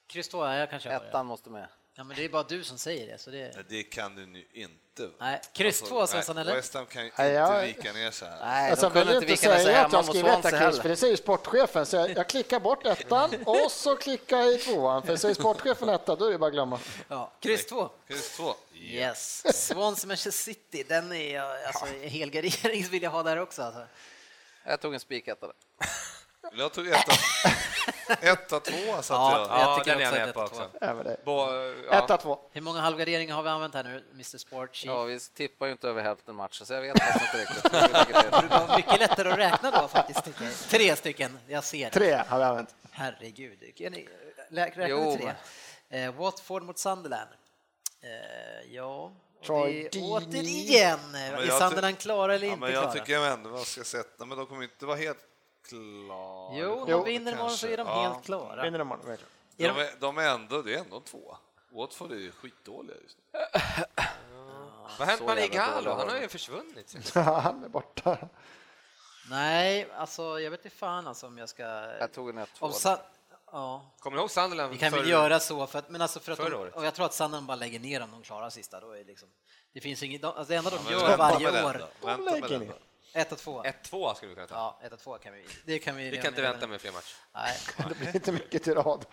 Kryss två, ja, jag kan köpa det.
Ettan måste med.
Ja, men det är bara du som säger det. Så det...
Nej, det kan du nu inte. Alltså,
Nej, kryss två, Svensson,
nej,
eller?
West Ham kan ju
Nej, jag-
inte vika ner så här.
Nej,
Alltså,
de kunde
jag
inte
vill inte
vika ner sig
säga att
hemma
jag
mot
skriver etta
Swansea
kryss, för
heller.
det säger sportchefen. Så jag, jag klickar bort ettan och så klickar jag i tvåan. För säger sportchefen etta, då är det bara att glömma.
Ja, kryss två.
Kryss två.
Yes. Swansea Manchester City, den är jag- alltså, helgardering vill jag ha där också. Alltså.
Jag tog en spiketta. där.
Jag tog etta. Etta, tvåa satt
Ja,
jag.
Ja,
jag tycker
den är
också
jag
att
med på
detta
också.
två.
Över dig.
Bo,
Etta,
ja.
två.
Hur många halvgarderingar har vi använt här nu, Mr Sport Chief?
Ja, vi tippar ju inte över hälften matcher, så jag vet faktiskt inte riktigt. hur läget är.
Det var mycket lättare att räkna då faktiskt. tycker jag. Tre stycken, jag ser. det.
Tre har vi använt.
Herregud, är ni- lä- räknade
Jo,
tre. Eh, Watford mot Sunderland. Eh, ja, och
Troy
det är
Deeney.
återigen, eh,
men
är
jag ty-
Sunderland klara eller
Ja,
inte
men jag
klara?
tycker jag ändå man ska sätta, men de kommer inte vara helt klara.
Jo,
Jo,
de vinner imorgon så är de
kanske.
helt klara.
Vinner de imorgon, verkligen.
De
Är de-
är, de är ändå, det är ändå en tvåa. Watford är ju skitdåliga just nu.
Vad har hänt
Så
med
jävla
Igalo?
dålig
Han har
var
ju försvunnit.
Han är borta.
Nej, alltså jag vet inte fan alltså, om jag ska...
Jag tog en 1
om Sun- ja,
Kommer du ihåg Sunderland?
vi kan väl
förr?
göra så, för att, men alltså för att
förra
de,
året.
och jag tror att Sunderland bara lägger ner om de klarar sista. Då är liksom, det finns inget, de, alltså, det enda de
Men
gör
vänta med
varje
den
år,
då, Vänta med
lägger
den
ner.
då.
ett och två.
1-2 skulle vi kunna ta.
Ja, ett och två kan vi, det kan vi.
Vi kan inte vänta med fler matcher.
Nej.
Det blir inte mycket till rad.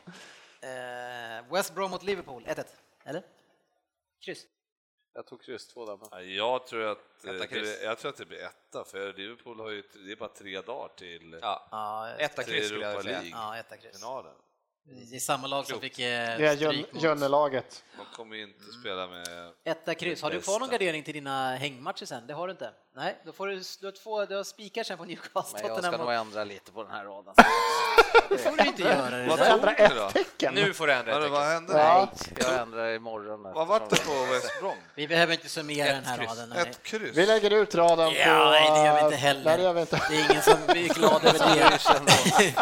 Eh, West Brom mot Liverpool, 1-1. Eller? Kryss.
Jag tog kryss 2 där. men-
Ja, Jag tror, att, eh,
Etta, kryss.
det, jag tror att det blir etta, för Liverpool har ju, det är bara tre dagar till,
Ja.
Ja, ett-
Etta
till
kryss skulle
Europa
jag säga.
League-finalen.
ja, etta kryss. Det är samma lag som fick
Det är
eh,
Jön-
stryk mot...
Jönnelaget.
De kommer ju inte spela med...
Etta kryss. Har du kvar
Bästa.
någon gardering till dina hängmatcher sen? Det har du inte? Nej, då får du, du har två, du har spikar sen på Newcastle.
Men jag ska
Tottenham
nog
och-
ändra lite på den här raden.
Det får du inte göra. Det
Vad
där.
tror
Ändra
ni då?
ett tecken.
Nu får du ändra
Vad-
ett
Vad
tecken.
hände?
Ja.
Jag ändrar imorgon.
Vad vart det på West Brom?
Vi behöver inte summera den här
kryss.
raden. hörni.
Ett kryss?
Vi lägger ut raden på...
Ja, nej, det gör vi inte
Nej,
heller.
det gör vi inte.
Det är ingen som blir glad över det.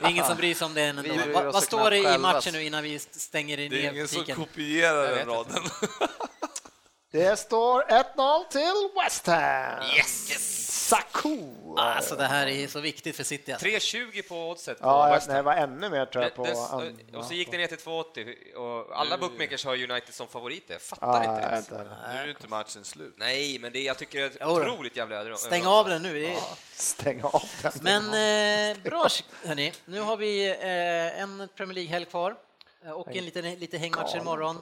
Det är ingen som bryr sig om det än.
Vi bryr
ändå. Vad,
oss
vad
så
står det
knappt
i
själva.
matchen nu innan vi stänger ner
Det är ingen som
butiken?
kopierar den
vet
raden.
Det står 1-0 till West Ham. Yes! Saku.
Alltså det här är så viktigt för City. Alltså.
3.20 på oddset på
Ja, jag,
West Ham.
nej, det var ännu mer tror jag på...
Men
an-
dess- och så gick det ner till 2,80 och alla bookmakers har United som favoriter. Jag Fattar
Ja,
Ah,
inte.
jag
ens.
vet inte.
Nu är ju inte matchen slut.
Nej, men det, jag tycker det är ett
Jo då.
otroligt jävla öde.
Stäng av den nu. det är-
Stäng av den.
Men eh, bra, hörni. Nu har vi eh, en Premier League-helg kvar eh, och en liten, lite hängmatch imorgon.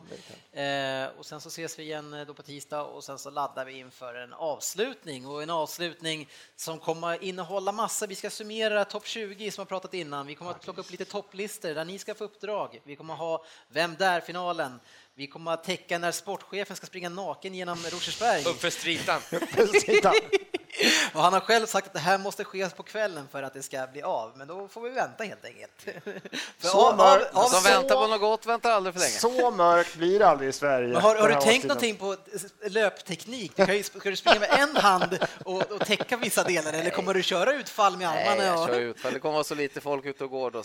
Eh, och sen så ses vi igen eh, då på tisdag och sen så laddar vi inför en avslutning och en avslutning som kommer innehålla massa. Vi ska summera topp 20 som har pratat innan. Vi kommer att plocka upp lite topplistor där ni ska få uppdrag. Vi kommer ha Vem där-finalen. Vi kommer att täcka när sportchefen ska springa naken genom Rosersberg.
Uppför stritan.
Sitta.
Och han har själv sagt att det här måste ske på kvällen för att det ska bli av, men då får vi vänta helt enkelt. För
Så mörkt.
De
Så-
som väntar på något gott väntar aldrig för länge.
Så mörkt blir det aldrig i Sverige.
Men har,
den
har
här
du tänkt
årstiden.
någonting på löpteknik? Du kan ju, ska du springa med en hand och, och täcka vissa delar, eller kommer du köra utfall med
Nej, jag kör
armarna?
ut. för Det kommer vara så lite folk ute och går då.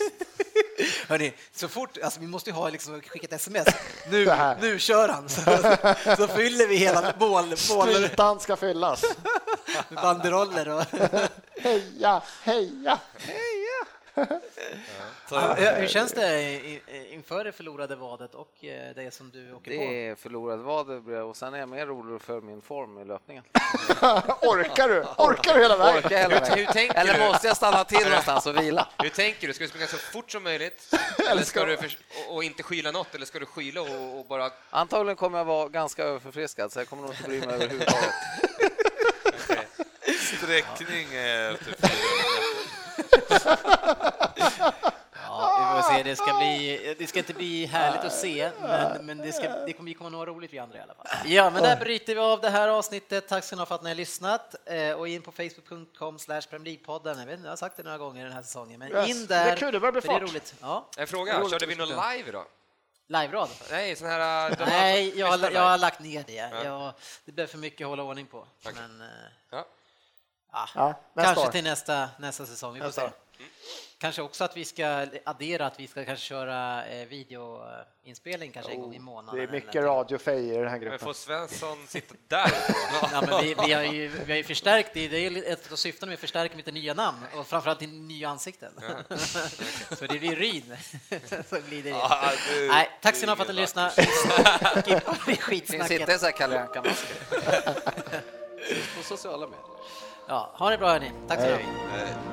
Hörni, så fort, alltså, vi måste ju ha liksom, skickat sms. Nu,
Det här.
nu kör han! Så, så fyller vi hela bål, bål
Stritan ska fyllas.
med banderoller. Och,
Heja, heja!
Ja, hur känns det i- i- inför det förlorade vadet och eh, det som du åker på?
Det är förlorad vad och sen är jag mer orolig för min form i löpningen.
Orkar du? Orkar du hela vägen?
Orkar jag hela vägen?
Hur tänker
Eller
du?
måste jag stanna till någonstans och vila?
Hur tänker du? Ska du springa så fort som möjligt? Eller ska du förs- och, och inte skyla något? Eller ska du skyla och, och bara...
Antagligen kommer jag vara ganska överförfriskad så jag kommer nog inte bry mig överhuvudtaget.
Sträckning är typ
Ja, vi får se. Det ska, bli, det ska inte bli härligt att se, men, men det, ska, det kommer ju komma något roligt vi andra i alla fall. Ja, men där bryter vi av det här avsnittet. Tack ska ni ha för att ni har lyssnat. Eh, Och in på facebook.com slash Premier League-podden. Jag vet inte, jag har sagt det några gånger den här säsongen, men
Yes.
in
Det är
där.
kul, det börjar bli
för det är
fart.
roligt. Ja,
En fråga, körde vi någon live idag?
live-rad.
Nej, sån här... de-
Nej, jag, har-
lyssnar
jag har
live.
lagt ner det. Jag, det blev för mycket att hålla ordning på. Men, eh,
Ja.
ah,
Ja, nästa
kanske
år.
till nästa, nästa säsong. Vi får
Nästa
se.
år. Mm.
Kanske också att vi ska addera att vi ska kanske köra eh, videoinspelning kanske en gång i månaden.
Oh, Det är
eller
mycket
någonting.
radiofejer i den här
Men
gruppen.
får Svensson sitta där?
Ja, men vi, vi, har ju, vi har ju förstärkt det, det är ju ett av syftena med att förstärka mitt nya namn och framförallt in- nya ansikten. Så det blir Ryn som glider in.
Ja, det-
Nej, tack så
det
mycket
är
för att ni
ingen
lyssnade. Skippa det
Finns
skitsnacket.
inte en sån här Kalle Anka-mask? På sociala medier.
Ja, ha det bra hörni, tack så mycket.
Nej.